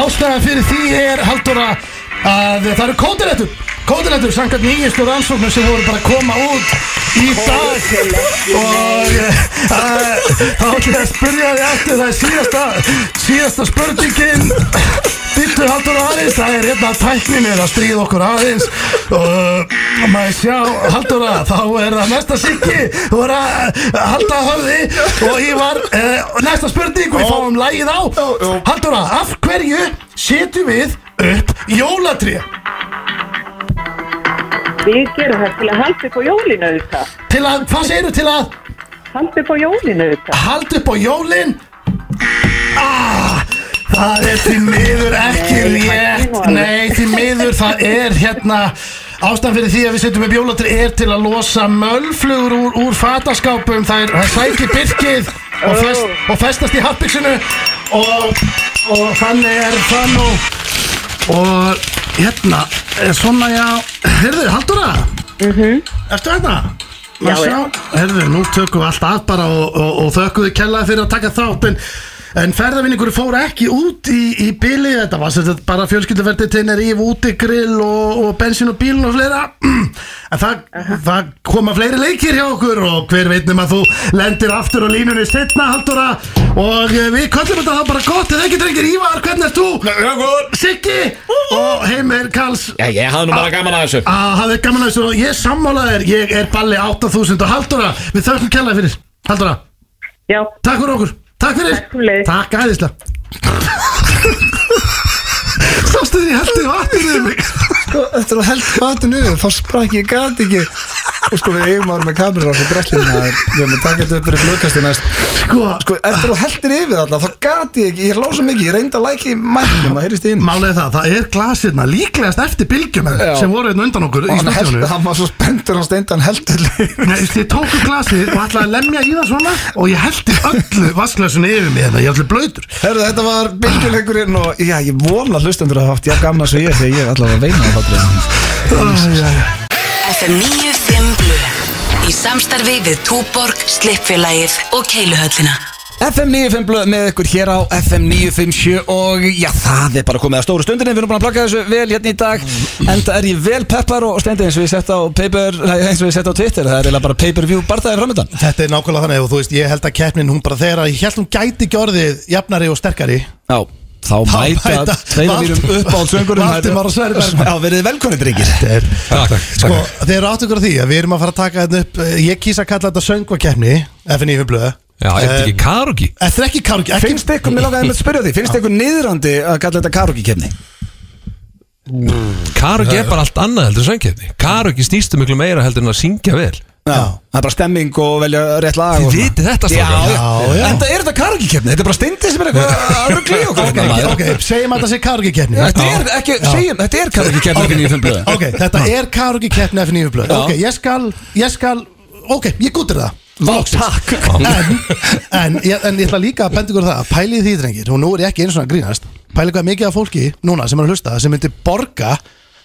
[SPEAKER 2] ástæðan fyrir því er Halldóra að það eru kótirættur kótirættur samkvæmt nýjustu rannsóknum sem voru bara að koma út í dag og eh, að- þá ætlum ég að spyrja þig aftur það er síðasta, síðasta spurningin Býttu Halldóra aðeins, það er hérna að tæknin er að stríða okkur aðeins og maður sjá Halldóra, þá er það næsta sikki þú er að halda höfði og ég var, eh, næsta spurning við fáum lagið á Halldóra, af hverju setjum við upp jólatré
[SPEAKER 4] Við gerum það til að halda upp á jólinu auðvitað.
[SPEAKER 2] til að, hvað segirðu til að
[SPEAKER 4] Halda upp á jólinu auðvitað.
[SPEAKER 2] Hald upp á jólin ah, Það er því miður ekki
[SPEAKER 4] Nei,
[SPEAKER 2] rétt
[SPEAKER 4] það er
[SPEAKER 2] Nei, því miður það er hérna Ástæðan fyrir því að við setjum upp jólatri er til að losa mölflugur úr, úr fataskápum Það er það sækir byrkið og, fest, og festast í hattbyggsinu og, og þannig er það nú Og hérna, eh, svona já Herðu, Halldóra Ertu þetta?
[SPEAKER 4] Já, já.
[SPEAKER 2] Herðu, nú tökum við allt að bara og, og, og þökkum við kellaði fyrir að taka þátt en, en ferðarvinningur fór ekki út í, í bili þetta var sem sagt bara fjölskylduferdi tennir í útigrill og, og bensin og bílun og fleira en það, það koma fleiri leikir hjá okkur og hver veit nema þú lendir aftur á línunni setna Halldóra og eh, við köllum þetta þá bara gott eða ekki drengir Ívar, hvernig ert þú?
[SPEAKER 5] Góð
[SPEAKER 2] Siggi og Heimir Karls
[SPEAKER 5] Já, ég hafði nú bara gaman að þessu
[SPEAKER 2] að Ah, það er gaman að þessu og ég sammála þér ég er balli 8000 og Halldóra við þökkum kjallaði fyrir Halldóra,
[SPEAKER 4] Já,
[SPEAKER 2] takk fyrir okkur Takk fyrir,
[SPEAKER 4] Takk fyrir.
[SPEAKER 2] takk æðislega Sástu því heldur vatnir yfir mig
[SPEAKER 1] Sko, eftir að held fatun yfir, þá sprakk ég gat ekki Og sko, við eigum ára með kamerur á þessu brellina Við erum að taka þetta upp fyrir flugkasti næst
[SPEAKER 2] Sko,
[SPEAKER 1] Sko, eftir að heldir yfir alltaf, þá gat ég ekki Ég lása mikið, ég reyndi að lækja í mæknum að heyrist í inn
[SPEAKER 2] málið er það, það er glasirna líklegast eftir bylgjuna
[SPEAKER 1] Já.
[SPEAKER 2] sem voru hérna undan okkur í
[SPEAKER 1] Og hann held-
[SPEAKER 2] stúdíónu
[SPEAKER 1] hann var svo spenntur á steindan heldur leið
[SPEAKER 2] Nei, þú veist, ég tóku glasið og ætlaði að lemja í það svona og ég heldi öllu vasklössunni yfir mig hérna, ég er allir blöytur
[SPEAKER 1] Herðu, þetta var bylgjuleikurinn og já, ég vona að hlustendur að hafa haft ég gamna svo ég þegar ég er allavega að veina á þátturinn.
[SPEAKER 6] FM 95 Blu Í samstarfi við Túborg, Slippfélagið og Keiluhöllina
[SPEAKER 1] FM 95 blöð með ykkur hér á FM 957 og já, það er bara komið að stóru stundinni, við erum búin að plaka þessu vel hérna í dag enda er ég vel peppar og stendi eins og ég sett á paper, nei, eins og ég sett á Twitter það er eiginlega bara pay-per-view barðaði framöndan
[SPEAKER 2] Þetta er nákvæmlega þannig og þú veist, ég held að keppnin hún bara þegar ég held hún gæti gjörðið jafnari og sterkari
[SPEAKER 1] Já, þá mæta
[SPEAKER 2] mæta
[SPEAKER 1] tveir af mínum
[SPEAKER 2] Vald-
[SPEAKER 1] uppáhaldsöngurum
[SPEAKER 2] Valdimar og Sverrir Bergmann.
[SPEAKER 1] Já, verið velkonni drengir
[SPEAKER 2] Þetta er
[SPEAKER 5] Takk, takk,
[SPEAKER 2] Sko, þeir eru átt ykkur á því að við erum að fara að taka þetta upp eh, Ég kýsa að kalla þetta söngvakeppni FNÍ Humblöðu
[SPEAKER 7] Já, er þetta ekki karogi?
[SPEAKER 2] Eh, Þetta er ekki kargi ekki,
[SPEAKER 1] Finnst ykkur, mér langaði með að spyrja því, finnst ykkur niðrandi að kalla þetta karaoke-kefni?
[SPEAKER 7] Karogi er bara allt annað heldur en söngkefni Karogi snýstu um miklu meira heldur en að syngja vel
[SPEAKER 1] Já, það er bara stemming og velja rétt lag og
[SPEAKER 7] Þið
[SPEAKER 1] svona.
[SPEAKER 7] vitið þetta,
[SPEAKER 1] Já,
[SPEAKER 7] strákar.
[SPEAKER 1] já,
[SPEAKER 2] Já, já.
[SPEAKER 1] Enda er þetta kargikefni, þetta er bara steindi sem er eitthvað að rugla í okkur
[SPEAKER 2] Ok,
[SPEAKER 1] hérna,
[SPEAKER 2] ok,
[SPEAKER 1] maður.
[SPEAKER 2] segjum að þetta sé kargi-keppni
[SPEAKER 1] Þetta er ekki, segjum, þetta er kargikefni okay. í fimm blöðu
[SPEAKER 2] Ok, þetta er kargi-keppni FNÍ Humblöðu
[SPEAKER 1] Já.
[SPEAKER 2] Ok, ég skal, ég skal Ok, ég gútir það
[SPEAKER 1] Vá, takk
[SPEAKER 2] en, en, ég, en ég ætla líka að benda ykkur á það að pælið því drengir, og nú er ég ekki eins og að grínast pælið hvað mikið af fólki núna sem er að hlusta sem myndi borga,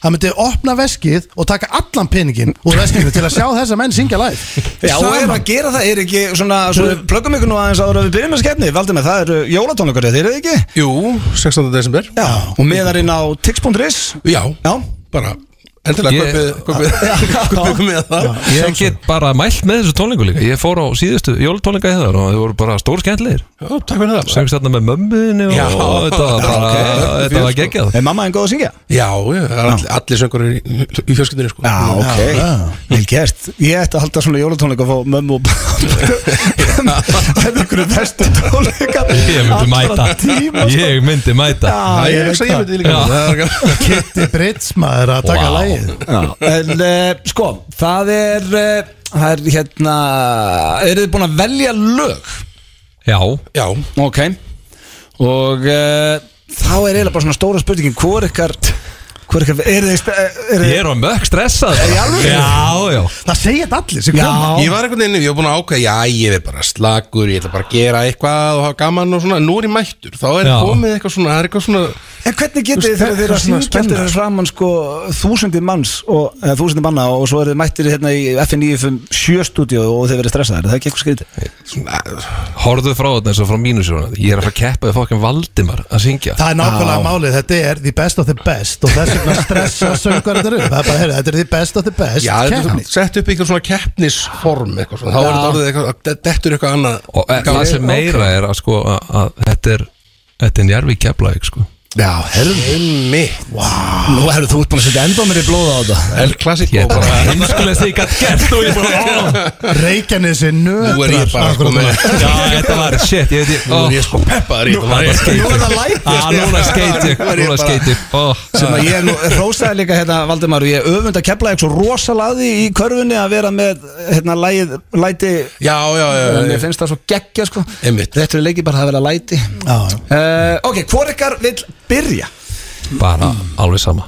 [SPEAKER 2] það myndi opna veskið og taka allan peningin úr veskinu til að sjá þessa menn syngja live
[SPEAKER 1] Já, og ef
[SPEAKER 2] Saman.
[SPEAKER 1] að gera það er ekki svona, svona plöggum ykkur nú aðeins áður að við byrjum með skefni Valdum með það eru jólatónleikar, þeir eru ekki?
[SPEAKER 8] Jú, 16. desember
[SPEAKER 1] Já, og meðarinn á tix.ris
[SPEAKER 8] Já,
[SPEAKER 1] Já,
[SPEAKER 8] bara Endilega,
[SPEAKER 7] Ég-
[SPEAKER 8] kaupið- kaupið kaupið með það
[SPEAKER 7] Ég get bara mælt með þessu tónlingu líka Ég fór á síðustu jólutónlinga í það og þau voru bara stór skemmtlegir
[SPEAKER 8] Já, takk fyrir það bara.
[SPEAKER 7] Söngst þarna með mömmuðinni og,
[SPEAKER 8] Já.
[SPEAKER 7] og þetta var
[SPEAKER 8] Já,
[SPEAKER 7] bara
[SPEAKER 8] ok.
[SPEAKER 7] Þetta var geggjað
[SPEAKER 1] er mamma einn góð að syngja?
[SPEAKER 8] Já, já, það er all, allir söngur í, í fjölskyldinu sko
[SPEAKER 1] Já, ok, vel gert Ég ætti að halda svona jólatónleika og fá mömmu og Þetta er ykkur bestu tónleika
[SPEAKER 7] Ég myndi mæta
[SPEAKER 1] allra tíma, sko.
[SPEAKER 7] Ég myndi mæta
[SPEAKER 1] Já,
[SPEAKER 8] Ég
[SPEAKER 1] ég
[SPEAKER 8] hugsa
[SPEAKER 1] veit
[SPEAKER 8] ég með því líka
[SPEAKER 7] Já.
[SPEAKER 8] Það er-
[SPEAKER 2] Kitty Brits maður að taka
[SPEAKER 7] Vá.
[SPEAKER 2] lagið
[SPEAKER 1] það En uh, sko, það er uh, Það er hérna Eru þið búin að velja lög?
[SPEAKER 7] Já,
[SPEAKER 8] Já,
[SPEAKER 1] Ok Og uh, þá er eiginlega bara svona stóra spurningin Hvor ykkar Hvor ykkar Er þið er,
[SPEAKER 7] ég er á mökk stressað
[SPEAKER 1] í alvöru?
[SPEAKER 7] Já, já
[SPEAKER 2] Það segja þetta allir sem
[SPEAKER 1] Já.
[SPEAKER 2] koma
[SPEAKER 8] ég var einhvern veginn, ég var búin að ákveða Já, ég er bara slakur, ég ætla bara að gera eitthvað og hafa gaman og svona, nú er ég mættur þá er
[SPEAKER 7] Já.
[SPEAKER 8] komið eitthvað svona, það er eitthvað svona
[SPEAKER 1] En hvernig getið þið
[SPEAKER 8] Þú
[SPEAKER 1] þegar þið eru að
[SPEAKER 8] veist, það er svona
[SPEAKER 1] syngja eftir
[SPEAKER 8] spenna.
[SPEAKER 1] þessu framann sko þúsundir manns og eða, þúsundir manna og svo eru mættir hérna í FN957 stúdíu og þið verið stressaðir, er það ekki eitthvað skrítið?
[SPEAKER 7] Horðu frá þetta eins og frá mínusjónan Ég er að fara að keppa við fokkin Valdimar að syngja
[SPEAKER 2] Það er nákvæmlega málið, þetta er the best of the best og þess vegna stressa söngar þetta upp Það er bara, heyrðu, þetta er the best of the best
[SPEAKER 8] Já, þetta er
[SPEAKER 2] keppni.
[SPEAKER 8] svona- sett upp eitthvað svona keppnisform eitthvað svona, þá er þetta orðið eitthvað, de- dettur eitthvað annað
[SPEAKER 7] og
[SPEAKER 3] eh,
[SPEAKER 7] e, það sem meira er að sko að, að þetta er þetta er njárvík keflavík sko
[SPEAKER 8] Já, helmi
[SPEAKER 1] Nú hefur þú út búin að setja enda mér í blóða á þetta
[SPEAKER 8] El Clasico
[SPEAKER 7] ég er bara
[SPEAKER 8] bara
[SPEAKER 7] heimskulega því ég gætt gert og ég bara
[SPEAKER 2] Reykjanesi nötrar
[SPEAKER 8] Nú er ég bara
[SPEAKER 1] sko,
[SPEAKER 2] akkurat
[SPEAKER 8] komið-
[SPEAKER 2] núna.
[SPEAKER 7] já þetta var shit ég veit ég ó,
[SPEAKER 8] Nú er ég sko peppaður í þetta sko.
[SPEAKER 7] það
[SPEAKER 8] bara.
[SPEAKER 7] var skeit
[SPEAKER 1] Nú er það sko. lætist.
[SPEAKER 7] Ah, núna skeit ég
[SPEAKER 8] Nú er ég
[SPEAKER 7] núna Oh,
[SPEAKER 8] bara-
[SPEAKER 7] skeit ég ó.
[SPEAKER 1] sem að ég nú hrósaði líka hérna Valdimar og ég öfund að kepla eitthvað rosalaði í körfunni að vera með hérna lægið, læti
[SPEAKER 8] Já, já, já,
[SPEAKER 1] og
[SPEAKER 8] já
[SPEAKER 1] mér finnst það svo geggja sko
[SPEAKER 8] Einmitt.
[SPEAKER 1] þetta er leikið bara að vera læti
[SPEAKER 2] Já, já.
[SPEAKER 1] uh, ok, hvor ykkar vill byrja
[SPEAKER 7] bara alveg sama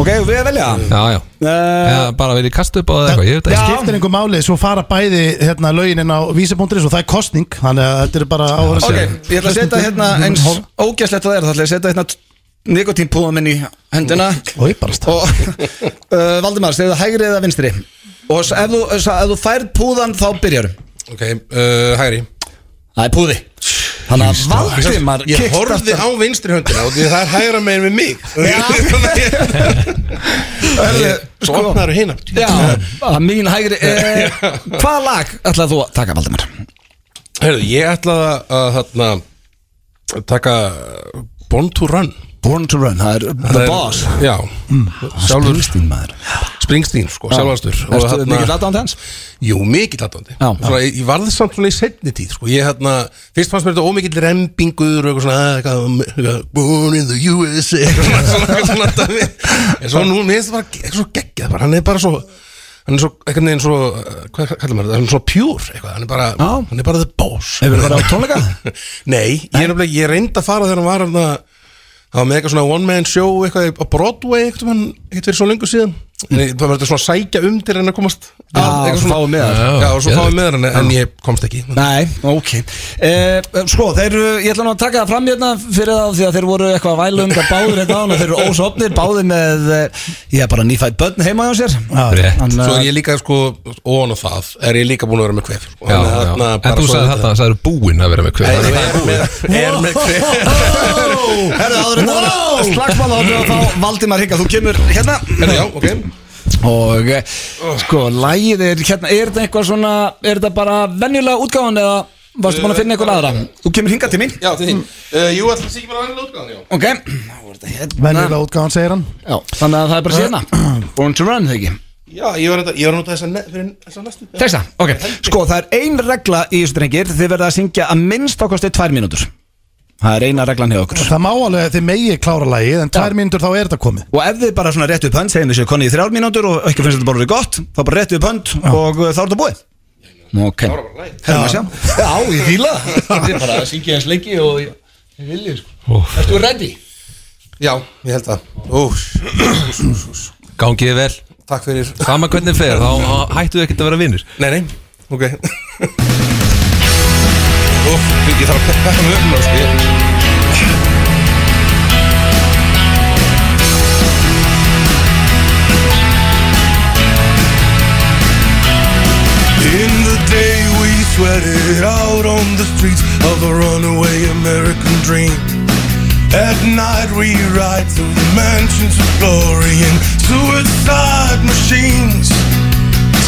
[SPEAKER 1] ok, við að velja
[SPEAKER 7] já já
[SPEAKER 1] uh,
[SPEAKER 7] Eða bara vil ég kasta upp á það eitthvað ég veit
[SPEAKER 2] Það
[SPEAKER 7] ekki
[SPEAKER 2] skiptir einhver máli, svo fara bæði hérna lögin inn á vísapunkturins og það er kostning þannig að þetta er bara áhverjum
[SPEAKER 1] ok, ég ætla að setja hérna eins ógæslegt að það er, þá ætla ég að setja hérna nikotínpúða minn í hendina
[SPEAKER 2] Og ég bara stað
[SPEAKER 1] og uh, Valdimar, segðu það hægri eða vinstri og s- ef þú, s- ef þú færð púðan þá byrjarum
[SPEAKER 8] Ok, uh, hægri
[SPEAKER 1] það er púði þannig að Valdimar
[SPEAKER 8] Ég horfði
[SPEAKER 1] kickstartar-
[SPEAKER 8] á vinstri höndina og því það er hægra megin með mig
[SPEAKER 1] Hörðu,
[SPEAKER 8] Svo opnaður hinn
[SPEAKER 1] sko- Já, að mín hægri eh, Hvaða lag ætlaði þú að taka, Valdimar?
[SPEAKER 8] Herðu, ég ætlaði að, að þarna, taka Born to Run
[SPEAKER 1] Born to Run, það er The Boss
[SPEAKER 8] Já, sjálfur
[SPEAKER 1] Springsteen maður
[SPEAKER 8] Springsteen sko, sjálfastur Og
[SPEAKER 1] Erstu
[SPEAKER 8] þarna-
[SPEAKER 1] mikið aðdáðan hans?
[SPEAKER 8] Jú, mikill aðdóndi
[SPEAKER 1] Já.
[SPEAKER 8] svona, ég, ég varði samt svona í setni tíð sko. ég, hérna, Fyrst fannst mér þetta ómikill rembingur og eitthvað svona "Ah, eitthvað, eitthvað, Born in the USA eitthvað svona, svona, svona, dæmi. En svo nú, mér finnst þetta bara eitthvað svo geggjað bara. Hann er bara svo Hann er svo, einhvern veginn svo, uh, hvað kallar maður þetta, hann er svo pjúr eitthvað, hann er bara,
[SPEAKER 1] Já.
[SPEAKER 8] hann er bara the boss.
[SPEAKER 1] Hefur það verið á tónleika?
[SPEAKER 8] Nei, ég, er nefnilega, ég reyndi að fara þegar hann var hérna, hann Það var með eitthvað svona one man show eitthvað á Broadway eitthvað hann eitthvað fyrir svo lengur síðan Nei, Það var þetta svona sækja um til en að komast Já,
[SPEAKER 1] svo fáið með þar.
[SPEAKER 8] Já, og svo
[SPEAKER 7] Já,
[SPEAKER 8] fáið með hann en ég komst ekki
[SPEAKER 1] Nei, ok eh, Sko, þeir eru, ég ætla nú að taka það fram hérna fyrir það því að þeir voru eitthvað að væla um það báðir hérna áðan og þeir eru ósopnir, báðir með eh, ég er bara nýfætt börn heima hjá sér eh,
[SPEAKER 7] rétt.
[SPEAKER 1] Þannig
[SPEAKER 8] Svo
[SPEAKER 1] að-
[SPEAKER 8] er ég líka sko, ón og það er ég líka búin að vera með kvef
[SPEAKER 7] Já, já. En þú sagði þetta, sagði búinn að vera með kvöð
[SPEAKER 8] Er, er, með, er með kvef
[SPEAKER 1] Herðu, áður en það var slagsmál áður en þá Valdimar Higga, þú kemur hérna
[SPEAKER 8] Herra, Já, ok
[SPEAKER 1] Og eh, sko, lægið er hérna, er þetta eitthvað svona, er þetta bara venjulega útgáðan eða varstu búin að finna eitthvað aðra? Eh, Þú kemur hingað til mín,
[SPEAKER 8] Já, til þín uh, Jú, ætla að sé ekki mér að hann lótgáðan, já
[SPEAKER 1] ok? Þá er þetta hérna.
[SPEAKER 2] Venjulega útgáðan segir hann
[SPEAKER 1] Já, þannig að það er bara sérna. Born to run, þegar ekki?
[SPEAKER 8] Já, ég var að- ég var að nota þessa ne- fyrir þessa næstu
[SPEAKER 1] Texta, ok. Sko, það er ein regla í þessu drengir, þið verða að syngja að minnst ákvæmstu tvær mínútur. Það er eina reglan hjá okkur.
[SPEAKER 2] Það má alveg að þið megi klára lagið En tvær mínútur þá er þetta komið
[SPEAKER 1] Og ef þið bara svona rétt upp hönd, segjum þessu konni í þrjár mínútur og ekki finnst þetta bara verið gott, þá bara rétt upp hönd og uh, þá er þetta búið. Ok. Herra, maður sjá. Já, ég fíla það.
[SPEAKER 8] Þetta er bara að syngja eins lengi og ég vilja sko
[SPEAKER 7] Úff.
[SPEAKER 8] Ertu ready? Já, ég held það Úf,
[SPEAKER 7] Gangið vel,
[SPEAKER 8] takk fyrir
[SPEAKER 7] sama hvernig fer Þá þá hættu þau ekkert að vera vinnir
[SPEAKER 8] Nei, nei, ok Úf, ég þarf að peppa mig upp náttúrulega sko Ég-
[SPEAKER 9] In the day we sweated out on the streets of a runaway American dream. At night we ride through the mansions of glory in suicide machines.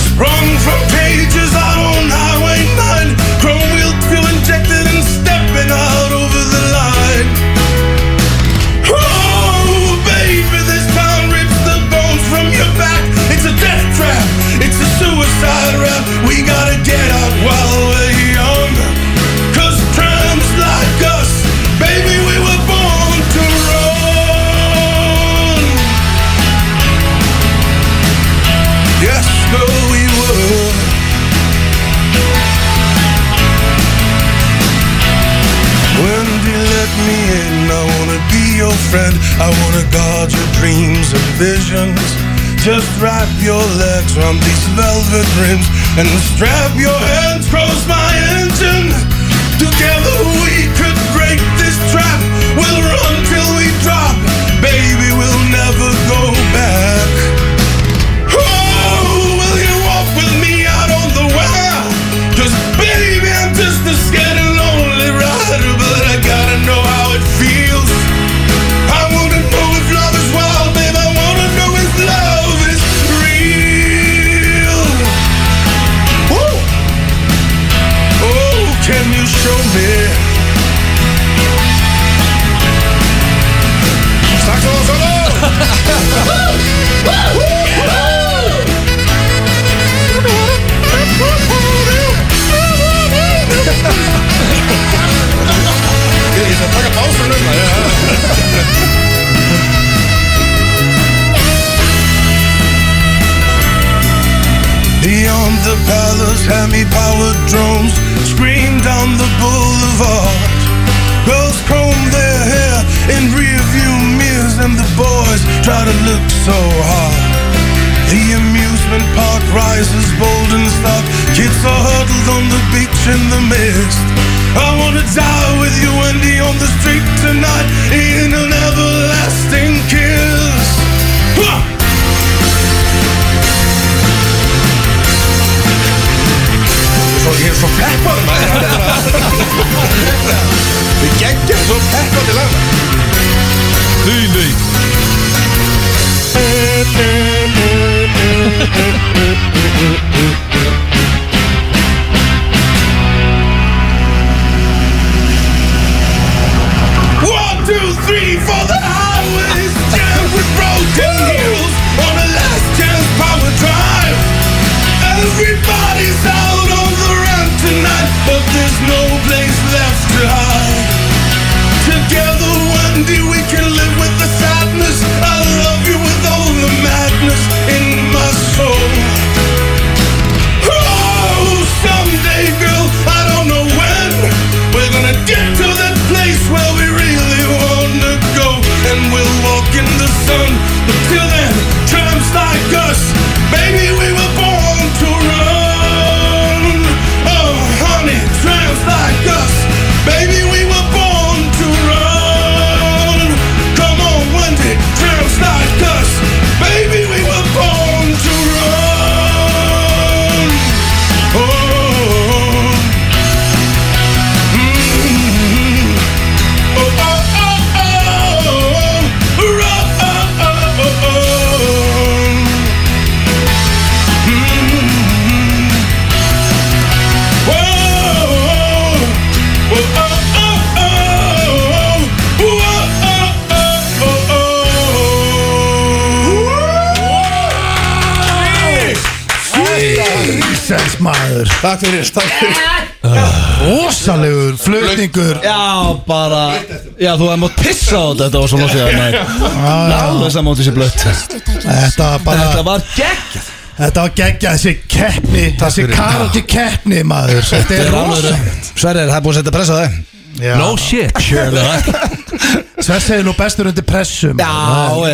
[SPEAKER 9] Sprung from cages out on Highway 9, chrome wheel fuel injected and stepping out over the line. Oh, baby, this town rips the bones from your back. It's a death trap. It's a suicide rap. We gotta get out while we're young. Cause times like us, baby, we were born to run. Yes, no, we were. Wendy, let me in. I wanna be your friend. I wanna guard your dreams and visions. Just wrap your legs around these velvet rims and strap your hands across my engine. Together we could break this trap. We'll run till we drop. Baby, we'll never go back. Oh, will you walk with me out on the wild? 'Cause baby, I'm just a scared and lonely rider, but I gotta know how it feels. I wanna know if love is wild, babe. I wanna know if love is real. Woo! Oh, can you show me? Saxo solo!
[SPEAKER 8] Ég ætla að taka pása núna já.
[SPEAKER 9] Beyond the palace, hemi-powered drones scream down the boulevard. Girls comb their hair in rearview mirrors, and the boys try to look so hard. The amusement park rises bold and stark. Kids are huddled on the beach in the mist. I wanna die with you, Wendy, on the street tonight in an everlasting kiss. Wah!
[SPEAKER 8] Svo ég er svo peppar maður Við geggjum svo peppar til að Nei, nei
[SPEAKER 9] One, two, three for the high. but there's no place left to hide. Together one day we can live with the sadness. I love you with all the madness in my soul. Oh, someday, girl, I don't know when we're gonna get to that place where we really wanna go, and we'll walk in the sun. But till then, tramps like us, baby, we were born to run. Oh, honey, tramps like us, baby, we were born to run. Come on, Wendy, tramps like us, baby, we were born to run. Oh.
[SPEAKER 2] Jesus maður
[SPEAKER 8] Takk fyrir, takk fyrir
[SPEAKER 2] Ósalegur Ah. flutningur
[SPEAKER 1] Já, bara Já, þú hefði mátt pissa á þetta Þetta var svo lótt ég Nei, náðu þess að móti sér blött
[SPEAKER 2] Þetta var
[SPEAKER 1] Þetta
[SPEAKER 2] bara
[SPEAKER 1] var geggjað
[SPEAKER 2] Þetta var geggjað þessi keppni Þessi karoti keppni maður Þetta er rosa
[SPEAKER 1] Sverrir, það er búin að setja pressa á þig
[SPEAKER 2] Já.
[SPEAKER 7] No shit, surely
[SPEAKER 2] Sversi er nú bestur undir pressu maður.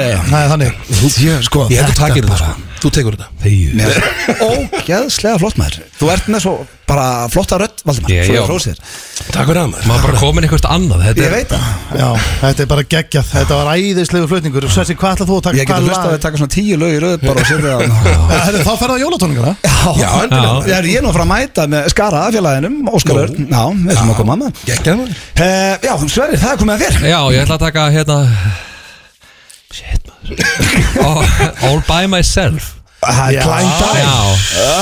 [SPEAKER 1] Já, já.
[SPEAKER 2] Það er þannig
[SPEAKER 1] Ég, sko,
[SPEAKER 8] Ég held þú takir þetta sko Þú tekur þetta
[SPEAKER 1] Mér er ógeðslega flott maður Þú ert með svo bara flotta rödd Valdimar,
[SPEAKER 7] Ég-
[SPEAKER 1] svo
[SPEAKER 7] já.
[SPEAKER 1] ég hrósir
[SPEAKER 8] Takk fyrir að maður
[SPEAKER 7] Maður bara komin eitthvað annað Þetta
[SPEAKER 1] Ég
[SPEAKER 7] er
[SPEAKER 1] veit það,
[SPEAKER 2] Já, þetta er bara geggjað Þetta var æðislegu flutningur Sversi, hvað ætlað þú að taka
[SPEAKER 1] ég getur
[SPEAKER 2] hvað
[SPEAKER 1] hlust að
[SPEAKER 2] lag?
[SPEAKER 1] við taka svona tíu lög í röð bara og setja það á.
[SPEAKER 2] Ja, herri, Þá ferða á jólatóningana
[SPEAKER 8] Já, endilega
[SPEAKER 1] Ég er ég er nú að fara að mæta með skara af félaginum Óskar Örn, já, við þurfum að koma að maður
[SPEAKER 8] Gekkið maður
[SPEAKER 1] Eh, Já, Sverrir, það er komið að þér
[SPEAKER 7] Já, ég ætla að taka hérna Shit maður Oh, All- All by myself
[SPEAKER 1] Það er
[SPEAKER 2] Já.
[SPEAKER 1] klændag
[SPEAKER 7] Já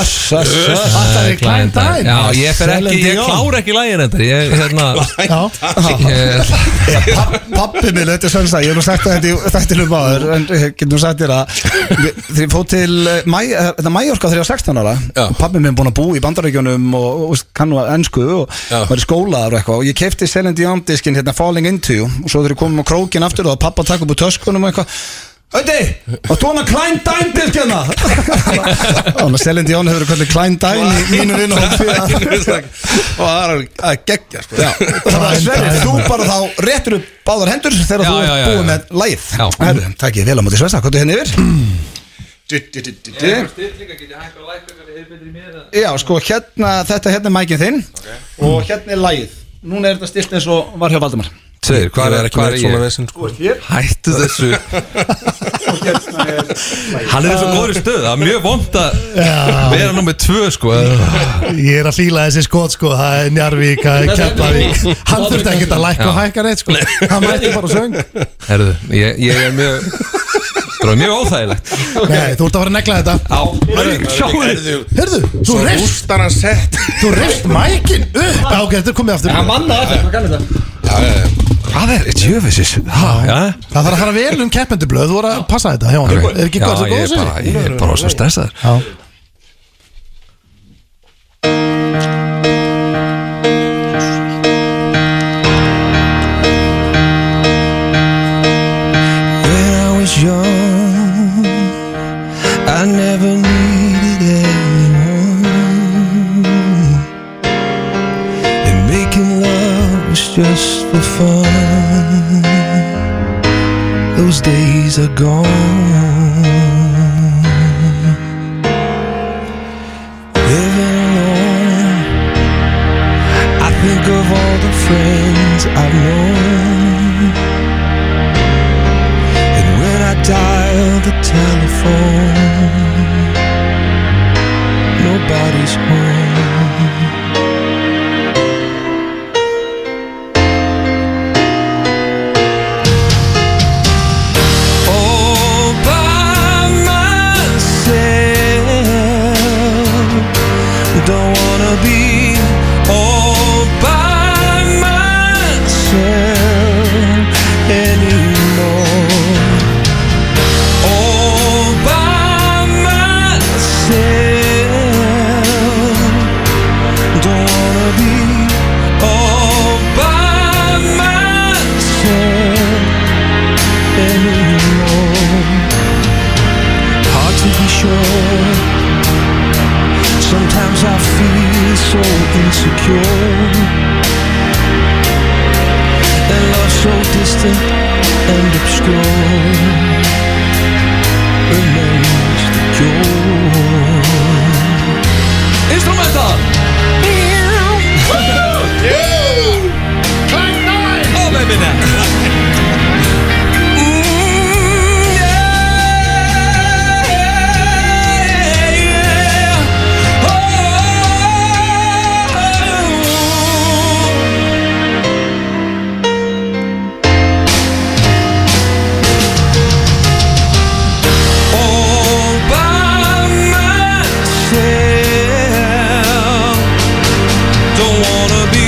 [SPEAKER 1] Þetta
[SPEAKER 7] Það er Klein Dæn Já, ég fer ekki,
[SPEAKER 1] Celine
[SPEAKER 7] ég
[SPEAKER 1] Dion.
[SPEAKER 7] klára ekki lægin þetta Ég, hérna
[SPEAKER 2] Já,
[SPEAKER 7] ég,
[SPEAKER 1] Pappi minn, þetta er svensa, ég hef nú sagt þetta í þættilum áður En ég get nú sagt þér að við- Þegar ég fóð til eh, Maj- eh, þetta Mallorca þegar ég var 16 ára
[SPEAKER 8] Já.
[SPEAKER 1] Pappi minn búin að búa í bandaríkjunum og, og kannu að ennsku og
[SPEAKER 8] Já.
[SPEAKER 1] var í skólaðar og eitthvað Og ég kefti Celine Dion diskin hérna Falling Into Og svo þegar ég komum á krókin aftur og pappa takk upp úr töskunum og eitthvað Öndi, og þú hann að Klein Dæn hérna? diskina Þannig að Celine Dion hefur hvernig Klein Dæn í mínu vinn og
[SPEAKER 8] Og það er að gekkja sko
[SPEAKER 1] Þannig að Sverrir, þú bara þá réttur upp báðar hendur þegar
[SPEAKER 7] Já,
[SPEAKER 1] þú
[SPEAKER 7] já,
[SPEAKER 1] ert
[SPEAKER 7] já,
[SPEAKER 1] búið
[SPEAKER 7] já.
[SPEAKER 1] með læð
[SPEAKER 7] Já.
[SPEAKER 1] Herru, takk ég vel á móti Sversa, hvað er henni yfir? Já, sko, hérna, þetta hérna er mækin þinn og hérna er læð Núna er þetta stilt eins og var hjá Valdimar
[SPEAKER 7] Sveir, hvað er, hvað er ég?
[SPEAKER 8] vesen sko
[SPEAKER 7] Hættu þessu Hann er í svo góðri stöð Það er mjög vond að vera nummið tvö sko
[SPEAKER 2] ég er að fíla þessi skot sko Það er Njarvík, það er Keflavík Hann þurfti ekkert að lækka og hækka reitt sko Hann mætti bara og söng
[SPEAKER 7] Herðu, ég, ég er mjög Það er mjög óþægilegt
[SPEAKER 2] Nei, þú ert að fara að negla þetta
[SPEAKER 7] Á, sjáu þið
[SPEAKER 2] Hörðu, þú reyfst
[SPEAKER 8] Rústar hann sett
[SPEAKER 2] Þú reyfst mækin upp Já, ok, þetta er komið aftur
[SPEAKER 1] Manna, hvað kannu þetta?
[SPEAKER 7] Hvað er, tjöfisins Já,
[SPEAKER 2] Það þarf að fara vel um keppendublöð, þú voru að passa þetta hjá hann Er ekki
[SPEAKER 7] Já,
[SPEAKER 2] hvað
[SPEAKER 7] ég
[SPEAKER 2] það góð
[SPEAKER 7] er bara,
[SPEAKER 2] sér?
[SPEAKER 7] ég er bara svo stressaður
[SPEAKER 2] Já,
[SPEAKER 1] When I was young I never needed anyone And making love was just for fun Those days are gone Living alone I think of all the friends I've known and when I dial the telephone, nobody's home. All by myself, don't wanna be all by myself anymore. All by myself, don't wanna be
[SPEAKER 10] Sometimes I feel so insecure And love so distant and obscure Remains the cure Instrumental!
[SPEAKER 7] Oh baby now
[SPEAKER 10] All by myself. Don't wanna be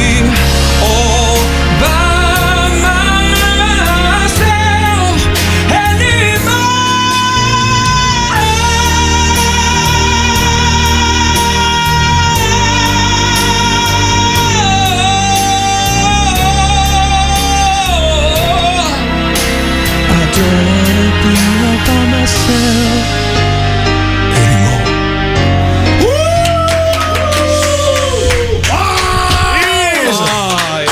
[SPEAKER 10] all by myself anymore. I don't wanna be all by myself anymore.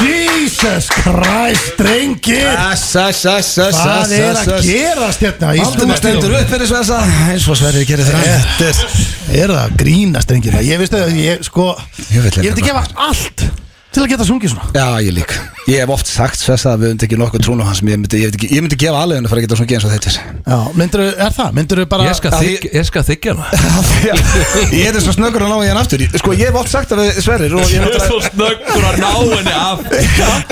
[SPEAKER 2] Jesus Christ,
[SPEAKER 7] Ah.
[SPEAKER 2] drengir Hvað er að gerast hérna?
[SPEAKER 1] Valdumar stendur upp fyrir Sversa eins og Sverri gerir það Þetta er
[SPEAKER 2] Er það að grínast, drengir? Ég veist að ég, sko
[SPEAKER 1] Ég
[SPEAKER 2] Ég
[SPEAKER 1] vil
[SPEAKER 2] vil
[SPEAKER 1] hérna-
[SPEAKER 2] gefa allt til að geta sungið svona
[SPEAKER 1] Já, ég lík Ég hef oft sagt Sversa að við höfum tekið nokkuð trún á hans ég myndi, ég, myndi, ég myndi gefa alveg henni fyrir að geta svona geðan svo þetta er.
[SPEAKER 2] Já, myndirðu, er það? Myndirðu bara
[SPEAKER 7] Ég skal
[SPEAKER 1] Að
[SPEAKER 7] þykja- Ég skal þykja hana
[SPEAKER 1] Af því að- Ég er svo snöggur að ná í hann aftur Sko, ég hef oft sagt það við Sverrir og
[SPEAKER 7] Ég
[SPEAKER 1] ég
[SPEAKER 7] er svo snöggur að ná henni af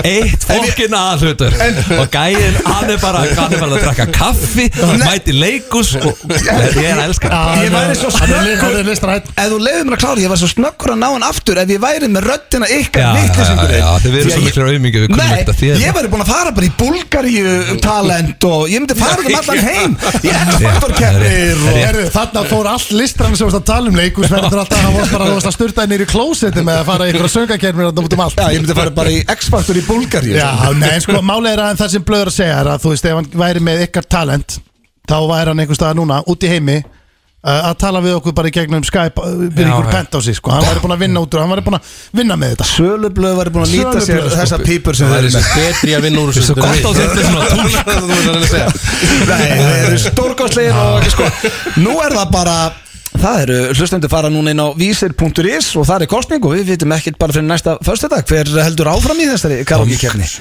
[SPEAKER 7] Eitt fólkin aðhlutur Og gæðin, hann er bara Hann er bara að drakka kaffi Mæti leikus og, Ég er að elska hann.
[SPEAKER 1] Ég
[SPEAKER 2] Já,
[SPEAKER 1] væri svo
[SPEAKER 2] hann er-
[SPEAKER 1] snöggur.
[SPEAKER 2] Hann er listrætt
[SPEAKER 1] Ef þú leiðir mér að klára, ég var svo snöggur að ná hann aftur Ef ég væri með röddina ykkar
[SPEAKER 7] Já,
[SPEAKER 1] vitleysingurinn.
[SPEAKER 7] já, já, þið verið
[SPEAKER 1] Því að
[SPEAKER 7] svo
[SPEAKER 1] ég-
[SPEAKER 7] miklir auðmingju, við kunnum ekkert að þér.
[SPEAKER 1] Nei, ég væri búin að fara bara í Búlgaríu talent og ég myndi fara um allan heim Í X-Factor-keppnir og-
[SPEAKER 2] Herru, þarna fór allt listrann sem varst að tala um leikus verður alltaf að hann varst bara þú varst að sturta henni í klósetti með að fara í ykkur söngakermir og út um allt
[SPEAKER 1] Já, ég myndi fara bara í X-Factor í Búlgaríu
[SPEAKER 2] Já, nei, sko, málega er að það sem blöður að segja er að þú veist, ef hann væri með ykkar talent þá væri hann einhvers staðar núna, út í heimi uh, að tala við okkur bara í gegnum Skype uh,
[SPEAKER 7] Já,
[SPEAKER 2] við ykkur
[SPEAKER 7] já.
[SPEAKER 2] pent á sig, sko, hann væri búin að vinna út úr hann væri búin að vinna með þetta
[SPEAKER 1] Sölublöð væri búin að nýta sér
[SPEAKER 2] Sölublöð, sko.
[SPEAKER 1] þessar pípur sem
[SPEAKER 8] Það
[SPEAKER 1] þeir
[SPEAKER 8] er
[SPEAKER 1] eru með
[SPEAKER 8] þessi betri að vinna úr þessu
[SPEAKER 7] Svo gott á þetta er svona túlk
[SPEAKER 8] Það þú veist að reyna að segja
[SPEAKER 1] Nei, þeir eru stórkostlegir og sko Nú er það bara Það eru hlustendur fara núna inn á vísir.is og það er kostning og við vitum ekkert bara fyrir næsta föstudag hver heldur áfram í þessari karaoke-kefni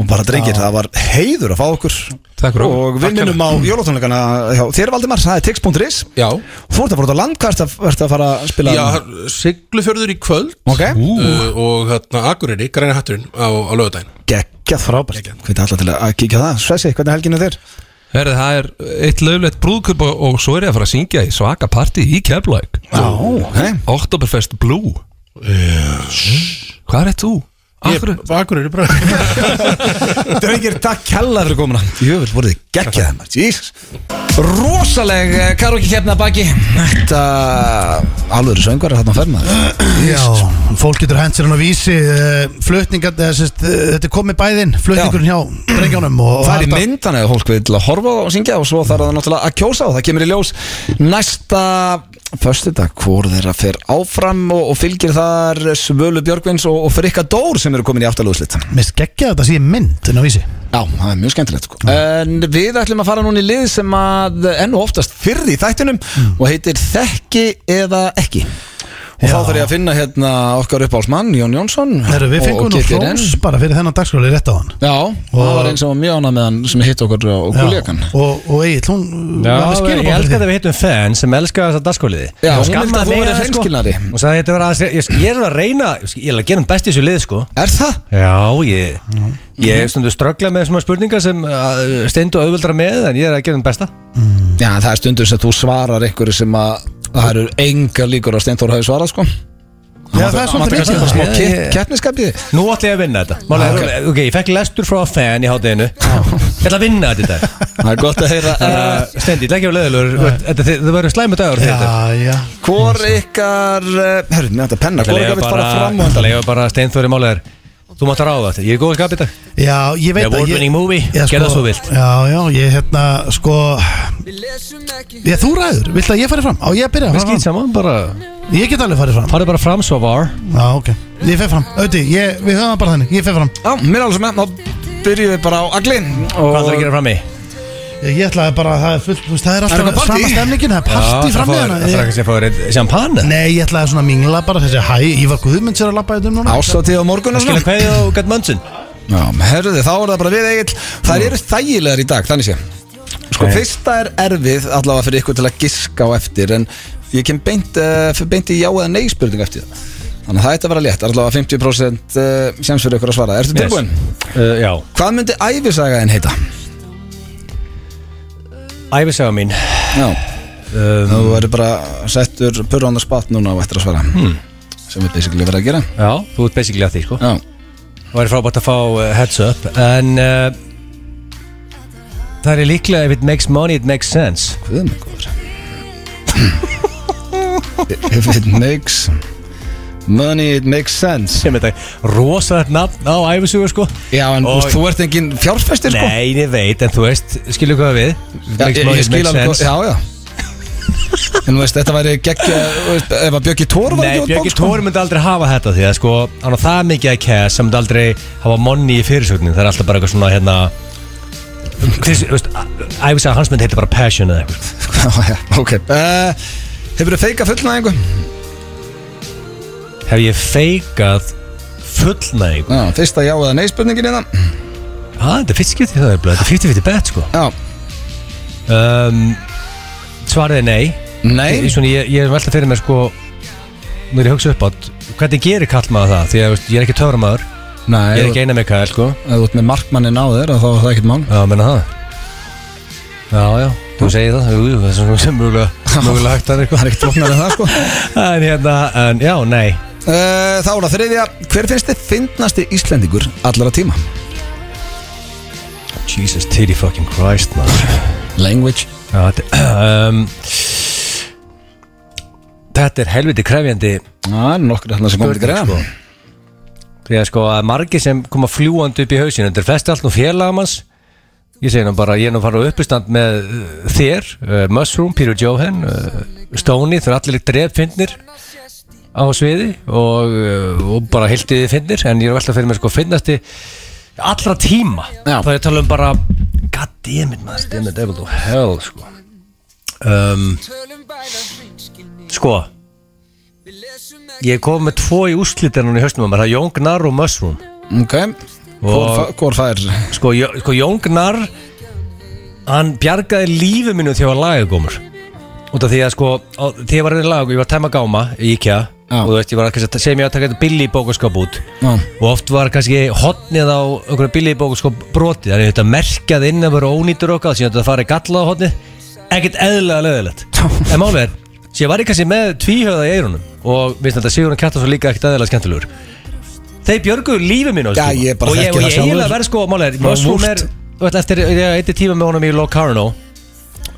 [SPEAKER 1] og bara drengir, það var heiður að fá okkur
[SPEAKER 7] Takk fyrir.
[SPEAKER 1] og við
[SPEAKER 7] Takk fyrir.
[SPEAKER 1] minnum á jólatónleikana hjá þér Valdimar, það er tix.is
[SPEAKER 8] Já,
[SPEAKER 1] Þú ert að fara út á land, hvað ert að- ert að fara að spila?
[SPEAKER 8] já siglufjörður í kvöld
[SPEAKER 1] Ok,
[SPEAKER 8] uh, og hérna Akureyri, græni hatturinn á, á lögadaginn
[SPEAKER 1] geggjað frábært Hvernig er alltaf til að kíkja á það? Svessi, hvernig er helginu þér?
[SPEAKER 7] Herði, það er eitt löglegt brúðkup og, og svo er ég að fara að syngja í svaka partí í Keflæk
[SPEAKER 1] Já, ok
[SPEAKER 7] Oktoberfest Blue Hvað er þú?
[SPEAKER 8] Ég-
[SPEAKER 7] Akkur,
[SPEAKER 8] Akureyri bara
[SPEAKER 1] Drengir, takk kjalla fyrir komuna Jöfnvel, voruð þið geggjað það maður Jesus. Rosaleg eh, karaoke keppna baki Þetta eh, Alvöru söngvar er þarna að ferma
[SPEAKER 2] Já, fólk getur hent sér hann á vísi uh, flutningar, eða, sérst, uh, þetta er komið bæðin flutningur hjá drengjónum og, og
[SPEAKER 1] Það er í
[SPEAKER 2] þetta-
[SPEAKER 1] myndan eða fólk vil að horfa á og syngja og svo þarf það náttúrulega að kjósa og það kemur í ljós næsta föstudag hvor þeirra fer áfram og, og fylgir þar Svölu Björgvins og, og Frikka Dór sem eru komin í aftalúðslit
[SPEAKER 2] Mér skeggja þetta sé mynd inn á vísi
[SPEAKER 1] Já, það er mjög skemmtilegt sko. En við ætlum að fara núna í lið sem að enn og oftast fyrr í þættinum og heitir Þekki eða ekki Og
[SPEAKER 2] Já.
[SPEAKER 1] þá þarf ég að finna hérna okkar uppáhalsmann, Jón Jónsson
[SPEAKER 2] Herru, við fengum
[SPEAKER 1] og,
[SPEAKER 2] nú
[SPEAKER 1] og GTN.
[SPEAKER 2] flós bara fyrir þennan dagskóli rétt á hann
[SPEAKER 1] Já, það var einn sem var mjög ánað með hann sem hitt okkur á kuljakan
[SPEAKER 2] og, og Egil, hún
[SPEAKER 5] Já,
[SPEAKER 2] var með skilaboð
[SPEAKER 5] ég
[SPEAKER 2] fyrir
[SPEAKER 5] elska
[SPEAKER 2] þig.
[SPEAKER 5] þetta við hittum fenn sem elska þess að dagskóliði
[SPEAKER 1] Já,
[SPEAKER 5] Og
[SPEAKER 1] hún
[SPEAKER 5] skammaði
[SPEAKER 1] vildi að þú
[SPEAKER 5] meira
[SPEAKER 1] værir
[SPEAKER 5] en, sko.
[SPEAKER 1] hreinskilnari.
[SPEAKER 5] Hún sagði þetta var aðeins, ég, ég er að reyna, ég er að gera um best í þessu lið sko
[SPEAKER 1] Er það?
[SPEAKER 5] Já, ég, ég stundu ströggla með svona spurningar sem uh, steindu auðvöldra með en ég er að gera um besta
[SPEAKER 1] Já, það er stundur sem þú svarar einhverju sem að það eru enga líkur að Steintor hafi svarað sko
[SPEAKER 2] Já, það er svolítið
[SPEAKER 1] mikið
[SPEAKER 2] mikið
[SPEAKER 1] Það er smá
[SPEAKER 5] Já,
[SPEAKER 1] ke-
[SPEAKER 5] ég-
[SPEAKER 1] keppniskapið
[SPEAKER 5] Nú ætla ég að vinna þetta Málega,
[SPEAKER 1] Ah,
[SPEAKER 5] okay. ég fekk lestur frá fenn í hátteginu Ég ætla að vinna þetta í dag
[SPEAKER 1] Það er gott að heyra eh,
[SPEAKER 5] Þannig að Steindi, ég ætla ekki að vera leðilegur Þetta þið- það verður slæmi dagur fyrir þetta
[SPEAKER 2] Já, já
[SPEAKER 1] Hvor ykkar, eh, herru, mér þetta penna Hvor
[SPEAKER 5] Leifa
[SPEAKER 1] ykkar vil fara fram og
[SPEAKER 5] bara,
[SPEAKER 1] undan
[SPEAKER 5] leifa bara Steinþóri Málegar Þú mátt að ráða þetta, ég er góð að skapa þetta
[SPEAKER 2] Já, ég veit
[SPEAKER 5] The award
[SPEAKER 2] ég-
[SPEAKER 5] winning movie,
[SPEAKER 2] Já, sko-
[SPEAKER 5] gerðu það svo vilt.
[SPEAKER 2] Já, já, ég hérna, sko Já, þú ræður, viltu að ég fari fram? Á, ég að byrja
[SPEAKER 5] Við skýt
[SPEAKER 2] fram.
[SPEAKER 5] saman, bara
[SPEAKER 2] Ég get alveg farið fram
[SPEAKER 5] Farðu bara fram svo var
[SPEAKER 2] Já, ok, ég fer fram Öti, ég, við höfum það bara þannig, ég fer fram
[SPEAKER 1] Já, mér er alveg sem enn, þá byrjum við bara á aglin
[SPEAKER 5] Hvað ætlar að gera fram í?
[SPEAKER 2] Ég, ég ætlaði bara að það er fullt, þú veist, það er
[SPEAKER 1] Er
[SPEAKER 2] alltaf
[SPEAKER 1] eitthvað partí?
[SPEAKER 2] sama stemningin, það er partí fram í hana
[SPEAKER 5] Það er
[SPEAKER 2] Ég-
[SPEAKER 5] kannski að fá þér einn champagne
[SPEAKER 2] Nei, ég ætlaði svona að mingla bara þessi hæ, Ívar Guðmunds er að labba þetta um núna
[SPEAKER 1] Ásatíð á morgun og
[SPEAKER 5] Skilja
[SPEAKER 1] svona
[SPEAKER 5] hverju og gætt mönnsinn
[SPEAKER 1] Já, herruði, þá er það bara við eigill Það eru þægilegar í dag, þannig sé Sko,
[SPEAKER 5] Nei.
[SPEAKER 1] fyrsta er erfið allavega fyrir ykkur til að giska á eftir En ég kem beint, uh, beint í já eða nei spurning eftir það Þannig að það ætti að vera létt, allavega 50% uh, sjans fyrir ykkur að svara Ertu tilbúin?
[SPEAKER 5] Uh, Já
[SPEAKER 1] Hvað myndi æfisaga en heita?
[SPEAKER 5] Æfisaga mín
[SPEAKER 1] Já,
[SPEAKER 5] um,
[SPEAKER 1] þú verður bara settur purr on the spot núna og eftir að svara hmm. Sem við basically verðum að gera
[SPEAKER 5] Já, þú ert basically að því sko
[SPEAKER 1] Já,
[SPEAKER 5] Það væri frábært að fá uh, heads up En uh, Það er líklega If it makes money, it makes sense
[SPEAKER 1] Guð mig góður If it makes money it makes sense
[SPEAKER 5] Sem þetta rosalegt nafn á æfisugur sko
[SPEAKER 1] Já en
[SPEAKER 5] Og-
[SPEAKER 1] og, þú ert engin fjárfæstir sko
[SPEAKER 5] Nei, ég veit, en þú veist Skilju hvað við If it
[SPEAKER 1] Já,
[SPEAKER 5] Makes
[SPEAKER 1] ég,
[SPEAKER 5] money,
[SPEAKER 1] ég
[SPEAKER 5] it
[SPEAKER 1] skil
[SPEAKER 5] makes
[SPEAKER 1] alveg
[SPEAKER 5] sense
[SPEAKER 1] Já já En þú veist þetta væri gegg Ef að Björki Tór var
[SPEAKER 5] Nei,
[SPEAKER 1] ekki
[SPEAKER 5] Björki Tóri myndi aldrei hafa þetta því að sko, hann á það mikið að cash sem myndi aldrei hafa money í fyrirsögnin það er alltaf bara eitthvað svona hérna Þess, veist, æfis að hans myndi heiti bara passion eða eitthvað
[SPEAKER 1] Tór Já já ok uh, Hefur þú feika fullnæðingu?
[SPEAKER 5] Hef ég feikað fullnæg
[SPEAKER 1] Já, fyrsta já eða nei spurningin í það
[SPEAKER 5] Ha, þetta er fyrst skipti það er blöð, þetta er 50-50 bet sko
[SPEAKER 1] Já,
[SPEAKER 5] um, Svariði nei
[SPEAKER 1] nei
[SPEAKER 5] Ég- Svona, ég, ég er velta fyrir mér sko Nú er ég að hugsa upp átt Hvernig gerir kall maður það? Því að veist, ég er ekki töframæður
[SPEAKER 1] Nei,
[SPEAKER 5] Ég er
[SPEAKER 1] ef
[SPEAKER 5] ekki eina með kall sko
[SPEAKER 1] þú- ef þú ert með markmannin á þér þá er það ekkert mál
[SPEAKER 5] Já, menna það Já, já, þú segir það, jú, jú, það er svona sem mögulega, mögulega hægt að
[SPEAKER 1] Það
[SPEAKER 5] eitthvað
[SPEAKER 1] er ekkert flóknar en það sko
[SPEAKER 5] En hérna, en já, nei
[SPEAKER 1] Uh, þá er það þriðja Hver finnst þið fyndnasti Íslendingur allara tíma?
[SPEAKER 5] Jesus, titty fucking Christ, man
[SPEAKER 1] Language
[SPEAKER 5] Já, þetta um, Þetta er helviti krefjandi
[SPEAKER 1] Það er nokkur hérna sem komið til greina
[SPEAKER 5] spurning, sko Því að sko, að margir sem koma fljúandi upp í hausinu Þetta er flest allt nú félagamanns Ég segi nú bara, ég er nú að fara á uppistand með uh, þér, uh, Mushroom, Peter Johan uh, Stoney, þau eru allir dreffinnir á sviði og, uh, og bara heiltiði finnir en ég er veltað fyrir mér sko finnasti allra tíma
[SPEAKER 1] Já.
[SPEAKER 5] þá er ég að tala um bara god damn it maður, damn it, devil to hell sko um, sko ég kom með tvo í úrslítinun í höstum á mér, það er Jón Gnar og Mushroom
[SPEAKER 1] Ok Hvor fa- Hvor fær
[SPEAKER 5] sko, Jó- sko Jón Gnar hann bjargaði lífi mínu þegar ég var lagagómur út af því að sko á, þegar ég var reyðin lagagómur, ég var að tæma gáma í IKEA
[SPEAKER 1] Já.
[SPEAKER 5] og þú veist, ég var að kannski að segja mér að taka þetta billi í bókaskap út
[SPEAKER 1] Já.
[SPEAKER 5] og oft var kannski hotnið á einhverju billi í bókaskap brotið þannig að þetta merkjað inn að vera ónýtur okkar síðan þetta farið gallað á hotnið ekkert eðlilega löðilegt en málið er, svo ég var í kannski með tvíhöða í eirunum og við þetta Sigurinn Kjartason líka ekkert eðlilega skemmtilegur Þeir björguðu lífi mínu á
[SPEAKER 1] Já,
[SPEAKER 5] þessum tíma.
[SPEAKER 1] ég bara
[SPEAKER 5] Og ég,
[SPEAKER 1] þekki
[SPEAKER 5] og
[SPEAKER 1] það
[SPEAKER 5] ég
[SPEAKER 1] sjálfur.
[SPEAKER 5] eiginlega verð sko Málega, Mushroom er Þú veist eftir Ég eitti tíma með honum í Locarno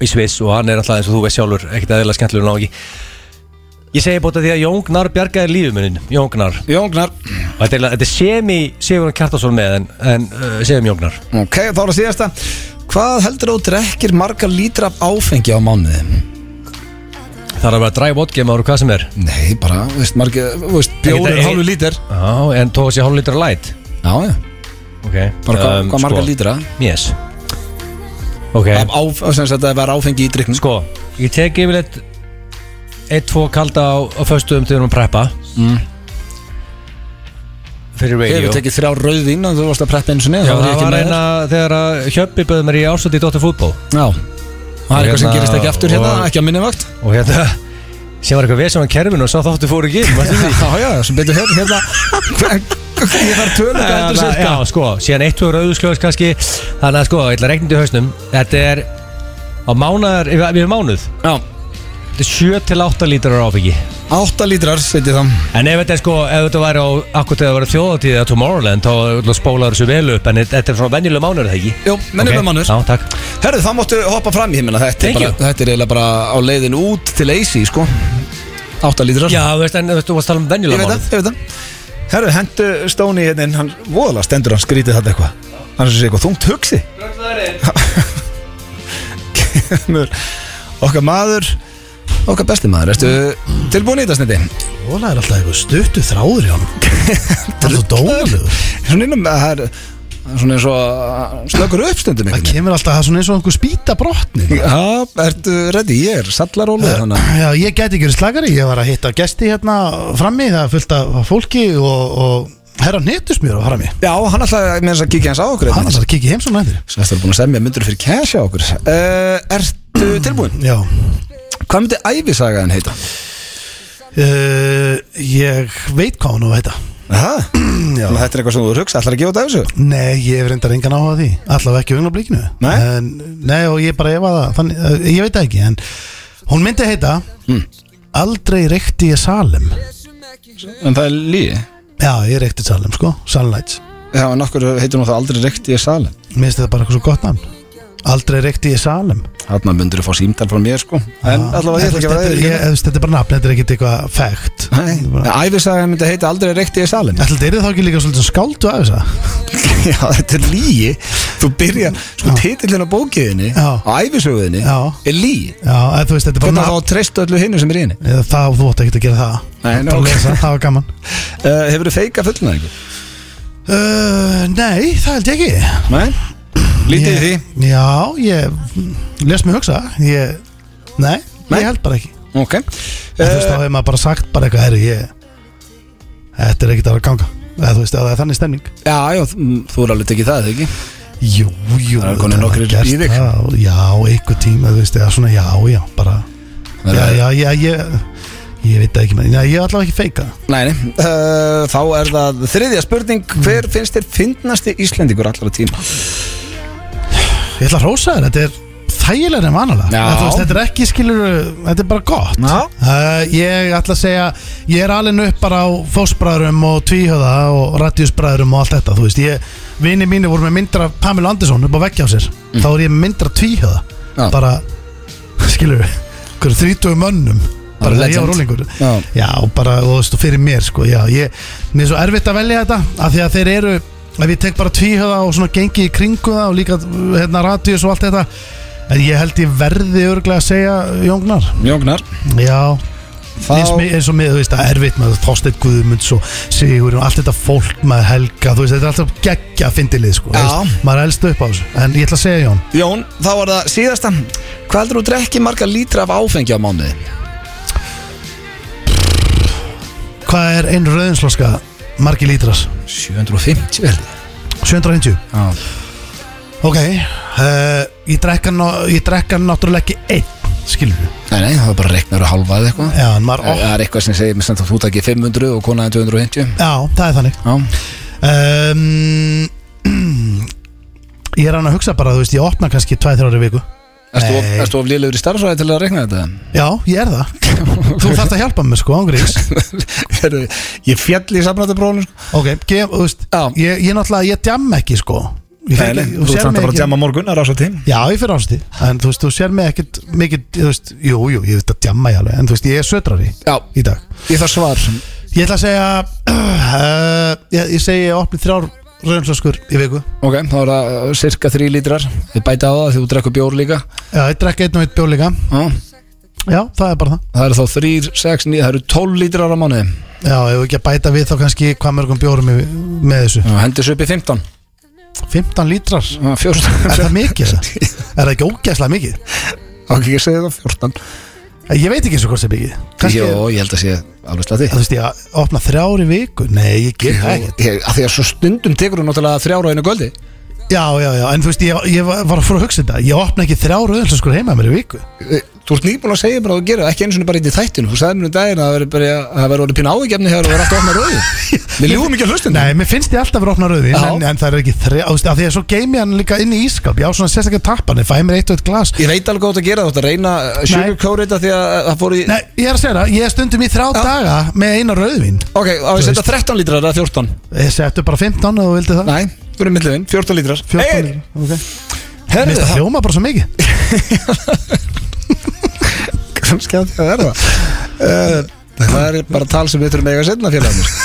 [SPEAKER 5] Í Sviss Og hann er alltaf eins og þú veist sjálfur Ekkert aðeins skemmtilegur ná ekki Ég segi bóta því að Jón Gnar bjargaði lífi mínu Jón Gnar
[SPEAKER 1] Jóngnar
[SPEAKER 5] Og Þetta er, þetta er semi Sigurinn Kjartason með En, en uh, semi Jón Gnar
[SPEAKER 1] Ok, þá er það síðasta Hvað heldur þú drekkir marga lítra af áfengi á mánuði?
[SPEAKER 5] Það er að vera dræf vodgema Ára hvað sem er
[SPEAKER 1] Nei, bara, þú veist, margi þú veist, Bjóður
[SPEAKER 5] Ekkert
[SPEAKER 1] er
[SPEAKER 5] að-
[SPEAKER 1] hálfu lítir
[SPEAKER 5] Já en tók sér hálf litra light
[SPEAKER 1] Já, já
[SPEAKER 5] Ok
[SPEAKER 1] Bara hvað um, marga lítra
[SPEAKER 5] Yes sko, Ok
[SPEAKER 1] Af áf, sem sagt að það var áfengi í drikknum
[SPEAKER 5] Sko, ég tek yfirleitt Eitt, tvo kalda á, á föstu um þegar um að preppa Fyrir radio
[SPEAKER 1] Hefur tekið þrjá rauðvín og þú varst að preppa eins og
[SPEAKER 5] Já,
[SPEAKER 1] niður
[SPEAKER 5] það var eina þegar að Hjöppi bauði mér í ásöndi í Dóttar fútból
[SPEAKER 1] Já Það er eitthvað sem
[SPEAKER 5] Hérna,
[SPEAKER 1] gerist ekki aftur hérna,
[SPEAKER 5] og-
[SPEAKER 1] ekki á minni vakt
[SPEAKER 5] Og hérna sem var eitthvað vesum á kerfinu og sá þáttu fóru ekki inn, varstu því?
[SPEAKER 1] Já, já, sem betur hér, hérna Ég var tölum
[SPEAKER 5] Já,
[SPEAKER 1] gætur
[SPEAKER 5] það-
[SPEAKER 1] sér
[SPEAKER 5] Já, sko, síðan eitt og rauðuskljós kannski Þannig að sko, ég ætla að reikna þetta í hausnum Þetta er á mánaðar, yfir, yfir mánuð
[SPEAKER 1] Já,
[SPEAKER 5] Þetta er 7-8 lítrar áfengi
[SPEAKER 1] 8 lítrar setið það
[SPEAKER 5] En ef þetta er sko, ef þetta væri á akkur til að vera þjóðatíð eða Tomorrowland þá spólar þessu vel upp en þetta er svona venjulega mánuður þegar ekki
[SPEAKER 1] Jú, venjulegur
[SPEAKER 5] Ok,
[SPEAKER 1] mánuður.
[SPEAKER 5] Já, takk
[SPEAKER 1] Herðu, þá máttu hoppa fram í himina Þetta, er
[SPEAKER 5] Thank
[SPEAKER 1] bara,
[SPEAKER 5] you.
[SPEAKER 1] þetta er eiginlega bara á leiðin út til AC, sko 8 lítrar
[SPEAKER 5] Já, þú veist, en þú veist, þú varst að tala um
[SPEAKER 1] Ég
[SPEAKER 5] venjulega
[SPEAKER 1] veit það,
[SPEAKER 5] mánuð
[SPEAKER 1] ég veit það Herru, hendu Stóni hérna inn, hann voðalega stendur hann skrítið þetta eitthvað Hann sem sé eitthvað þungt hugsi Kemur okkar maður, okkar besti maður Ertu tilbúin í þetta snendi?
[SPEAKER 2] Óla er alltaf eitthvað stuttu þráður hjá hann Það er svo dónalegur
[SPEAKER 1] Svona innum, það er það er svona eins og slökur upp stundum
[SPEAKER 2] Það
[SPEAKER 1] einhvern veginn.
[SPEAKER 2] kemur alltaf það er svona eins og einhver spýta brotni
[SPEAKER 1] Já, ertu ready? Ég er sallarólu þannig að-
[SPEAKER 2] Já, ég gæti ekki verið slagari Ég var að hitta gesti hérna frammi Það er fullt af fólki og, og herra hnetusmjör á frammi
[SPEAKER 1] Já, hann alltaf með þess að kíkja hans á okkur hérna.
[SPEAKER 2] Hann er að kikið heim svona eftir
[SPEAKER 1] Þetta er búin að semja myndur fyrir cash á okkur uh, Ertu tilbúin?
[SPEAKER 2] Já
[SPEAKER 1] Hvað myndi ævisagaðin heita?
[SPEAKER 2] uh, Ég veit hvað hann á að heita
[SPEAKER 1] Aha, Þannig að þetta er eitthvað sem þú hugsa, ætlar að gefa þetta af þessu?
[SPEAKER 2] Nei, ég hef reyndar engan áhuga á því Allavega ekki á ynglablikinu
[SPEAKER 1] Nei?
[SPEAKER 2] en, nei, og ég bara, ég var það þannig, eh, Ég veit það ekki, en Hún myndi heita Aldrei reykti ég salem
[SPEAKER 1] En það er líi
[SPEAKER 2] Já, ég reykti salem, sko, sunlights
[SPEAKER 1] Já, en okkur heitir nú það aldrei reykt í salin
[SPEAKER 2] Mér finnst þetta bara eitthvað svo gott nafn Aldrei reykti ég salem
[SPEAKER 1] Þarna myndur þú fá símtal frá mér sko En allavega ég ætla
[SPEAKER 2] En
[SPEAKER 1] ekki að
[SPEAKER 2] þetta er-
[SPEAKER 1] vera
[SPEAKER 2] ég-
[SPEAKER 1] yfir
[SPEAKER 2] þú veist, Þetta er bara nafn, þetta er ekkit eitthvað fægt
[SPEAKER 1] Nei, æfisagan myndi heita aldrei reykt í salin
[SPEAKER 2] Ætli þetta er þá ekki líka svolítið skáldu af þessa
[SPEAKER 1] Já, þetta er líi Þú byrja, sko, titillin á bókiðinni
[SPEAKER 2] Já.
[SPEAKER 1] Á æfisöguðinni
[SPEAKER 2] Já.
[SPEAKER 1] er líi
[SPEAKER 2] Já, en þú veist, þetta er bara
[SPEAKER 1] Hvernig á þá
[SPEAKER 2] nafn
[SPEAKER 1] að treysta öllu hinnu sem er í henni?
[SPEAKER 2] Eða þá þú átt ekkert að gera það
[SPEAKER 1] Nei, nei,
[SPEAKER 2] Bara
[SPEAKER 1] ok.
[SPEAKER 2] lesa, Það var gaman
[SPEAKER 1] Uh, hefur þú feika fullnæðingu?
[SPEAKER 2] uh, Nei, það held ég ekki
[SPEAKER 1] Nei? Lítið í því?
[SPEAKER 2] Ég- Já, ég les mig hugsa ég, nei,
[SPEAKER 1] Nei? Eh.
[SPEAKER 2] ég held bara ekki
[SPEAKER 1] Ok
[SPEAKER 2] Þú veist, þá hefur maður bara sagt bara eitthvað Herru, ég Þetta er ekkert að vera að ganga Eða, Þú veist, ef það er þannig stemning
[SPEAKER 1] Já, já, þú- mm, þú er alveg tekið það, ekki?
[SPEAKER 2] Jú, jú
[SPEAKER 1] Það er komin
[SPEAKER 2] þetta
[SPEAKER 1] nokkrir
[SPEAKER 2] var gert
[SPEAKER 1] í þig.
[SPEAKER 2] það, Já, einhver tíma, þú veist, eða svona já, já Bara,
[SPEAKER 1] Það er-
[SPEAKER 2] já, já, já, ég Ég veit það ekki, menn, já, ég er allavega ekki feika
[SPEAKER 1] Nei, nei. Uh, þá er það þriðja spurning Hver finnst þér fyndnasti Íslendingur allra tíma?
[SPEAKER 2] Ég ætla að rósa þér, þetta er þægilega en vanalega
[SPEAKER 1] Já.
[SPEAKER 2] Eða, þú veist, Þetta er ekki skilur, þetta er bara gott
[SPEAKER 1] Já.
[SPEAKER 2] Uh, ég ætla að segja ég er alveg upp bara á fósbræðurum og tvíhöða og radíusbræðurum og allt þetta, þú veist, ég, vini mínu voru með myndra Pamela Andersson upp á veggja á sér þá er ég með myndra tvíhöða
[SPEAKER 1] Mm. Já.
[SPEAKER 2] bara, skilur við hverju þrítugu mönnum bara
[SPEAKER 1] Já,
[SPEAKER 2] þegar ég var
[SPEAKER 1] legend.
[SPEAKER 2] rólingur
[SPEAKER 1] Já.
[SPEAKER 2] já, og bara, og þú veist, og fyrir mér, sko, já ég, mér er svo erfitt að velja þetta, af því að þeir eru ef ég tek bara tvíhöða og svona gengi í kringu það og líka, hérna, radíus og allt þetta en ég held ég verði örglega að segja Jóngnar,
[SPEAKER 1] Jógnar
[SPEAKER 2] já eins,
[SPEAKER 1] Þá,
[SPEAKER 2] mi- eins og með, þú veist, að erfitt með Þorsteinn Guðmunds og Sigur og allt þetta fólk með Helga, þú veist, þetta er alltaf geggja fyndilið, sko,
[SPEAKER 1] Já.
[SPEAKER 2] þú veist, maður er elst upp á þessu en ég ætla að segja Jón,
[SPEAKER 1] Jón, þá var það síðasta Hvað heldur þú drekki marga lítra af áfengi á mánuði?
[SPEAKER 2] hvað er einn rauðinslóska margi lítras?
[SPEAKER 1] 750 vel
[SPEAKER 2] 750
[SPEAKER 1] Já.
[SPEAKER 2] ok, uh, ég drekka ná- ég drekka náttúrulega ekki einn skilur við,
[SPEAKER 1] Nei, nei, það er bara reknar og halvað eða eitthvað
[SPEAKER 2] já, en maður
[SPEAKER 1] Það
[SPEAKER 2] oh,
[SPEAKER 1] það er eitthvað sem segir mér samt að þú takkir 500 og konaðin 250
[SPEAKER 2] já, það er þannig
[SPEAKER 1] Já,
[SPEAKER 2] um, ég er hann að hugsa bara, þú veist, ég opna kannski 2-3 ári viku
[SPEAKER 1] erstu of,
[SPEAKER 2] Nei.
[SPEAKER 1] erstu of lélegur í starfsræði til að rekna þetta?
[SPEAKER 2] já, ég er það þú þarft að hjálpa mér, sko, ángriðis
[SPEAKER 1] Heyrðu, ég fjall í sko. samrættabrónu
[SPEAKER 2] Ok, gef, þú veist,
[SPEAKER 1] Já.
[SPEAKER 2] ég, ég náttúrulega, ég djam ekki sko Ég fer
[SPEAKER 1] Nei, nei,
[SPEAKER 2] ekki-
[SPEAKER 1] þú
[SPEAKER 2] sér
[SPEAKER 1] þarf bara
[SPEAKER 2] mig
[SPEAKER 1] að
[SPEAKER 2] ekki-
[SPEAKER 1] djama morgun, það er ásvæð tím
[SPEAKER 2] Já, ég fyrir ástið, en þú veist, þú sér mig ekkert mikið, þú veist, jú, jú, ég veit að djamma ég alveg En þú veist, ég er södrari
[SPEAKER 1] Já,
[SPEAKER 2] í dag
[SPEAKER 1] ég þarf svar
[SPEAKER 2] Ég ætla að segja, uh, ég, ég segi ég opni þrjár raunflöskur í viku
[SPEAKER 1] Ok, þá er það uh, cirka 3 lítrar Við bæta á það því þú drekkur bjór líka
[SPEAKER 2] Já, ég drekka einn og einn bjóð líka
[SPEAKER 1] Já,
[SPEAKER 2] Já, það er bara það
[SPEAKER 1] Það eru þá 3, 6, 9, það eru 12 lítrar á mánuði
[SPEAKER 2] Já, ef við ekki að bæta við þá kannski hvað mörgum bjórum í, með þessu
[SPEAKER 1] Já, Hendis upp í 15
[SPEAKER 2] 15 lítrar,
[SPEAKER 1] Já, 14
[SPEAKER 2] er það mikið það? Er það ekki ógæslega mikið? Eh,
[SPEAKER 1] Ok, ekki að segja það 14
[SPEAKER 2] Ég veit ekki eins og hvort það er mikið
[SPEAKER 1] Jó, ég held að sé alveg slatti
[SPEAKER 2] að þú veist ég að opna þrjár í viku nei ég get það ekki
[SPEAKER 1] Ég- af Því að svo stundum tekur þú náttúrulega þrjára á einu göldi
[SPEAKER 2] já já já en þú veist ég, ég var var að fór að hugsa um þetta ég opna ekki þrjár öðl sem sko heima hjá mér í viku
[SPEAKER 1] Þú ert nýbúin að segja bara að þú gerir það, ekki eins og bara í þættinu Þú sagði mér um daginn að það verður bara- að það verður orðið pín áhugjefni hér og verður alltaf ofna rauði Við ljúum ekki að hérna. hlustin
[SPEAKER 2] nei mér finnst ég alltaf að opna rauðin
[SPEAKER 1] Já.
[SPEAKER 2] en, en það er ekki þrjár þú veist af því að svo geimi hann líka inn í ískap ég á svona sérstaklega tappan ég fæ mér eitt og eitt glas
[SPEAKER 1] Ég veit alveg hvað þú átt að gera þú átt að reyna uh, sugarcoat þetta því að að það fór í
[SPEAKER 2] nei ég er að segja það ég er stundum í þrjá daga með eina rauðvin
[SPEAKER 1] Ok, á ég að setja 13 lítrar eða 14
[SPEAKER 2] ég settu bara 15 og þú vildi það
[SPEAKER 1] Nei, þú erum milliðin, 14 lítrar
[SPEAKER 2] 14
[SPEAKER 1] Hey,
[SPEAKER 2] lítra, ok. Mér
[SPEAKER 1] Herðu
[SPEAKER 2] finnst það
[SPEAKER 1] það
[SPEAKER 2] hljóma bara svo mikið
[SPEAKER 1] kannski að því að það er það uh, Það er bara tal sem við þurfum eiga setna félagum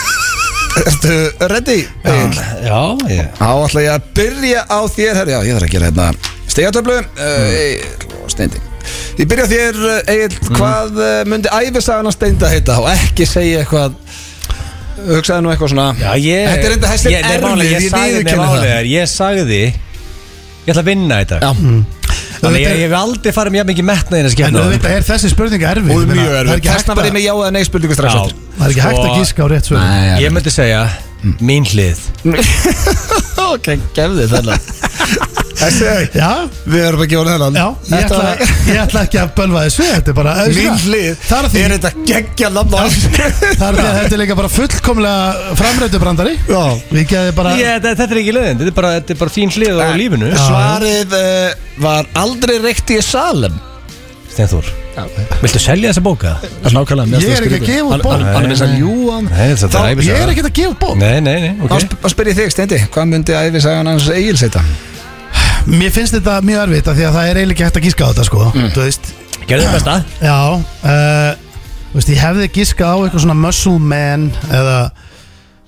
[SPEAKER 1] Ertu ready? Egill?
[SPEAKER 5] Já, ég
[SPEAKER 1] Þá ætla ég að byrja á þér herri, Já, ég þarf að gera hérna Stegatöflu uh, Steindi Ég byrja á þér, Egil, hvað uh, myndi æfisagan að Steinda heita og ekki segja eitthvað hugsaði nú eitthvað svona
[SPEAKER 5] Já, ég
[SPEAKER 1] Þetta er enda þessi
[SPEAKER 5] Ég- nei,
[SPEAKER 1] erfið,
[SPEAKER 5] málega,
[SPEAKER 1] ég
[SPEAKER 5] Ég sagði, nei,
[SPEAKER 1] viðurkenni það.
[SPEAKER 5] málega, er, ég sagði Ég ætla að vinna í dag
[SPEAKER 1] Já,
[SPEAKER 5] Þannig ég, ég hef aldrig farið mjög mikið metna þinn að
[SPEAKER 2] En
[SPEAKER 5] skemmna
[SPEAKER 2] auðvitað er þessi spurning erfið
[SPEAKER 1] hún er
[SPEAKER 2] ég meina,
[SPEAKER 1] mjög
[SPEAKER 2] Það er
[SPEAKER 1] erfið
[SPEAKER 2] ekki hægt
[SPEAKER 1] Þessna var ég Sko-
[SPEAKER 2] að-
[SPEAKER 1] með já eða nei spurningu strax
[SPEAKER 5] Já.
[SPEAKER 1] eftir
[SPEAKER 2] það er ekki hægt að
[SPEAKER 5] Og-
[SPEAKER 2] gíska á rétt svör
[SPEAKER 5] Ég myndi segja Mín hlið
[SPEAKER 1] Ok, gefðu þennan Þessi,
[SPEAKER 2] Já,
[SPEAKER 1] við erum ekki orðið þennan
[SPEAKER 2] já ég
[SPEAKER 1] Þetta
[SPEAKER 2] ætla,
[SPEAKER 1] var-
[SPEAKER 2] ég ætla ekki að bölva þessu Þetta er bara
[SPEAKER 1] Mín hlið
[SPEAKER 2] Það er því
[SPEAKER 1] Er þetta geggja nafn á
[SPEAKER 2] Það er því að þetta er líka bara fullkomlega framrættu brandari
[SPEAKER 1] Já.
[SPEAKER 2] Við geðum bara
[SPEAKER 5] ég, þetta, þetta er ekki leiðin Þetta er bara, þetta er bara þín hlið á
[SPEAKER 1] Nei.
[SPEAKER 5] lífinu
[SPEAKER 1] Svarið uh, var aldrei reykt í salum
[SPEAKER 5] Steinþór Viltu selja þessa bóka?
[SPEAKER 1] Nákvæmlega,
[SPEAKER 2] Ég er ekki að gefa út bók.
[SPEAKER 1] Hann er með þess að ljúa hann
[SPEAKER 5] Nei, þetta
[SPEAKER 1] Þá-
[SPEAKER 5] er
[SPEAKER 2] Ég er
[SPEAKER 5] æfisaga
[SPEAKER 2] ekki að gefa bók
[SPEAKER 5] Nei, nei, nei
[SPEAKER 1] Þá
[SPEAKER 5] okay.
[SPEAKER 1] sp- þá spyr ég þig, Steindi, hvað myndi æfisagan hans Egil setja?
[SPEAKER 2] Mér finnst þetta mjög erfitt af Því að það er eiginlega ekki hægt að gíska á þetta sko
[SPEAKER 1] Mm.
[SPEAKER 2] Þú veist
[SPEAKER 5] Gerðu þetta besta
[SPEAKER 2] Já uh, Þú veist, ég hefði gískað á eitthvað svona muscle man Eða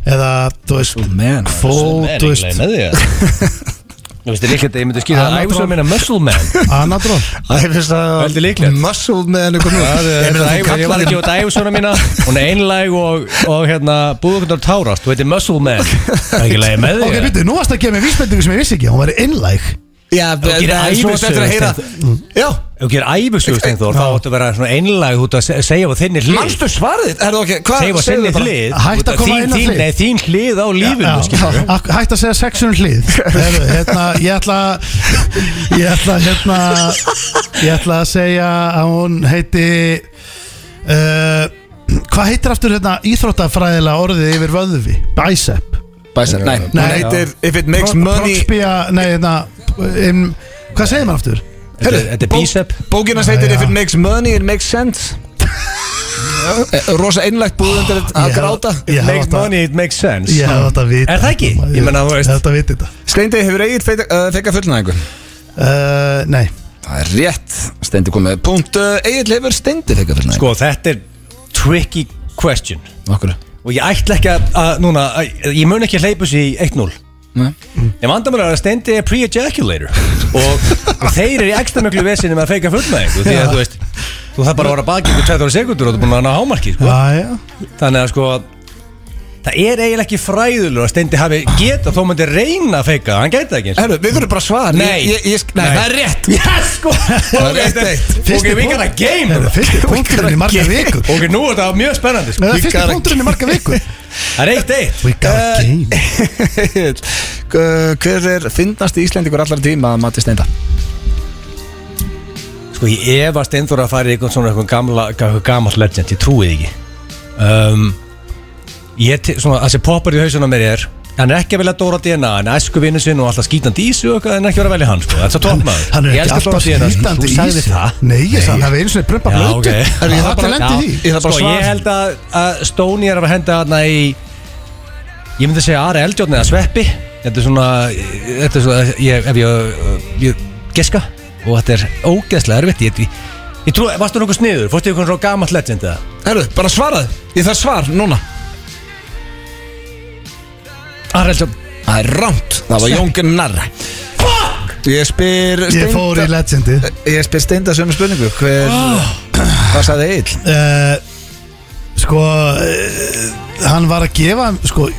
[SPEAKER 2] Eða, þú veist
[SPEAKER 1] Man
[SPEAKER 2] Kvó, þú veist
[SPEAKER 5] með því að- Þú veist, ég líka þetta, ég myndi skýra
[SPEAKER 2] Ah,
[SPEAKER 5] það Æfisaga minna muscle man
[SPEAKER 2] Anadrón
[SPEAKER 1] Æfisagan
[SPEAKER 5] Veldig líklegt.
[SPEAKER 1] Muscle með henni komið Ég meina þú
[SPEAKER 5] Ævar- Ég var
[SPEAKER 1] kallar
[SPEAKER 5] ekki út æfisuna mína Hún er einlæg og, og hérna, búðugundur tárast Þú veitir muscle man Það er ekki leiði með
[SPEAKER 2] Ok,
[SPEAKER 5] þig
[SPEAKER 2] býttu, nú varst að gefa mér vísbendingu sem ég vissi ekki Hún væri innlæg
[SPEAKER 1] Já,
[SPEAKER 5] gerir
[SPEAKER 1] það er svo
[SPEAKER 5] ævisögu,
[SPEAKER 1] þetta að heyra Já,
[SPEAKER 5] Ef þú gerir æfisug Steinþór Þá áttu að vera svona einlæg út að se- segja á þinni hlið
[SPEAKER 1] manstu svarið? Er það ok, hvað
[SPEAKER 5] Segja á
[SPEAKER 1] segðu
[SPEAKER 5] þinni
[SPEAKER 1] bara?
[SPEAKER 5] hlið
[SPEAKER 2] Hætt að
[SPEAKER 5] Út af
[SPEAKER 2] koma inn
[SPEAKER 5] þín-
[SPEAKER 2] á
[SPEAKER 5] þín-
[SPEAKER 2] hlið.
[SPEAKER 5] Nei, þín hlið á lífinu skilurðu.
[SPEAKER 2] Já, ak- Hætt að segja sexun hlið Heyrðu, hérna, Ég ætla Ég ætla hérna, Ég ætla að segja að hún heiti uh, Hvað heitir aftur hérna Íþróttafræðilega orðið yfir vöðvi Bicep
[SPEAKER 1] Bæsir, nei, hún
[SPEAKER 2] Nei.
[SPEAKER 1] heitir If it makes money
[SPEAKER 2] Proxpia, nei hérna um, Hvað segir maður aftur?
[SPEAKER 5] Þetta er- þetta er
[SPEAKER 1] bó-
[SPEAKER 5] bísepp
[SPEAKER 1] Bókina heitir If it makes money, it makes sense Eh, Rosa einlægt búðundir að
[SPEAKER 2] Ég hef-
[SPEAKER 1] gráta
[SPEAKER 2] Ég hef
[SPEAKER 5] Makes
[SPEAKER 2] átt að-
[SPEAKER 5] money, it makes sense
[SPEAKER 2] Ég hef þetta vita
[SPEAKER 5] Er það ekki? Ég meina, þú veist-
[SPEAKER 2] Þetta vita þetta
[SPEAKER 1] Steindi, hefur Egil fekka fullnæðingu?
[SPEAKER 2] uh, Nei
[SPEAKER 1] Það er rétt, Steindi komið Punkt, Egil hefur Steindi fekka fullnæðingu
[SPEAKER 5] Sko, þetta er tricky question
[SPEAKER 1] Okkur
[SPEAKER 5] Og ég ætla ekki að, að núna að, Ég mun ekki að hleypa sér í 1-0
[SPEAKER 1] Nei.
[SPEAKER 5] Ég vandar mér að steindi er pre-ejaculator og, og þeir eru í ekstra mjög vesinni með að feika fullmæðingu Því að þú veist Þú þarf bara að vara baki ykkur 20 sekundur og þú er búin að ná hámarki sko.
[SPEAKER 2] Æja
[SPEAKER 5] Þannig að sko Það er eiginlega ekki fræðulur að steindi hafi geta Þó myndi reyna að feika það, hann gæti það ekki eins og-
[SPEAKER 1] Herru, við þurfum bara að svara
[SPEAKER 5] Nei.
[SPEAKER 1] ég, ég, ég, nei,
[SPEAKER 5] Nei.
[SPEAKER 1] það er rétt
[SPEAKER 5] Yes, sko
[SPEAKER 1] Það er rétt eitt.
[SPEAKER 5] Ok, við gæta game bro.
[SPEAKER 2] Fyrsti punkturinn í marga vikur
[SPEAKER 5] Ok, nú er það mjög spennandi sko.
[SPEAKER 2] Nei, það er Fyrsti
[SPEAKER 1] gotta-
[SPEAKER 2] punkturinn í marga vikur Eh,
[SPEAKER 5] Það er eitt eitt
[SPEAKER 2] We got a game
[SPEAKER 1] Uh, Hver er finnast í Íslendingur allar tíma að mati steinda?
[SPEAKER 5] Sko ég efast einþóra að fara í einhvern svona einhvern gamla, einhvern gamall legend, ég trúi því ekki um, Ég, te- svona, það sem poppar í hausuna mér er Hann er ekki að velja Dóra DNA, hann er æsku vinnu sinn og alltaf skítandi í sig og eitthvað, hann er ekki að vera að velja hann, sko, þetta er toppmaður
[SPEAKER 2] Hann er
[SPEAKER 5] Ég
[SPEAKER 2] ekki
[SPEAKER 5] elska
[SPEAKER 2] alltaf
[SPEAKER 5] Dóra DNA, sko.
[SPEAKER 2] skrítandi
[SPEAKER 5] Þú sagðir það
[SPEAKER 2] Nei, ég sagði hann hafi einu sinni prumpa
[SPEAKER 5] Já,
[SPEAKER 2] blötu
[SPEAKER 5] ok.
[SPEAKER 2] Það er allir lendið því
[SPEAKER 1] Ég þarf bara
[SPEAKER 5] Sko
[SPEAKER 1] að svara
[SPEAKER 5] ég held að, að Stóni er að fara að henda hann í Ég myndi að segja Ari Eldjórn eða Sveppi Þetta er svona, þetta er svona ég, Ef ég, ég geska Og þetta er ógeðslega erfitt Ég, ég, ég trú, varstu nokkuð sniður? Fórstu ykkur svona gamall legend eða?
[SPEAKER 1] Herru, bara svarað Ég þarf svar núna
[SPEAKER 5] Ari Eldjórn
[SPEAKER 1] Það er rámt Það var Jón Gunnar Fuck Ég spyr
[SPEAKER 2] Ég fór í
[SPEAKER 1] steinda Eh,
[SPEAKER 2] legendi
[SPEAKER 1] Ég spyr steinda sömu spurningu Hver Hvað sagði Egil?
[SPEAKER 2] uh, Sko uh, Hann var að gefa Sko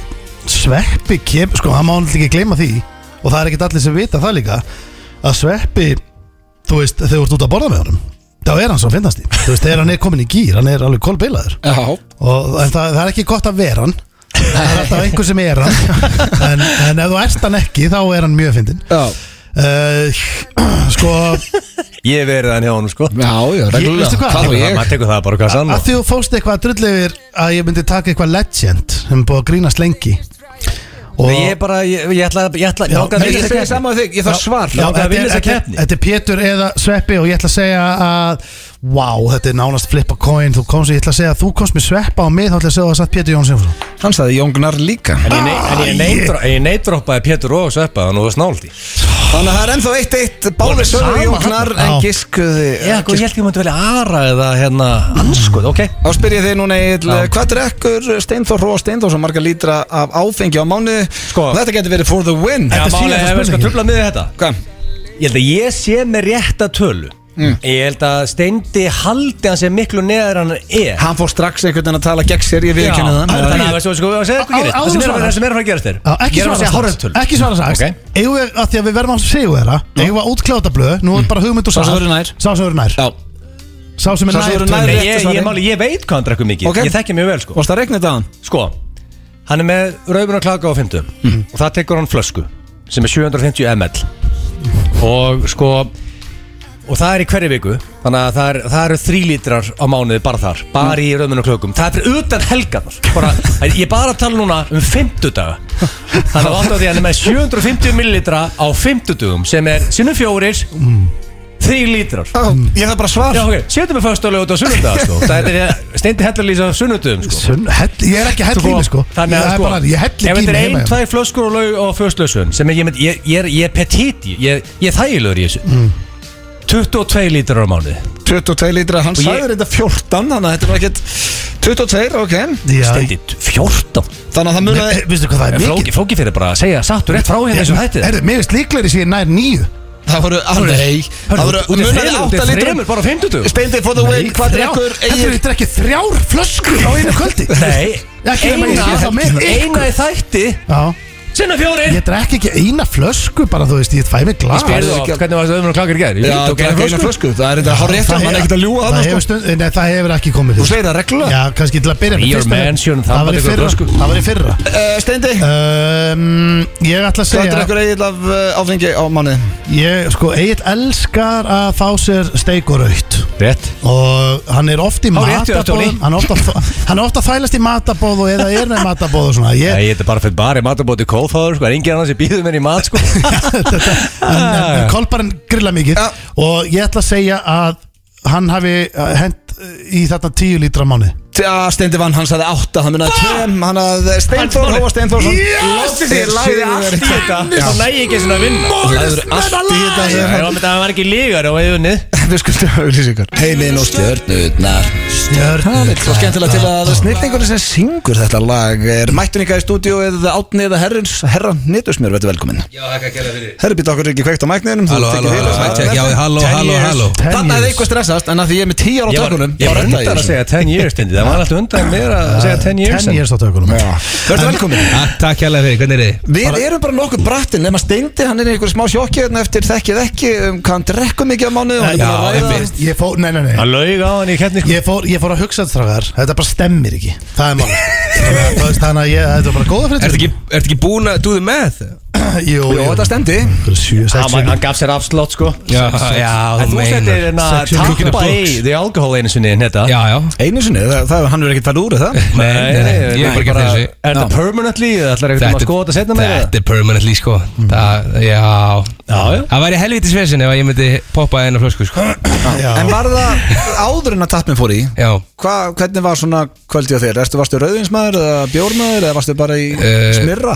[SPEAKER 2] Sveppi kem Sko hann má hann ekki gleyma því Og það er ekkert allir sem vita það líka Að Sveppi Þú veist þegar þú ert út að borða með honum Þá er hann svo finnast því Þú veist þegar hann er komin í gýr Hann er alveg kolbeilaður
[SPEAKER 1] Já
[SPEAKER 2] og, En það, það er ekki gott að vera hann Það er alltaf einhver sem er hann En, en ef þú ert hann ekki Þá er hann mjög fyndin
[SPEAKER 1] Já
[SPEAKER 2] uh, Sko
[SPEAKER 5] Ég hef verið hann hjá honum sko
[SPEAKER 1] Já, já, reglulega
[SPEAKER 2] veistu hvað?
[SPEAKER 1] var
[SPEAKER 5] Tekur það-
[SPEAKER 1] ég?
[SPEAKER 5] Maður tekur það bara hvað sann
[SPEAKER 2] að því þú fóst eitthvað að drull yfir að ég myndi taka eitthvað legend sem er búið að grínast lengi og
[SPEAKER 5] Ég er bara, ég, ég ætla, ég ætla
[SPEAKER 2] Já,
[SPEAKER 5] langar að
[SPEAKER 2] nei,
[SPEAKER 1] Ég
[SPEAKER 5] vinna
[SPEAKER 1] spyr
[SPEAKER 5] þessa keppni.
[SPEAKER 1] saman við þig Ég þarf svar
[SPEAKER 2] Já,
[SPEAKER 5] Langar að
[SPEAKER 2] þetta
[SPEAKER 5] vinna
[SPEAKER 2] er-
[SPEAKER 5] þessa
[SPEAKER 2] þetta er-
[SPEAKER 5] keppni.
[SPEAKER 2] þetta er Pétur eða Sveppi og ég ætla að segja að Vá, wow, þetta er nánast flip a coin Þú komst, ég ætla að segja að þú komst með Sveppa og mig Þá ætla ég að segja að það satt Pétur Jónsson
[SPEAKER 1] Hann sagði Jón Gunnar líka
[SPEAKER 5] En ég nei- en ég neindro- en ég neindroppaði Pétur og Sveppa Þannig að það snált í
[SPEAKER 1] Þannig að það er ennþá eitt eitt Báði sögur Jón Gunnar en eh, giskuði
[SPEAKER 5] Já, sko, ég held ég mætti velja Ara eða hérna Anskuð, ok
[SPEAKER 1] Þá spyr ég þig núna Egil, hvað drekkur Steinþór Róa Steinþór sem margar lítra af áfengi á mánu
[SPEAKER 5] Sko.
[SPEAKER 1] Þetta getur verið for the win
[SPEAKER 5] Já,
[SPEAKER 2] Þetta er
[SPEAKER 5] máli
[SPEAKER 2] síðasta
[SPEAKER 5] hefur sko
[SPEAKER 2] spurningin.
[SPEAKER 5] tröflað með þetta
[SPEAKER 1] Hvað?
[SPEAKER 5] Ég held að ég sé með rétta tölu Ég held að Steindi haldi hann sem miklu neðar en hann er
[SPEAKER 1] Hann fór strax einhvern veginn að tala gegn sér, ég viðkynna
[SPEAKER 5] Já,
[SPEAKER 1] það
[SPEAKER 5] Þannig að veistu, sko, það segir
[SPEAKER 2] Á-
[SPEAKER 5] hvað gerir
[SPEAKER 2] áður
[SPEAKER 5] Það sem er að
[SPEAKER 2] svarar.
[SPEAKER 5] það sem er að fara að gerast þér
[SPEAKER 2] Já, ekki
[SPEAKER 5] Ég er að
[SPEAKER 2] svara
[SPEAKER 5] segja hárrétt
[SPEAKER 2] strax
[SPEAKER 5] tölu
[SPEAKER 2] Ekki svara strax
[SPEAKER 5] Ok.
[SPEAKER 2] Eigum við, að því að við verðum að segja þeirra Eigum við að útkláta blöð
[SPEAKER 5] Mm.
[SPEAKER 2] Nú er bara hugmynd og
[SPEAKER 1] Sá
[SPEAKER 2] sá
[SPEAKER 1] sem verður nær.
[SPEAKER 2] Sá sem verður nær
[SPEAKER 1] Já.
[SPEAKER 2] Sá sem er
[SPEAKER 1] Sá sem verður
[SPEAKER 2] nær
[SPEAKER 1] nær.
[SPEAKER 2] tölunni.
[SPEAKER 5] Nei,
[SPEAKER 1] rétta
[SPEAKER 5] ég, ég,
[SPEAKER 1] svarið.
[SPEAKER 5] máli, ég veit hvað hann drekkur mikið
[SPEAKER 1] Ok.
[SPEAKER 5] Ég þekki mjög vel sko
[SPEAKER 1] Vast að regna þetta hann?
[SPEAKER 5] Sko, hann er með rauðbun og klaka á 50 Og það tekur hann flösku Sem er 750 ml Og sko Og það er í hverju viku Þannig að það, er, það eru þrí lítrar á mánuði bara þar Bara í rauðbun og klökum Það er fyrir utan helgarnar bara, Ég er bara að tala núna um 50 daga Þannig að átta á því að hann er með 750 millilitra á 50 dugum Sem er sinnum fjórir Þrí lítrar
[SPEAKER 1] Ég þarf bara að svara
[SPEAKER 5] Já, ok, setjum við föstulega út á sunnudag sko. Það er steindi hellulís á sunnudum sko.
[SPEAKER 2] Sunn- hell- Ég er ekki hell í mig sko
[SPEAKER 5] Þannig að
[SPEAKER 2] Ég er
[SPEAKER 5] sko
[SPEAKER 2] bara- Ég hell
[SPEAKER 5] Ef
[SPEAKER 2] ekki í
[SPEAKER 5] þetta
[SPEAKER 2] mig heima
[SPEAKER 5] er
[SPEAKER 2] hérna.
[SPEAKER 5] ein,
[SPEAKER 2] hjá mér.
[SPEAKER 5] tvær flöskur og laug og föstulegsun sem ég, mynd, ég, ég, er- ég er petit í, ég, ég er þægilegur í þessu
[SPEAKER 2] Mm.
[SPEAKER 5] 22 lítrar á mánuði
[SPEAKER 1] 22 lítra, hann
[SPEAKER 5] ég-
[SPEAKER 1] sagði þetta 14 Þannig að þetta var ekkert 22, ok
[SPEAKER 2] Já,
[SPEAKER 5] Steindi 14
[SPEAKER 1] Þannig að það
[SPEAKER 2] Nei,
[SPEAKER 1] munaði
[SPEAKER 2] Veistu hvað það er mikið
[SPEAKER 5] Flóki, flóki fyrir bara að segja sattur rétt frá hérna eins og þetta er
[SPEAKER 2] Herðu, mér veist líklegri sé ég nær nýju
[SPEAKER 1] Það voru, ah, nei Það voru,
[SPEAKER 5] Út í
[SPEAKER 1] munaði
[SPEAKER 5] þremur, út í
[SPEAKER 1] 8 lítra
[SPEAKER 5] þremur, bara á 50
[SPEAKER 1] Steindi for the win, hvað drekkur
[SPEAKER 2] Þetta er
[SPEAKER 1] Egil?
[SPEAKER 2] þetta ekki þrjár flöskur á einu kvöldi
[SPEAKER 5] Nei,
[SPEAKER 2] Ekki nema ég sé sko.
[SPEAKER 5] eina,
[SPEAKER 2] hell í mig.
[SPEAKER 5] eina í þætti
[SPEAKER 2] Já
[SPEAKER 5] sinna fjórir
[SPEAKER 2] Ég drekk ekki eina flösku bara þú veist Ég fæ mig glas
[SPEAKER 5] Spyrðu oft, hvernig var þetta öðrum og klakar í gær? Ég
[SPEAKER 1] Já,
[SPEAKER 5] tók
[SPEAKER 1] það
[SPEAKER 5] eina
[SPEAKER 1] er eina
[SPEAKER 5] flösku.
[SPEAKER 1] flösku Það er þetta hár rétt,
[SPEAKER 2] Það
[SPEAKER 1] hann er
[SPEAKER 2] hefur-
[SPEAKER 1] ekkert að ljúa
[SPEAKER 5] sko.
[SPEAKER 2] það
[SPEAKER 1] það
[SPEAKER 2] hefur stund- Nei, það hefur ekki komið
[SPEAKER 1] Þú
[SPEAKER 2] fyrir
[SPEAKER 1] segir það reglulega
[SPEAKER 2] Já, kannski til að byrja með
[SPEAKER 5] Your
[SPEAKER 2] fyrsta leik.
[SPEAKER 5] mansion,
[SPEAKER 2] það var í
[SPEAKER 5] þamba
[SPEAKER 2] fyrra
[SPEAKER 5] tekur
[SPEAKER 2] Það var í fyrra
[SPEAKER 1] Eh, Steindi,
[SPEAKER 2] um, Ég ætla að
[SPEAKER 1] hvað
[SPEAKER 2] segja
[SPEAKER 1] drekkur Egil af eh, áfengi á manni?
[SPEAKER 2] Ég, sko, Egil elskar að fá sér steik og raut
[SPEAKER 5] Rétt
[SPEAKER 2] Og hann er oft í
[SPEAKER 5] Há rétt hjá þér, Tony.
[SPEAKER 2] matabóðum Hann er oft að- hann er oft að þælast í matabóð og eða er með matabóð og svona
[SPEAKER 5] Nei,
[SPEAKER 2] ég,
[SPEAKER 5] þetta er bara fyrir bara í matabóti kólfáður sko, en engin annar sem býður mér í mat sko
[SPEAKER 2] þetta, en, en Kolbarinn grilla mikið
[SPEAKER 1] Já.
[SPEAKER 2] Og ég ætla að segja að hann hafi uh, hent uh, í þetta tíu lítra mánu
[SPEAKER 1] Já, Steindi vann, hann sagði 8, hann munaði 2 Hann að eh, Steinþór, Hóa Steinþórsson Látti þig, lagði allt í þetta
[SPEAKER 5] Þá næg ég ekki svona að vinna
[SPEAKER 1] Lagður allt í þetta
[SPEAKER 5] Já,
[SPEAKER 1] hér.
[SPEAKER 5] já, menn það var ekki lígar og hefði unnið
[SPEAKER 1] Við skuldum auðlýsingar Heiminn og stjörnurnar Það er svo skemmtilega til að snillningunni sem syngur þetta lag er mættunika í stúdíu eða átni eða herrins herra nýtusmjör, verður velkominn
[SPEAKER 3] Já, það ekki að gera fyrir
[SPEAKER 1] Herri býta okkur ekki kveikt á mækninum
[SPEAKER 3] Halló, halló, halló, check, já, halló, halló, halló
[SPEAKER 1] Þannig að eitthvað stressast en að því ég er með 10 ára á
[SPEAKER 5] Ég var
[SPEAKER 1] tökunum
[SPEAKER 5] ég var undan að segja 10 years tindi Það var alltaf undan mér að segja 10 years
[SPEAKER 2] Ah, Ten
[SPEAKER 5] en-
[SPEAKER 2] years á tökunum
[SPEAKER 1] Verður velkominn
[SPEAKER 3] Ah, Takk hérlega fyrir, hvernig er þið?
[SPEAKER 1] Við erum bara nokkuð brattinn nema Steindi, hann er í einhverju smá sjokki hérna eftir þekkið ekki um hvað hann drekkum mikið á mánu og hann er búin að ræða
[SPEAKER 3] einmitt.
[SPEAKER 2] Ég fór, nei, nei, nei
[SPEAKER 5] Hann laug á hann í keppni sko
[SPEAKER 2] Ég fór, ég fór að hugsa þetta strákar, þetta bara stemmir ekki Það er málið Þannig að- þú veist, Þannig að ég, þetta er bara góða fyrir
[SPEAKER 3] Ertu ekki, ert ekki búin að do the math?
[SPEAKER 2] Jú,
[SPEAKER 1] Jó, þetta stendi
[SPEAKER 2] Einhverju sjö, sex,
[SPEAKER 5] Hann
[SPEAKER 2] sjö.
[SPEAKER 5] hann gaf sér afslott sko
[SPEAKER 3] Já, já, þú
[SPEAKER 5] En þú
[SPEAKER 3] meinar.
[SPEAKER 5] settir hérna
[SPEAKER 3] Sex hundred in a
[SPEAKER 5] tappa
[SPEAKER 3] box.
[SPEAKER 5] í The Alcohol einu sinni hérna
[SPEAKER 3] Já, já
[SPEAKER 1] Einu sinni, það, það, hann verður ekkert farið úr það
[SPEAKER 3] Nei, nei, nei, ég er bara ekki að fyrir þessu
[SPEAKER 5] Er þetta
[SPEAKER 3] Já.
[SPEAKER 5] permanently eða ætlar eitthvað að skoða þetta setna með
[SPEAKER 3] Þetta er permanently sko Það, já
[SPEAKER 5] Hmm. Já, já.
[SPEAKER 3] Það væri helvítið svesin ef að ég myndi poppa eina flösku sko
[SPEAKER 2] Já.
[SPEAKER 1] En var það áður en að tappin fór í
[SPEAKER 3] Já
[SPEAKER 1] hva, Hvernig var svona kvöldið á þér? Erstu, varstu rauðinsmaður eða bjórmaður eða varstu bara í
[SPEAKER 3] Eh,
[SPEAKER 1] smyrra?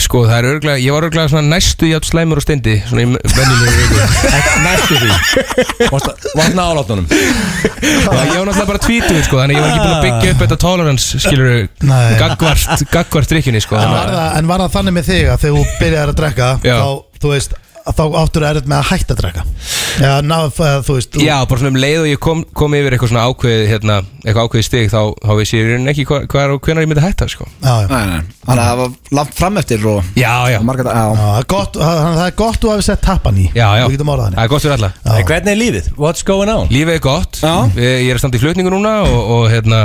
[SPEAKER 3] Sko, það er örglega, ég var örglega svona næstu jafn slæmur og stendi Svona í vennilegu viku
[SPEAKER 5] Næstu því Varst nálátunum
[SPEAKER 3] Já, ég var náttúrulega bara tvítuð sko Þannig að ég var ekki búin að byggja upp þetta tolerance Skilur,
[SPEAKER 2] Nei.
[SPEAKER 3] gagvart, gagvart drikkjunni sko
[SPEAKER 2] En var, það, en var það þannig með þig að þegar þú byrjaðir að drekka
[SPEAKER 3] Já.
[SPEAKER 2] þá, þú veist, að þá áttur erfitt með að hætta að drekka Já, ná, að, þú veist þú,
[SPEAKER 3] Já, bara svona um leið og ég kom, kom yfir eitthvað svona ákveðið hérna, eitthvað ákveðið stig þá, þá vissi ég í rauninni ekki hvað, hvað er og hvenar ég myndi hætta sko.
[SPEAKER 2] já, já.
[SPEAKER 1] Nei, nei Þannig að það var langt fram eftir og
[SPEAKER 3] Já, já,
[SPEAKER 1] og margar
[SPEAKER 2] Já,
[SPEAKER 1] Já
[SPEAKER 2] það er gott, það, það er gott þú hafi sett tappan í
[SPEAKER 3] já, já.
[SPEAKER 2] Við getum orðað
[SPEAKER 3] Það
[SPEAKER 2] þannig
[SPEAKER 3] er gott fyrir alla
[SPEAKER 2] Já.
[SPEAKER 5] En Hvernig er lífið? What's going on?
[SPEAKER 3] Lífið er gott,
[SPEAKER 1] Já.
[SPEAKER 3] ég, ég er samt í flutningu núna og, og hérna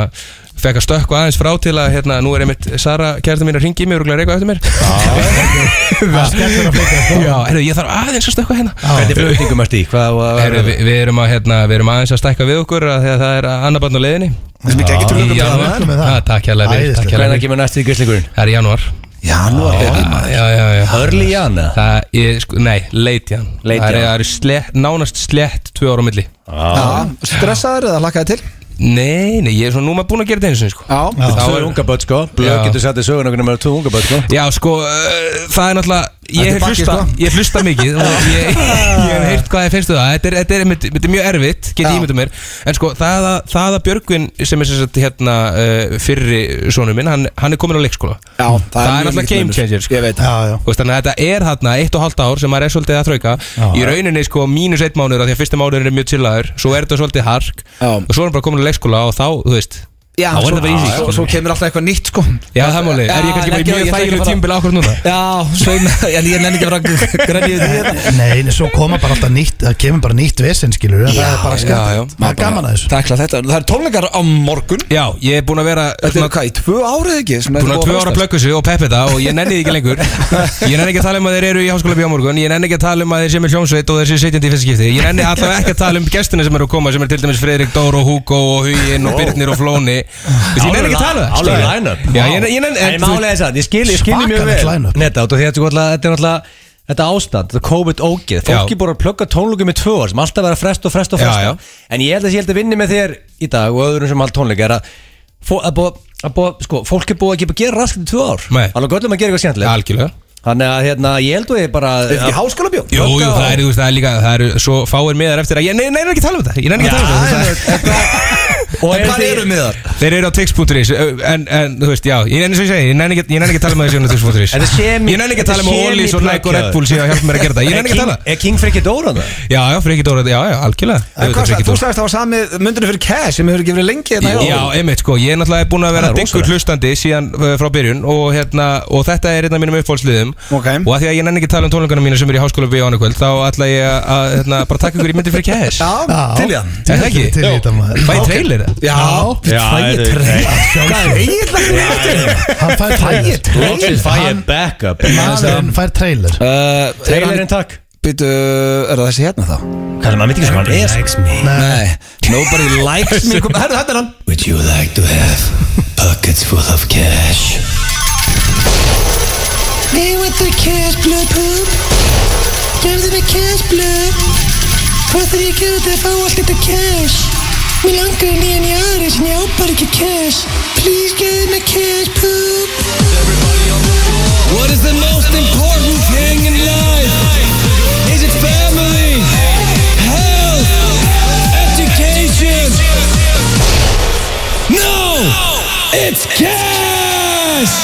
[SPEAKER 3] fekk að stökkva aðeins frá til að hérna, nú er einmitt Sara kærta mín að ringi mig og rúglega reyka eftir mér
[SPEAKER 2] Það er skemmtilega að flytja sko.
[SPEAKER 3] Já, herru, ég þarf aðeins að stökkva hérna
[SPEAKER 5] Hvernig flutningum ertu í? Hvað var
[SPEAKER 3] Herru, við, við, erum að, hérna, við erum aðeins að stækka við okkur að því að það er annar barn á leiðinni
[SPEAKER 1] Sem ekki ekki
[SPEAKER 3] Í
[SPEAKER 1] trúlega
[SPEAKER 3] janúar.
[SPEAKER 2] Við erum með það.
[SPEAKER 3] Ah, Takk hérlega fyrir,
[SPEAKER 2] Æðislegt.
[SPEAKER 3] takk hérlega
[SPEAKER 5] Hvernig
[SPEAKER 3] fyrir
[SPEAKER 5] kemur næstu í gríslingurinn?
[SPEAKER 3] Það er í janúar Ah,
[SPEAKER 1] Já, nú að byrja
[SPEAKER 3] Já, já, já
[SPEAKER 5] Early Jan eða?
[SPEAKER 3] Það er, sko, nei, leit í hann
[SPEAKER 5] Late í
[SPEAKER 3] Það er-
[SPEAKER 5] hann.
[SPEAKER 3] það eru slett, nánast slett tvö ára á milli
[SPEAKER 1] Já, stressaður eða lakkaði til?
[SPEAKER 3] Nei, nei, ég er svona núma búin að gera þetta eins og sko
[SPEAKER 1] Já,
[SPEAKER 5] Þá
[SPEAKER 3] Þá
[SPEAKER 5] er
[SPEAKER 3] er-
[SPEAKER 5] unga börn sko Blöð
[SPEAKER 3] Já.
[SPEAKER 5] getur sett í söguna hvernig maður er tvö unga börn sko
[SPEAKER 3] Já, sko, uh, það er náttúrulega
[SPEAKER 1] Þetta er
[SPEAKER 3] Ég hef
[SPEAKER 1] bakið,
[SPEAKER 3] hlusta,
[SPEAKER 1] sko.
[SPEAKER 3] ég hlusta mikið og ég, ég hef heyrt hvað ég finnst um það Þetta er, þetta er, einmitt- þetta er mjög erfitt, get
[SPEAKER 1] Já.
[SPEAKER 3] ég ímynda mér En sko, það að, það að Björgvin sem er sem sagt, hérna, uh, fyrri sonur minn hann, hann er komin á leikskóla
[SPEAKER 1] Já,
[SPEAKER 3] Það er
[SPEAKER 1] mjög
[SPEAKER 3] náttúrulega
[SPEAKER 1] mikill
[SPEAKER 3] game
[SPEAKER 1] munur.
[SPEAKER 3] changer, sko.
[SPEAKER 1] Ég veit
[SPEAKER 2] Já, já
[SPEAKER 3] Þú veist, Þannig að þetta er þarna eitt og halvt ár sem maður er svolítið að þrauka Í rauninni sko mínus eitt mánuður af því að fyrsti mánuður er mjög chillaður Svo er þetta svolítið hark
[SPEAKER 1] Já.
[SPEAKER 3] Og svo er hann bara komin á leikskóla og þá, þú veist
[SPEAKER 1] Já,
[SPEAKER 3] Þá er
[SPEAKER 1] svo,
[SPEAKER 3] þetta bara easy,
[SPEAKER 1] svo,
[SPEAKER 3] sko.
[SPEAKER 1] svo kemur alltaf eitthvað nýtt sko
[SPEAKER 3] Já, það er málið, er ég kannski bara í mjög þægilegu tímbil ákvörð núna?
[SPEAKER 1] Já, sveina, en ég nenni ekki að fara grænið þetta
[SPEAKER 2] Nei, en svo koma bara alltaf nýtt Það kemur bara nýtt vesen, skilur Það er bara skemmt Það er gaman að þessu
[SPEAKER 1] Takla þetta, það er tónleikar á morgun
[SPEAKER 3] Já, ég er búin að vera
[SPEAKER 1] Þetta er hvað, í tvö árið ekki? sem þetta
[SPEAKER 3] Búin
[SPEAKER 1] er
[SPEAKER 3] að
[SPEAKER 1] búið
[SPEAKER 3] tvö ára
[SPEAKER 1] fresta?
[SPEAKER 3] plökkusu og peppi þetta og ég nenni því ekki lengur Ég nenni ekki að tala um að þeir eru í háskóla bíó morgun Ég nenni ekki að tala um að þeir sem er hljómsveit og þeir sem setjandi í fyrsta skipti Ég nenni allavega ekki að tala um gestina sem eru að koma sem er til dæmis Fredrik Dór og Hugo og Huyin og Birnir og Flóni Þú veist, Ég nenni ekki að tala um
[SPEAKER 5] Álfur
[SPEAKER 3] skilurðu.
[SPEAKER 5] line-up.
[SPEAKER 3] Já, ég nenni- ég nenni
[SPEAKER 5] En
[SPEAKER 3] en þú-
[SPEAKER 5] málega þess að ég skil, ég skil mjög
[SPEAKER 2] Svakalegt
[SPEAKER 5] vel
[SPEAKER 2] line-up.
[SPEAKER 5] Netta, út af því að þetta er náttúrulega- þetta er náttúrulega Þetta ástand, þetta COVID-ógið Fólki
[SPEAKER 3] Já.
[SPEAKER 5] búið að plugga tónleikum í tvö ár sem alltaf vera frest og frest og
[SPEAKER 3] Já,
[SPEAKER 5] frest
[SPEAKER 3] já.
[SPEAKER 5] En ég held að ég held að vinni með þér í dag og öðrum sem hald tónleika er að, fó- að, búa, að búa, sko, fólk er búið að gefa að gera raskt í tvö ár
[SPEAKER 3] Nei.
[SPEAKER 5] Alveg göllum að gera eitthvað skemmtilegt
[SPEAKER 3] Algjörlega
[SPEAKER 5] Þannig að hérna, ég held að ég bara
[SPEAKER 1] Er þetta ekki háskóla bjó?
[SPEAKER 3] Jú, jú, það er, þú veist, það er líka, það eru svo fáir miðar eftir að Ég nenni nenni ekki að tala um þetta, ég nenni ekki að tala um þetta þú veist,
[SPEAKER 5] Og
[SPEAKER 1] En
[SPEAKER 5] er
[SPEAKER 1] hvað
[SPEAKER 5] þið-
[SPEAKER 1] eru miðar?
[SPEAKER 3] Þeir eru á tix.is ö, en, en þú veist, já, ég nenni svo ég segi Ég nenni ekki, ég nenni ekki að tala með þessi hérna á tix.is
[SPEAKER 5] Þetta er semi-
[SPEAKER 3] Ég nenni ekki að tala um með
[SPEAKER 5] þetta er
[SPEAKER 3] Ollís og Nike og Red
[SPEAKER 5] semi-pluggaður.
[SPEAKER 3] Bull síðan að hjálpa mér að gera þetta Ég
[SPEAKER 5] Er
[SPEAKER 3] nenni ekki að
[SPEAKER 5] King-
[SPEAKER 3] tala
[SPEAKER 5] Er King Frikki Dóra það?
[SPEAKER 3] Já, já, Friki Dóra, já, já, algjörlega
[SPEAKER 1] En
[SPEAKER 3] Auðvitað
[SPEAKER 1] hvað
[SPEAKER 3] Frikki
[SPEAKER 1] sagði, þú
[SPEAKER 3] Dóra.
[SPEAKER 1] sagðist það var sami myndinu fyrir cash sem hefur ekki verið lengi hérna hjá
[SPEAKER 3] Já,
[SPEAKER 1] okkur.
[SPEAKER 3] einmitt, sko, ég er náttúrulega búin að vera
[SPEAKER 5] Það er
[SPEAKER 3] diggur
[SPEAKER 5] rosalegt.
[SPEAKER 3] hlustandi síðan uh, frá byrjun og, hérna, og þetta er einn af mínum uppfólksliðum
[SPEAKER 1] Ok.
[SPEAKER 3] og að því að ég nenni ekki að tala um tónleikana mína sem eru í háskóla við ánukvöld þá ætla ég að- að hérna, bara taka ykkur í myndi fyrir kæðis
[SPEAKER 1] Já,
[SPEAKER 2] Já.
[SPEAKER 1] til í hann
[SPEAKER 3] Er það ekki?
[SPEAKER 2] Til í þetta maður
[SPEAKER 3] Fæ ég trailer það?
[SPEAKER 1] Já,
[SPEAKER 5] fæði treyja
[SPEAKER 2] Hann fær trailer
[SPEAKER 5] Loksins fæði backup
[SPEAKER 2] Maðurinn fær trailer
[SPEAKER 5] Trailerinn takk
[SPEAKER 1] Uh, býtu, er það þessi hérna þá?
[SPEAKER 5] Hvað er maður veit ekki sem hann er sko.
[SPEAKER 1] Nei, nobody likes me Kom- Herðu, þetta er hann
[SPEAKER 10] Would you like to have pockets full of cash? Me with the cash blue poop Gefðu mig cash blue Hvað þarf ég að gera þetta að fá allt þetta cash? Mér langar í nýjan í aðeins en ég á bara ekki cash Please gefðu mig cash poop What is the most important thing in life? Is it family? Health? Education? No! It's cash!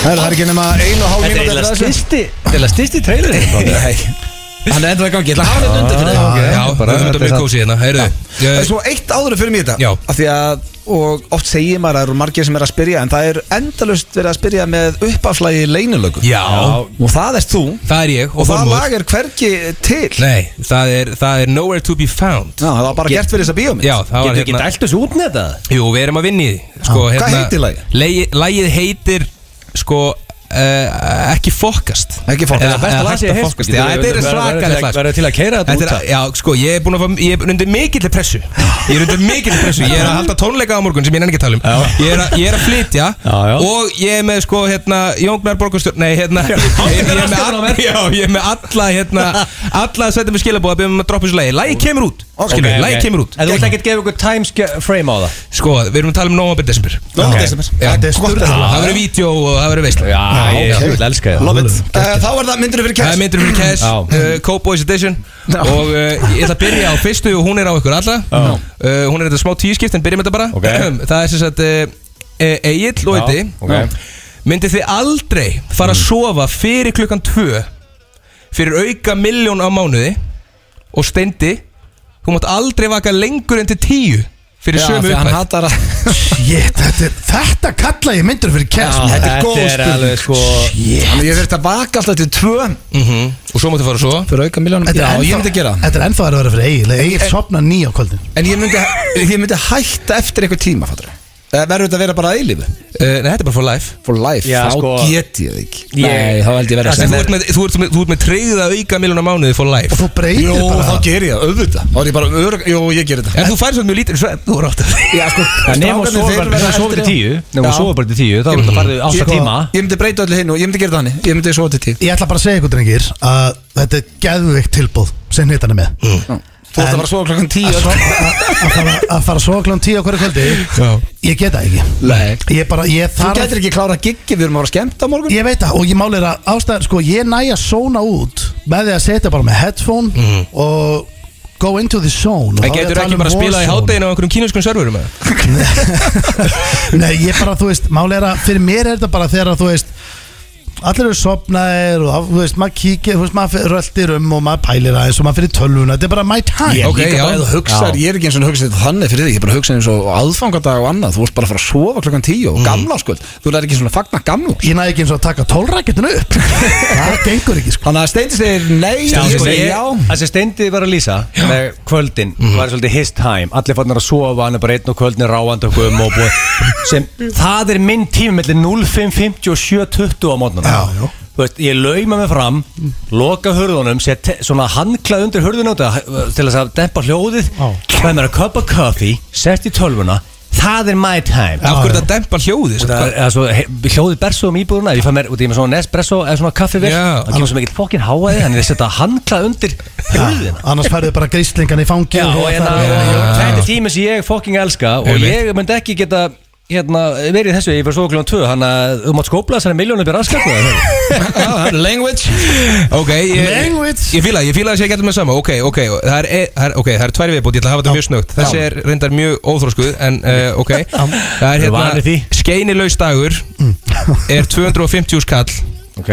[SPEAKER 1] Herðu, það er ekki nema ein og hálf
[SPEAKER 5] Þetta er
[SPEAKER 1] mínúti
[SPEAKER 5] eiginlega
[SPEAKER 1] eftir þessu.
[SPEAKER 5] styrsti Þetta er eiginlega styrsti trailerinn
[SPEAKER 1] Nei, hann er enda í gangi Ég ætla að hafa hann undir fyrir það
[SPEAKER 3] Já,
[SPEAKER 5] bara-
[SPEAKER 3] við myndum
[SPEAKER 5] þetta er
[SPEAKER 3] mjög
[SPEAKER 5] það.
[SPEAKER 3] kósið hérna, heyrðu
[SPEAKER 1] Það
[SPEAKER 3] ég-
[SPEAKER 1] er svo eitt áður fyrir mér þetta
[SPEAKER 3] Já.
[SPEAKER 1] Af því að, og oft segir maður að það eru margir sem er að spyrja En það er endalust verið að spyrja með uppaflægi leinilögu
[SPEAKER 3] Já,
[SPEAKER 1] Og það ert þú
[SPEAKER 3] það er ég
[SPEAKER 1] Og
[SPEAKER 3] og
[SPEAKER 1] það
[SPEAKER 3] Þormur
[SPEAKER 1] lag er hvergi til
[SPEAKER 3] Nei, það er, það er nowhere to be found
[SPEAKER 1] Já, það var bara gert fyrir þessa bíómynd
[SPEAKER 3] Já, það var
[SPEAKER 5] Getur ekki
[SPEAKER 3] hérna
[SPEAKER 5] dælt þessu út með það?
[SPEAKER 3] Jú, við erum að vinni því sko,
[SPEAKER 1] Hvað heitir lagið?
[SPEAKER 3] lagið? Lagið heitir, sko, uh, ekki fokast
[SPEAKER 1] Ekki fólk
[SPEAKER 3] Eða besta lag sem ég hef heyrt, sko.
[SPEAKER 1] Já, þetta er
[SPEAKER 3] Verður-
[SPEAKER 1] svakalegt lag
[SPEAKER 3] sko.
[SPEAKER 5] Verður til að keira þetta
[SPEAKER 3] Þetta
[SPEAKER 5] út
[SPEAKER 3] er,
[SPEAKER 5] af
[SPEAKER 3] já, sko, ég er búin að fá, ég er undir mikill pressu Ég er undir mikill pressu, ég er að halda tónleika á morgun sem ég nenni ekki að tala um Ég er að, ég er að flytja
[SPEAKER 5] Já, já.
[SPEAKER 3] og ég er með, sko, hérna, Jóngnar Borgastjórn, nei, hérna ég, ég, er með all, já, ég er með alla, hérna, alla að setja mig skilabóð að byrja með að droppa þessu lagi Lagi kemur út, skilur, okay, lagi kemur út
[SPEAKER 5] En þú ætla ekki að gefa ykkur time frame á það
[SPEAKER 3] Sko, við erum að tala um november, desember
[SPEAKER 1] Nóvember, desember.
[SPEAKER 3] Já,
[SPEAKER 2] Þetta er
[SPEAKER 3] gott að
[SPEAKER 2] sturlað.
[SPEAKER 3] Það verður vídeo og það verður veist
[SPEAKER 5] Já, ég vil elska það
[SPEAKER 1] Love it Eh, Þá er það myndinu fyrir
[SPEAKER 3] Það er
[SPEAKER 1] kæs
[SPEAKER 3] myndur fyrir Cash,
[SPEAKER 5] Já.
[SPEAKER 3] uh, Cowboys Edition Og uh, ég ætla að byrja á fyrstu og hún er á ykkur alla uh, Hún er þetta smá tískipt en byrjum þetta bara
[SPEAKER 5] Ok.
[SPEAKER 3] Það er sem sagt uh, Egil og
[SPEAKER 5] Já,
[SPEAKER 3] Iti
[SPEAKER 5] ok. Mm.
[SPEAKER 3] Myndið þið aldrei fara að sofa fyrir klukkan 2 Fyrir auka milljón á mánuði Og steindi Þú mátt aldrei vaka lengur en til 10 Fyrir sömu
[SPEAKER 1] hann
[SPEAKER 3] upphæð
[SPEAKER 1] hattar að
[SPEAKER 2] Shit, þetta, er- þetta kalla ég myndur fyrir cash maður.
[SPEAKER 1] þetta er góð spurning.
[SPEAKER 5] alveg sko
[SPEAKER 1] Þannig ég þurfti að baka alltaf til tvö
[SPEAKER 3] Mhm. Og svo máttu fara að sofa
[SPEAKER 1] Fyrir auka miljónum
[SPEAKER 2] Þetta
[SPEAKER 1] Já,
[SPEAKER 2] er
[SPEAKER 1] ég
[SPEAKER 2] ennþá-
[SPEAKER 1] myndi gera það.
[SPEAKER 2] Þetta er ennþá að vera fyrir eigin Egin sopna nýja á kvöldin
[SPEAKER 1] En ég myndi, ég myndi hætta eftir eitthvað tíma fattur. Eh, Verður þetta að vera bara að eilífu
[SPEAKER 3] uh, Nei, þetta er bara for life
[SPEAKER 1] For life,
[SPEAKER 5] Já,
[SPEAKER 1] þá
[SPEAKER 5] sko.
[SPEAKER 1] get ég það ekki
[SPEAKER 5] Ég-
[SPEAKER 1] Nei, þá held ég verið
[SPEAKER 3] Þú ert með, þú ert með, þú ert með treyða auka miljónar mánuði for life
[SPEAKER 2] Og þú breytir
[SPEAKER 1] Jú, þá
[SPEAKER 2] bara
[SPEAKER 1] ger ég það, auðvitað Þá er ég bara, örg, jú, ég ger þetta
[SPEAKER 3] En þú færst mjög lítið svefn, þú er átt að
[SPEAKER 1] Já, sko,
[SPEAKER 5] En nefnum
[SPEAKER 1] strákarnir,
[SPEAKER 5] að
[SPEAKER 1] þeir
[SPEAKER 5] sofa bara-
[SPEAKER 1] verða
[SPEAKER 5] þú sofa
[SPEAKER 1] eldri.
[SPEAKER 5] til tíu Nefnum
[SPEAKER 1] Já.
[SPEAKER 5] að sofa bara til tíu Þá erum það farið átta
[SPEAKER 1] Sko,
[SPEAKER 5] tíma
[SPEAKER 1] Ég myndi breyta öllu hinn og ég myndi gera það hann Ég myndi svo til tíu
[SPEAKER 2] Ég ætla bara að segja ykkur drengir að þetta er geðveikt tilbóð sem hittan er með
[SPEAKER 1] Mm. Þú ætti að fara að sofa klokkan 10
[SPEAKER 2] að, að, að, fara- að fara svo klokkan 10 á hverju kvöldi
[SPEAKER 1] Já.
[SPEAKER 2] Ég get það ekki
[SPEAKER 1] Nei
[SPEAKER 2] Ég bara, ég
[SPEAKER 1] Þú
[SPEAKER 2] þarf
[SPEAKER 1] getur ekki klára giggi, við erum að vera skemmt á morgun
[SPEAKER 2] Ég veit það og ég máli er að ástæðan sko ég næja sóna út með því að setja bara með headphone og go into the zone
[SPEAKER 3] En
[SPEAKER 2] og þá er ég að
[SPEAKER 3] getur
[SPEAKER 2] tala
[SPEAKER 3] ekki
[SPEAKER 2] um
[SPEAKER 3] bara að spila í
[SPEAKER 2] Warzone.
[SPEAKER 3] hátæginu á einhverjum kínuskum serverum eða?
[SPEAKER 2] Nei, ég bara, þú veist, máli er að fyrir mér er þetta bara þegar að þú veist allir eru sopnaðir og þú veist, maður kíkir, þú veist, maður röltir um og maður pælir aðeins og maður fyrir tölvuna, þetta er bara my time
[SPEAKER 1] Ég er
[SPEAKER 3] Ok,
[SPEAKER 1] líka
[SPEAKER 3] já.
[SPEAKER 1] bara að hugsa,
[SPEAKER 3] Já.
[SPEAKER 1] ég er ekki eins og hugsa þetta þannig fyrir því, ég er bara að hugsa eins og aðfangadag og annað, þú ert bara að fara að sofa klokkan 10
[SPEAKER 5] Mm.
[SPEAKER 1] og gamla skuld, þú lær ekki svona að fagna gamla
[SPEAKER 2] Ég næði ekki eins og að taka tólrækjutinu upp Það gengur ekki, sko
[SPEAKER 1] Þannig að Steindi segir nei,
[SPEAKER 5] Já,
[SPEAKER 1] ég
[SPEAKER 5] sko,
[SPEAKER 1] segi
[SPEAKER 5] ég,
[SPEAKER 1] já
[SPEAKER 5] það sem Steindi var að lýsa með kvöldin
[SPEAKER 2] Mhm.
[SPEAKER 5] var svolítið his time allir fannar að sofa, hann er bara einn og kvöldin er ráandi og guðum og búið sem, það er minn tími mellir 05.50 og 7.20 á mótnuna
[SPEAKER 2] Já, já.
[SPEAKER 5] Þú veist, ég lauma mig fram, loka hurðunum set te- svona handklað undir hurðunum eh, til þess að dempa hljóðið
[SPEAKER 2] Já.
[SPEAKER 5] fæði mér að cup of coffee, sest í tölvuna það er my time
[SPEAKER 3] Af hverju þetta dempar hljóði?
[SPEAKER 5] Og Það er svo he- hljóðið bersu um íbúðuna ef Ég fæ mér út í með svona Nespresso eða svona kaffi vel
[SPEAKER 3] Já.
[SPEAKER 5] Það kemur svo mikill fokkin háaði Þannig að setja handklað undir hurðina
[SPEAKER 2] Annars færðu bara gríslingan í fangi
[SPEAKER 5] Já, og hérna, þetta er tími sem ég fokking elska Og
[SPEAKER 3] Einmitt.
[SPEAKER 5] ég myndi ekki geta hérna, verið í þessu Ég fyrir svo kljóðan tvö Þannig að þú mátt skópla þessari miljónu byrja aðskakku
[SPEAKER 3] Language Ok, ég,
[SPEAKER 2] Language.
[SPEAKER 3] Ég fíla, ég fíla að sé ekki allir með sama Ok, ok, það er, e- það er, okay, það er tvær viðbútt Ég ætla að hafa þetta mjög snögt Þessi er reyndar mjög óþróskuð En uh, ok Það er
[SPEAKER 5] Við varir því.
[SPEAKER 3] hérna Skeinilaus dagur Er 250 skall
[SPEAKER 5] Ok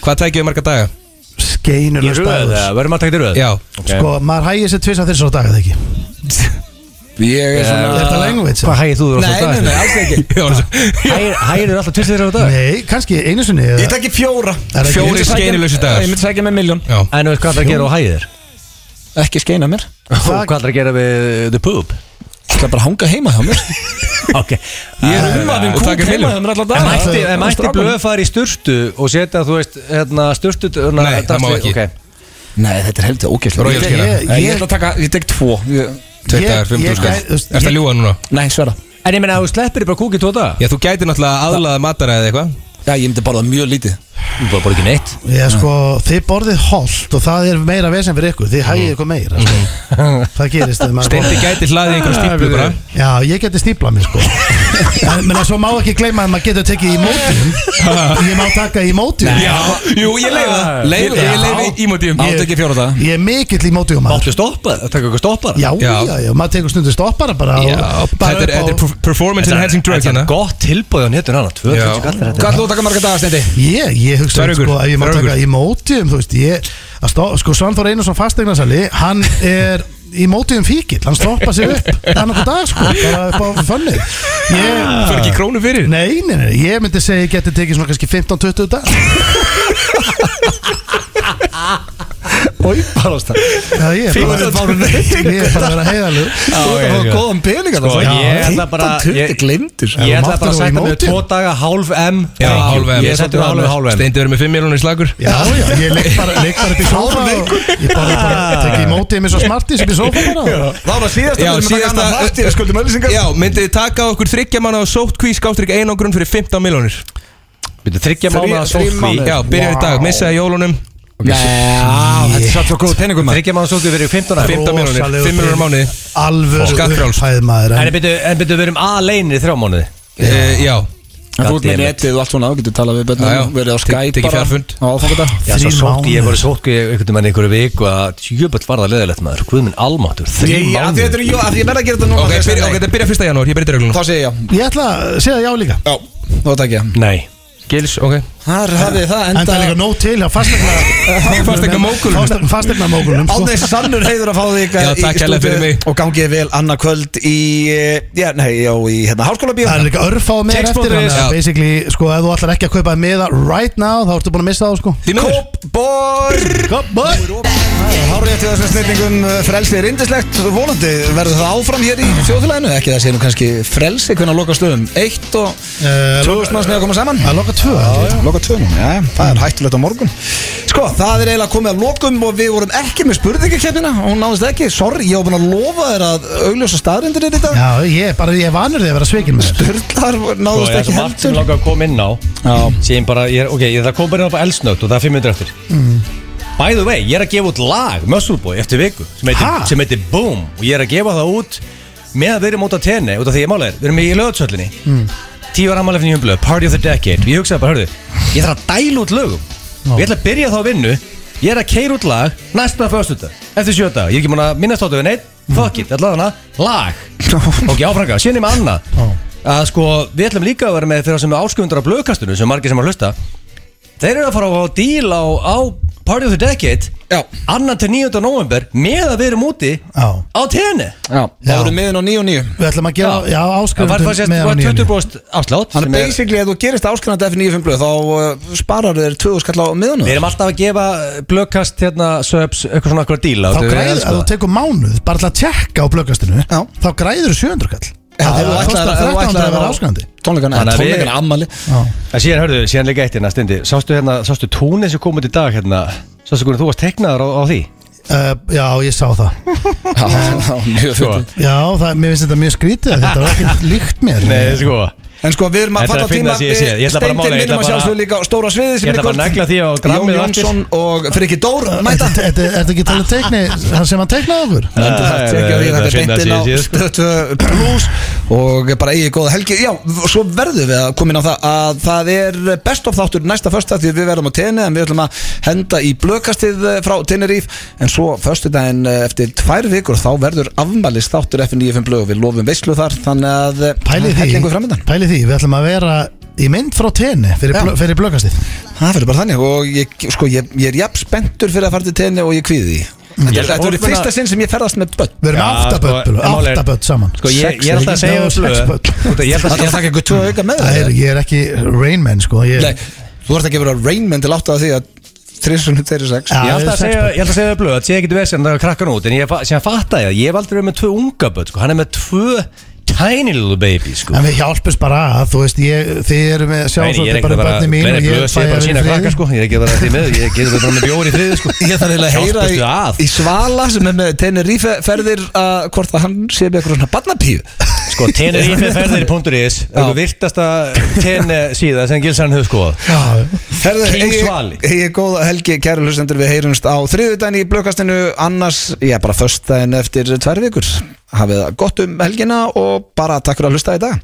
[SPEAKER 3] Hvað tækjum við marga daga?
[SPEAKER 5] Í
[SPEAKER 2] Skeinulust
[SPEAKER 5] röð,
[SPEAKER 2] dagur
[SPEAKER 5] eða verðum alltaf í röð
[SPEAKER 3] Já
[SPEAKER 2] Sko, maður hægir sér tvisa þessar á dag, eða ekki
[SPEAKER 1] Ég er
[SPEAKER 2] Er
[SPEAKER 1] svona
[SPEAKER 2] þetta language?
[SPEAKER 5] Hvað hægir þú þurr á
[SPEAKER 1] Nei, nei, nei,
[SPEAKER 5] dag?
[SPEAKER 1] alls ekki
[SPEAKER 3] Ég var svo-
[SPEAKER 5] Hægir- Hægir þú alltaf 23 á dag?
[SPEAKER 2] Nei, kannski einu sinni
[SPEAKER 1] Ég
[SPEAKER 2] eða-
[SPEAKER 1] tekki fjóra
[SPEAKER 2] það ekki-
[SPEAKER 1] Ég myndi
[SPEAKER 3] Fjórir
[SPEAKER 1] sækja-
[SPEAKER 3] skeinilausir dagar.
[SPEAKER 1] Ég myndi sækja með miljón
[SPEAKER 3] Já
[SPEAKER 5] En þú veist hvað það er að gera á hægir?
[SPEAKER 1] Ekki skeina mér
[SPEAKER 5] Hvað það er að gera við the poop?
[SPEAKER 1] Það er bara að hanga heima hjá mér
[SPEAKER 5] Ok
[SPEAKER 1] Ég er um umvafin
[SPEAKER 3] og
[SPEAKER 1] kúk
[SPEAKER 3] taka
[SPEAKER 1] heima
[SPEAKER 3] milljón.
[SPEAKER 1] hjá mér allar
[SPEAKER 5] En
[SPEAKER 1] dag
[SPEAKER 5] mætti, en mætti blöð fara í sturtu og setja, þú veist, hérna, sturtu hérna,
[SPEAKER 3] Nei, það má ekki.
[SPEAKER 5] dagsli- ok.
[SPEAKER 1] Nei, þetta er heldur ógæslega
[SPEAKER 3] Royal skeina.
[SPEAKER 1] Ég held að taka, ég tek tvo Ég-
[SPEAKER 3] Tveit
[SPEAKER 2] Ég-
[SPEAKER 3] dagar, 500
[SPEAKER 2] ég
[SPEAKER 3] skall
[SPEAKER 2] gæ- þú veist,
[SPEAKER 3] Er þetta
[SPEAKER 2] ég-
[SPEAKER 3] ljúa núna?
[SPEAKER 1] Nei, sverða
[SPEAKER 5] En ég meina, ef þú sleppir bara kúkið tóta
[SPEAKER 3] Já, þú gæti náttúrulega aðlaða mataræði eitthvað
[SPEAKER 1] Já, ég myndi borða mjög lítið
[SPEAKER 5] Þú bara bara ekki neitt
[SPEAKER 2] Ég sko, þið borðið holdt og það er meira vesen fyrir ykkur, þið hægir ykkur meira sko. Það gerist þegar maður
[SPEAKER 3] Steindi gæti hlaðið einhverjum stíplu bara
[SPEAKER 2] Já, ég geti stíplað mér sko En menn að svo má ekki gleyma að maður getur tekið í mótum Ég má taka í mótum
[SPEAKER 3] Já, jú, ég leiði það Leiði það, ég leiði ímótíum
[SPEAKER 2] Ég-
[SPEAKER 3] Átt ekki fjóra daga
[SPEAKER 2] Ég er mikill í mótum maður
[SPEAKER 5] Máttu stoppa, það taka eitthvað stoppar
[SPEAKER 2] Já, já,
[SPEAKER 3] Já.
[SPEAKER 2] já, maður tekur stundu stoppara bara
[SPEAKER 3] Já,
[SPEAKER 2] bara
[SPEAKER 3] þetta er, þetta er
[SPEAKER 2] upp á-
[SPEAKER 3] perf- performance enhancing drug
[SPEAKER 5] Þetta
[SPEAKER 3] hérna
[SPEAKER 5] er gott tilbúið á netun hana, 200 kallar þetta
[SPEAKER 1] Hvað þú taka marga dagar, Steindi?
[SPEAKER 2] Ég, ég hugsa
[SPEAKER 3] Tvær vikur,
[SPEAKER 2] sko að ég má
[SPEAKER 3] tvær
[SPEAKER 2] taka
[SPEAKER 3] vikur.
[SPEAKER 2] í mótum Þú veist, ég að stó, Sko Svanþór Einarsson fastegnarsali Hann er í mótum fíkil Hann stoppa sig upp annarkoð dag sko Bara upp á fönni Ég
[SPEAKER 3] Fyrir ekki krónu fyrir
[SPEAKER 2] Nei, nei, nei, ég myndi segja ég geti tekið svona kannski 15-20 dag
[SPEAKER 1] Oi, bara ástæð
[SPEAKER 2] Já, ég er bara Ég er bara að vera heiðalug
[SPEAKER 1] Þú ert að fá góðan pening að
[SPEAKER 5] Sko,
[SPEAKER 1] það
[SPEAKER 5] ég ætla
[SPEAKER 1] Ah,
[SPEAKER 5] bara- ég-
[SPEAKER 1] glindur
[SPEAKER 5] Ég ætla
[SPEAKER 2] máttu
[SPEAKER 5] bara
[SPEAKER 2] nú í
[SPEAKER 5] að setja mig
[SPEAKER 2] mótin.
[SPEAKER 5] tvo daga hálf M
[SPEAKER 3] Já,
[SPEAKER 5] Thank you.
[SPEAKER 3] hálf M
[SPEAKER 5] Ég setja mig alveg hálf M
[SPEAKER 3] Steindi verður með 5 miljonir slagur
[SPEAKER 2] Já, já, ég leik bara, leik bara upp í sófa og Ég bara, bara tekið í mótið mér svo smartis upp í sófa bara
[SPEAKER 1] Það var síðast
[SPEAKER 3] Já, síðasta
[SPEAKER 1] Við skuldum öllisingar
[SPEAKER 3] Já, myndið þið taka okkur þryggja manna á sótkví skáttryk einangrun fyrir 15 miljonir
[SPEAKER 5] Byrju, þryggja
[SPEAKER 1] Þrjú-
[SPEAKER 5] mánuða
[SPEAKER 1] þrír
[SPEAKER 5] sótkví
[SPEAKER 1] mánuðir.
[SPEAKER 3] Já, byrjar í dag, missaði jólunum
[SPEAKER 1] Já,
[SPEAKER 3] Ah,
[SPEAKER 1] þetta er satt svo góð peningum maður.
[SPEAKER 5] Þryggja mánuða sótkví verið 15 ára
[SPEAKER 3] 15 miljonir, 5 miljonir mánuði
[SPEAKER 2] Alvöru
[SPEAKER 3] Skattfrjáls.
[SPEAKER 2] upphæð maður
[SPEAKER 5] En
[SPEAKER 2] en,
[SPEAKER 5] byrju, en byrju, við erum aðleinir í þrjá mánuði
[SPEAKER 3] Eh, Já,
[SPEAKER 1] En Þú ert með
[SPEAKER 5] Goddammit.
[SPEAKER 1] netið og allt svona, þú getur talað við
[SPEAKER 3] Já, já.
[SPEAKER 1] börnum Verið á
[SPEAKER 3] Tek-
[SPEAKER 1] Skype
[SPEAKER 3] tekið fjarfund.
[SPEAKER 1] á áfangadag
[SPEAKER 5] Já, svo
[SPEAKER 2] Þrír
[SPEAKER 5] sóttu ég,
[SPEAKER 2] mánuðir.
[SPEAKER 5] ég voru sóttu ég einhvern veginn einhverju viku að tjöpöld var það leðilegt maður, guð minn almáttur þrjú
[SPEAKER 1] Ég af því
[SPEAKER 5] mánuðir
[SPEAKER 1] þetta er- jú, af því ég verð að gera þetta núna
[SPEAKER 3] ok,
[SPEAKER 1] þegar ég
[SPEAKER 3] byrja-
[SPEAKER 1] segi
[SPEAKER 3] ok,
[SPEAKER 1] nei.
[SPEAKER 3] þetta byrjar 1. janúar, ég byrja
[SPEAKER 1] Þá
[SPEAKER 3] dyröglunum
[SPEAKER 1] segja ég já
[SPEAKER 2] Ég ætla að segja já líka
[SPEAKER 1] Já, þá takk ég
[SPEAKER 5] Nei,
[SPEAKER 3] Gils, ok
[SPEAKER 1] Þar hafið það
[SPEAKER 2] En það er líka
[SPEAKER 1] enda
[SPEAKER 2] nóg til á fastegna
[SPEAKER 3] Fasteigna mókulum.
[SPEAKER 2] Fastegna mókulum sko.
[SPEAKER 1] Ánvegs sannur heiður að fá þig
[SPEAKER 3] Já,
[SPEAKER 1] í- í
[SPEAKER 3] takk hérlega
[SPEAKER 1] stúdíu
[SPEAKER 3] fyrir mig.
[SPEAKER 1] Og gangið vel annað kvöld í eh, Já, nei, já, í hérna háskóla
[SPEAKER 2] Það er líka örfáð meir eftir
[SPEAKER 3] Text.is.
[SPEAKER 2] þannig
[SPEAKER 3] Já.
[SPEAKER 2] að Basically, sko, ef þú ætlar ekki að kaupa þér miða right now, þá ertu búin að missa það, sko
[SPEAKER 3] Því miður
[SPEAKER 1] Kópbor Hárið til þessum snillingum eh, frelsi er indislegt Vonandi verður það áfram hér í þjóðfélaginu Ekki það sé nú kannski frelsi hvernig að loka stöðum Eitt og
[SPEAKER 2] Eh,
[SPEAKER 1] tjóðsmannsni að koma saman
[SPEAKER 2] Það er loka tvö, held ég.
[SPEAKER 1] Loka tjóðnum, já, það er hættulegt á morgun Sko, það er eiginlega komið að lokum og við vorum ekki með spurningakefnina Hún náðist ekki, sorry, ég var búin að lofa þér að augljósa staðrindir er þetta
[SPEAKER 2] Já, Sko, ég er bara, ég er vanur því að vera svikin með þér
[SPEAKER 1] Burlar
[SPEAKER 5] og
[SPEAKER 1] náðist
[SPEAKER 5] það er
[SPEAKER 1] ekki
[SPEAKER 5] svo margt sem
[SPEAKER 1] heldur
[SPEAKER 5] langar að koma inn á
[SPEAKER 1] Já. Mm.
[SPEAKER 5] sem bara, ég er, ok, ég þarf að koma bara inn á bara elsnögt og það er 5 minútur eftir By the way, ég er að gefa út lag Muscle Boy eftir viku sem heitir,
[SPEAKER 2] Ha?
[SPEAKER 5] sem heitir Boom og ég er að gefa það út með að við erum út á tenni út af því ég mála er, við erum í lögatsöllinni mm. tíu ára ammálefni í umblöð, Party of the Decade ég hugsaði bara, hörðu, ég þarf að dæla út lögum ég ætla að byrja þá vinnu ég er að keira út lag næsta fyrstuta eftir sjöta, ég er ekki múin að minnast á þetta neitt
[SPEAKER 1] Mm.
[SPEAKER 5] fuck it, allavega hana, lag ok, áfranga, síðan ég með annað að sko, við ætlum líka að vera með fyrir þá sem er ásköfundur á blöðkastinu sem margir sem er að hlusta þeir eru að fara á díl á, á Party of the Decade Já. annan til 9. november með að við erum úti
[SPEAKER 2] Já.
[SPEAKER 5] á tenni Já,
[SPEAKER 1] Það voru miðin á 9 og 9
[SPEAKER 2] Við ætlum að gera, já,
[SPEAKER 5] það var
[SPEAKER 2] áskrifundum
[SPEAKER 5] sérst, var 20% afslátt
[SPEAKER 1] Þannig
[SPEAKER 5] sem er-
[SPEAKER 1] basically að þú gerist áskrifandi F95 blöð þá uh, sparar þér 2 skall á miðunum
[SPEAKER 5] Við erum alltaf að gefa blökkast hérna söps, eitthvað svona okkur díla
[SPEAKER 2] Þá græður,
[SPEAKER 5] sko.
[SPEAKER 2] ef þú tekur mánuð bara til að tjekka á blöggastinu
[SPEAKER 1] Já.
[SPEAKER 2] þá græður 700 kall
[SPEAKER 1] Já,
[SPEAKER 2] Það
[SPEAKER 1] ef þú ætlar-
[SPEAKER 2] kostar
[SPEAKER 1] ef þú ætlar
[SPEAKER 2] 1300 að vera
[SPEAKER 1] á-
[SPEAKER 2] áskrifandi
[SPEAKER 1] Tónleikana,
[SPEAKER 5] Þannig að við-
[SPEAKER 1] tónleikana ammali
[SPEAKER 5] En síðan hörðu, síðan líka eitt hérna stundi Sástu hérna, sástu tónið sem kom út í dag hérna Sástu hvernig þú varst teiknaður á, á því
[SPEAKER 2] Uh, Já, ég sá það
[SPEAKER 1] Já, já, mjög
[SPEAKER 5] sko.
[SPEAKER 1] fyndið.
[SPEAKER 2] Já, það, mér finnst þetta mjög skrítið Þetta var ekki líkt mér
[SPEAKER 5] Nei, sko Ég
[SPEAKER 1] En sko, við erum að
[SPEAKER 5] Þetta er
[SPEAKER 1] falla á
[SPEAKER 5] að finna
[SPEAKER 1] tíma
[SPEAKER 5] sig í séð. Ég ætla bara að mála,
[SPEAKER 1] Steindin
[SPEAKER 5] ég ætla
[SPEAKER 1] minnum að
[SPEAKER 5] bara-
[SPEAKER 1] sjálfsögðu líka á stóra sviði sem er
[SPEAKER 5] ætla bara að
[SPEAKER 1] kvöld.
[SPEAKER 5] negla því á
[SPEAKER 1] Jón
[SPEAKER 5] grammið á eftir.
[SPEAKER 1] Jónsson og Frikki Dór
[SPEAKER 2] Þetta
[SPEAKER 1] mæta Ah.
[SPEAKER 2] þetta- þetta er ekki talið teikni það sem hann teiknaði okkur
[SPEAKER 1] Nei, Þetta er hægt að tekja því, þetta
[SPEAKER 5] Þetta er
[SPEAKER 1] er
[SPEAKER 5] að finna
[SPEAKER 1] beintinn á
[SPEAKER 5] sig í sér, sko.
[SPEAKER 1] stötu plus og bara eigið góða helgi Já, svo verðum við að koma inn á það að það er best of þáttur næsta fösta því við verðum á tenni en við ætlum að henda í blökastið eh, frá Tenneríf en svo föstudaginn eh, eftir tvær vikur þá verður afmælis þáttur F95 blög og við lofum veislu þar þannig að eh, það
[SPEAKER 2] Pælið
[SPEAKER 1] er
[SPEAKER 2] því,
[SPEAKER 1] hellingu framöndan
[SPEAKER 2] pælið því, við ætlum að vera í mynd frá tenni fyrir,
[SPEAKER 1] Já.
[SPEAKER 2] blö, fyrir blöggastið
[SPEAKER 1] Það verður bara þannig og ég, sko, ég, ég er jafn spenntur fyrir að fara til tenni og ég kvíði því
[SPEAKER 5] Ég-
[SPEAKER 1] Þetta verður
[SPEAKER 5] og-
[SPEAKER 1] fyrsta sinn sem ég ferðast með börn
[SPEAKER 2] Við erum
[SPEAKER 5] Já,
[SPEAKER 2] aftabött,
[SPEAKER 5] sko, en málið er-
[SPEAKER 2] aftabött saman
[SPEAKER 5] Sko ég,
[SPEAKER 2] Sex,
[SPEAKER 5] ég er alltaf að
[SPEAKER 2] ekki? Já,
[SPEAKER 5] segja á blöð
[SPEAKER 2] sex börn.
[SPEAKER 5] Út af- Ég er alltaf
[SPEAKER 1] Það er ekki eitthvað tvo auka með
[SPEAKER 2] Það er, ég er ekki Rain Man sko ég,
[SPEAKER 1] Nei, þú ert ekki að vera Rainman til átt að því að 306
[SPEAKER 2] Já,
[SPEAKER 5] Ég ætla að
[SPEAKER 2] sex
[SPEAKER 5] segja,
[SPEAKER 2] börn.
[SPEAKER 5] ég ætla að segja við blöð að ég ekki veist en það er krakkan út en ég fa- síðan fattaði að ég hef aldrei verið með tvö unga börn sko. hann er með tvö tiny little baby sko.
[SPEAKER 2] En við hjálpumst bara að, þú veist, ég, þið eru með
[SPEAKER 5] Nei, ég er
[SPEAKER 2] sjálfsvöldi
[SPEAKER 5] ekki
[SPEAKER 2] bara
[SPEAKER 5] bara
[SPEAKER 2] bönni mín
[SPEAKER 5] Benni
[SPEAKER 2] og
[SPEAKER 5] blöð
[SPEAKER 2] ég
[SPEAKER 5] sé bara
[SPEAKER 2] að
[SPEAKER 5] sína
[SPEAKER 2] vera í
[SPEAKER 5] krakka
[SPEAKER 2] friði.
[SPEAKER 5] sko. ég er ekki bara því með ég getur bara með bjóri í friði sko.
[SPEAKER 1] Ég þarf eiginlega að
[SPEAKER 5] Hjálpastu
[SPEAKER 1] heyra
[SPEAKER 5] að.
[SPEAKER 1] í, í Svala sem er með Tenerife ferðir að hvort að hann sé með eitthvað svona barnapíu
[SPEAKER 5] sko tenerifeferðir.is eitthvað virtasta ten síða sem Gilsan hefur skoðað
[SPEAKER 2] Já,
[SPEAKER 1] Herðu,
[SPEAKER 5] King
[SPEAKER 1] eigi-
[SPEAKER 5] Svali.
[SPEAKER 1] eigi góða helgi, kæru hlustendur við heyrumst á þriðudaginn í blökastinu annars, já bara föstudaginn eftir tvær vikur hafið það gott um helgina og bara takk fyrir að hlusta í dag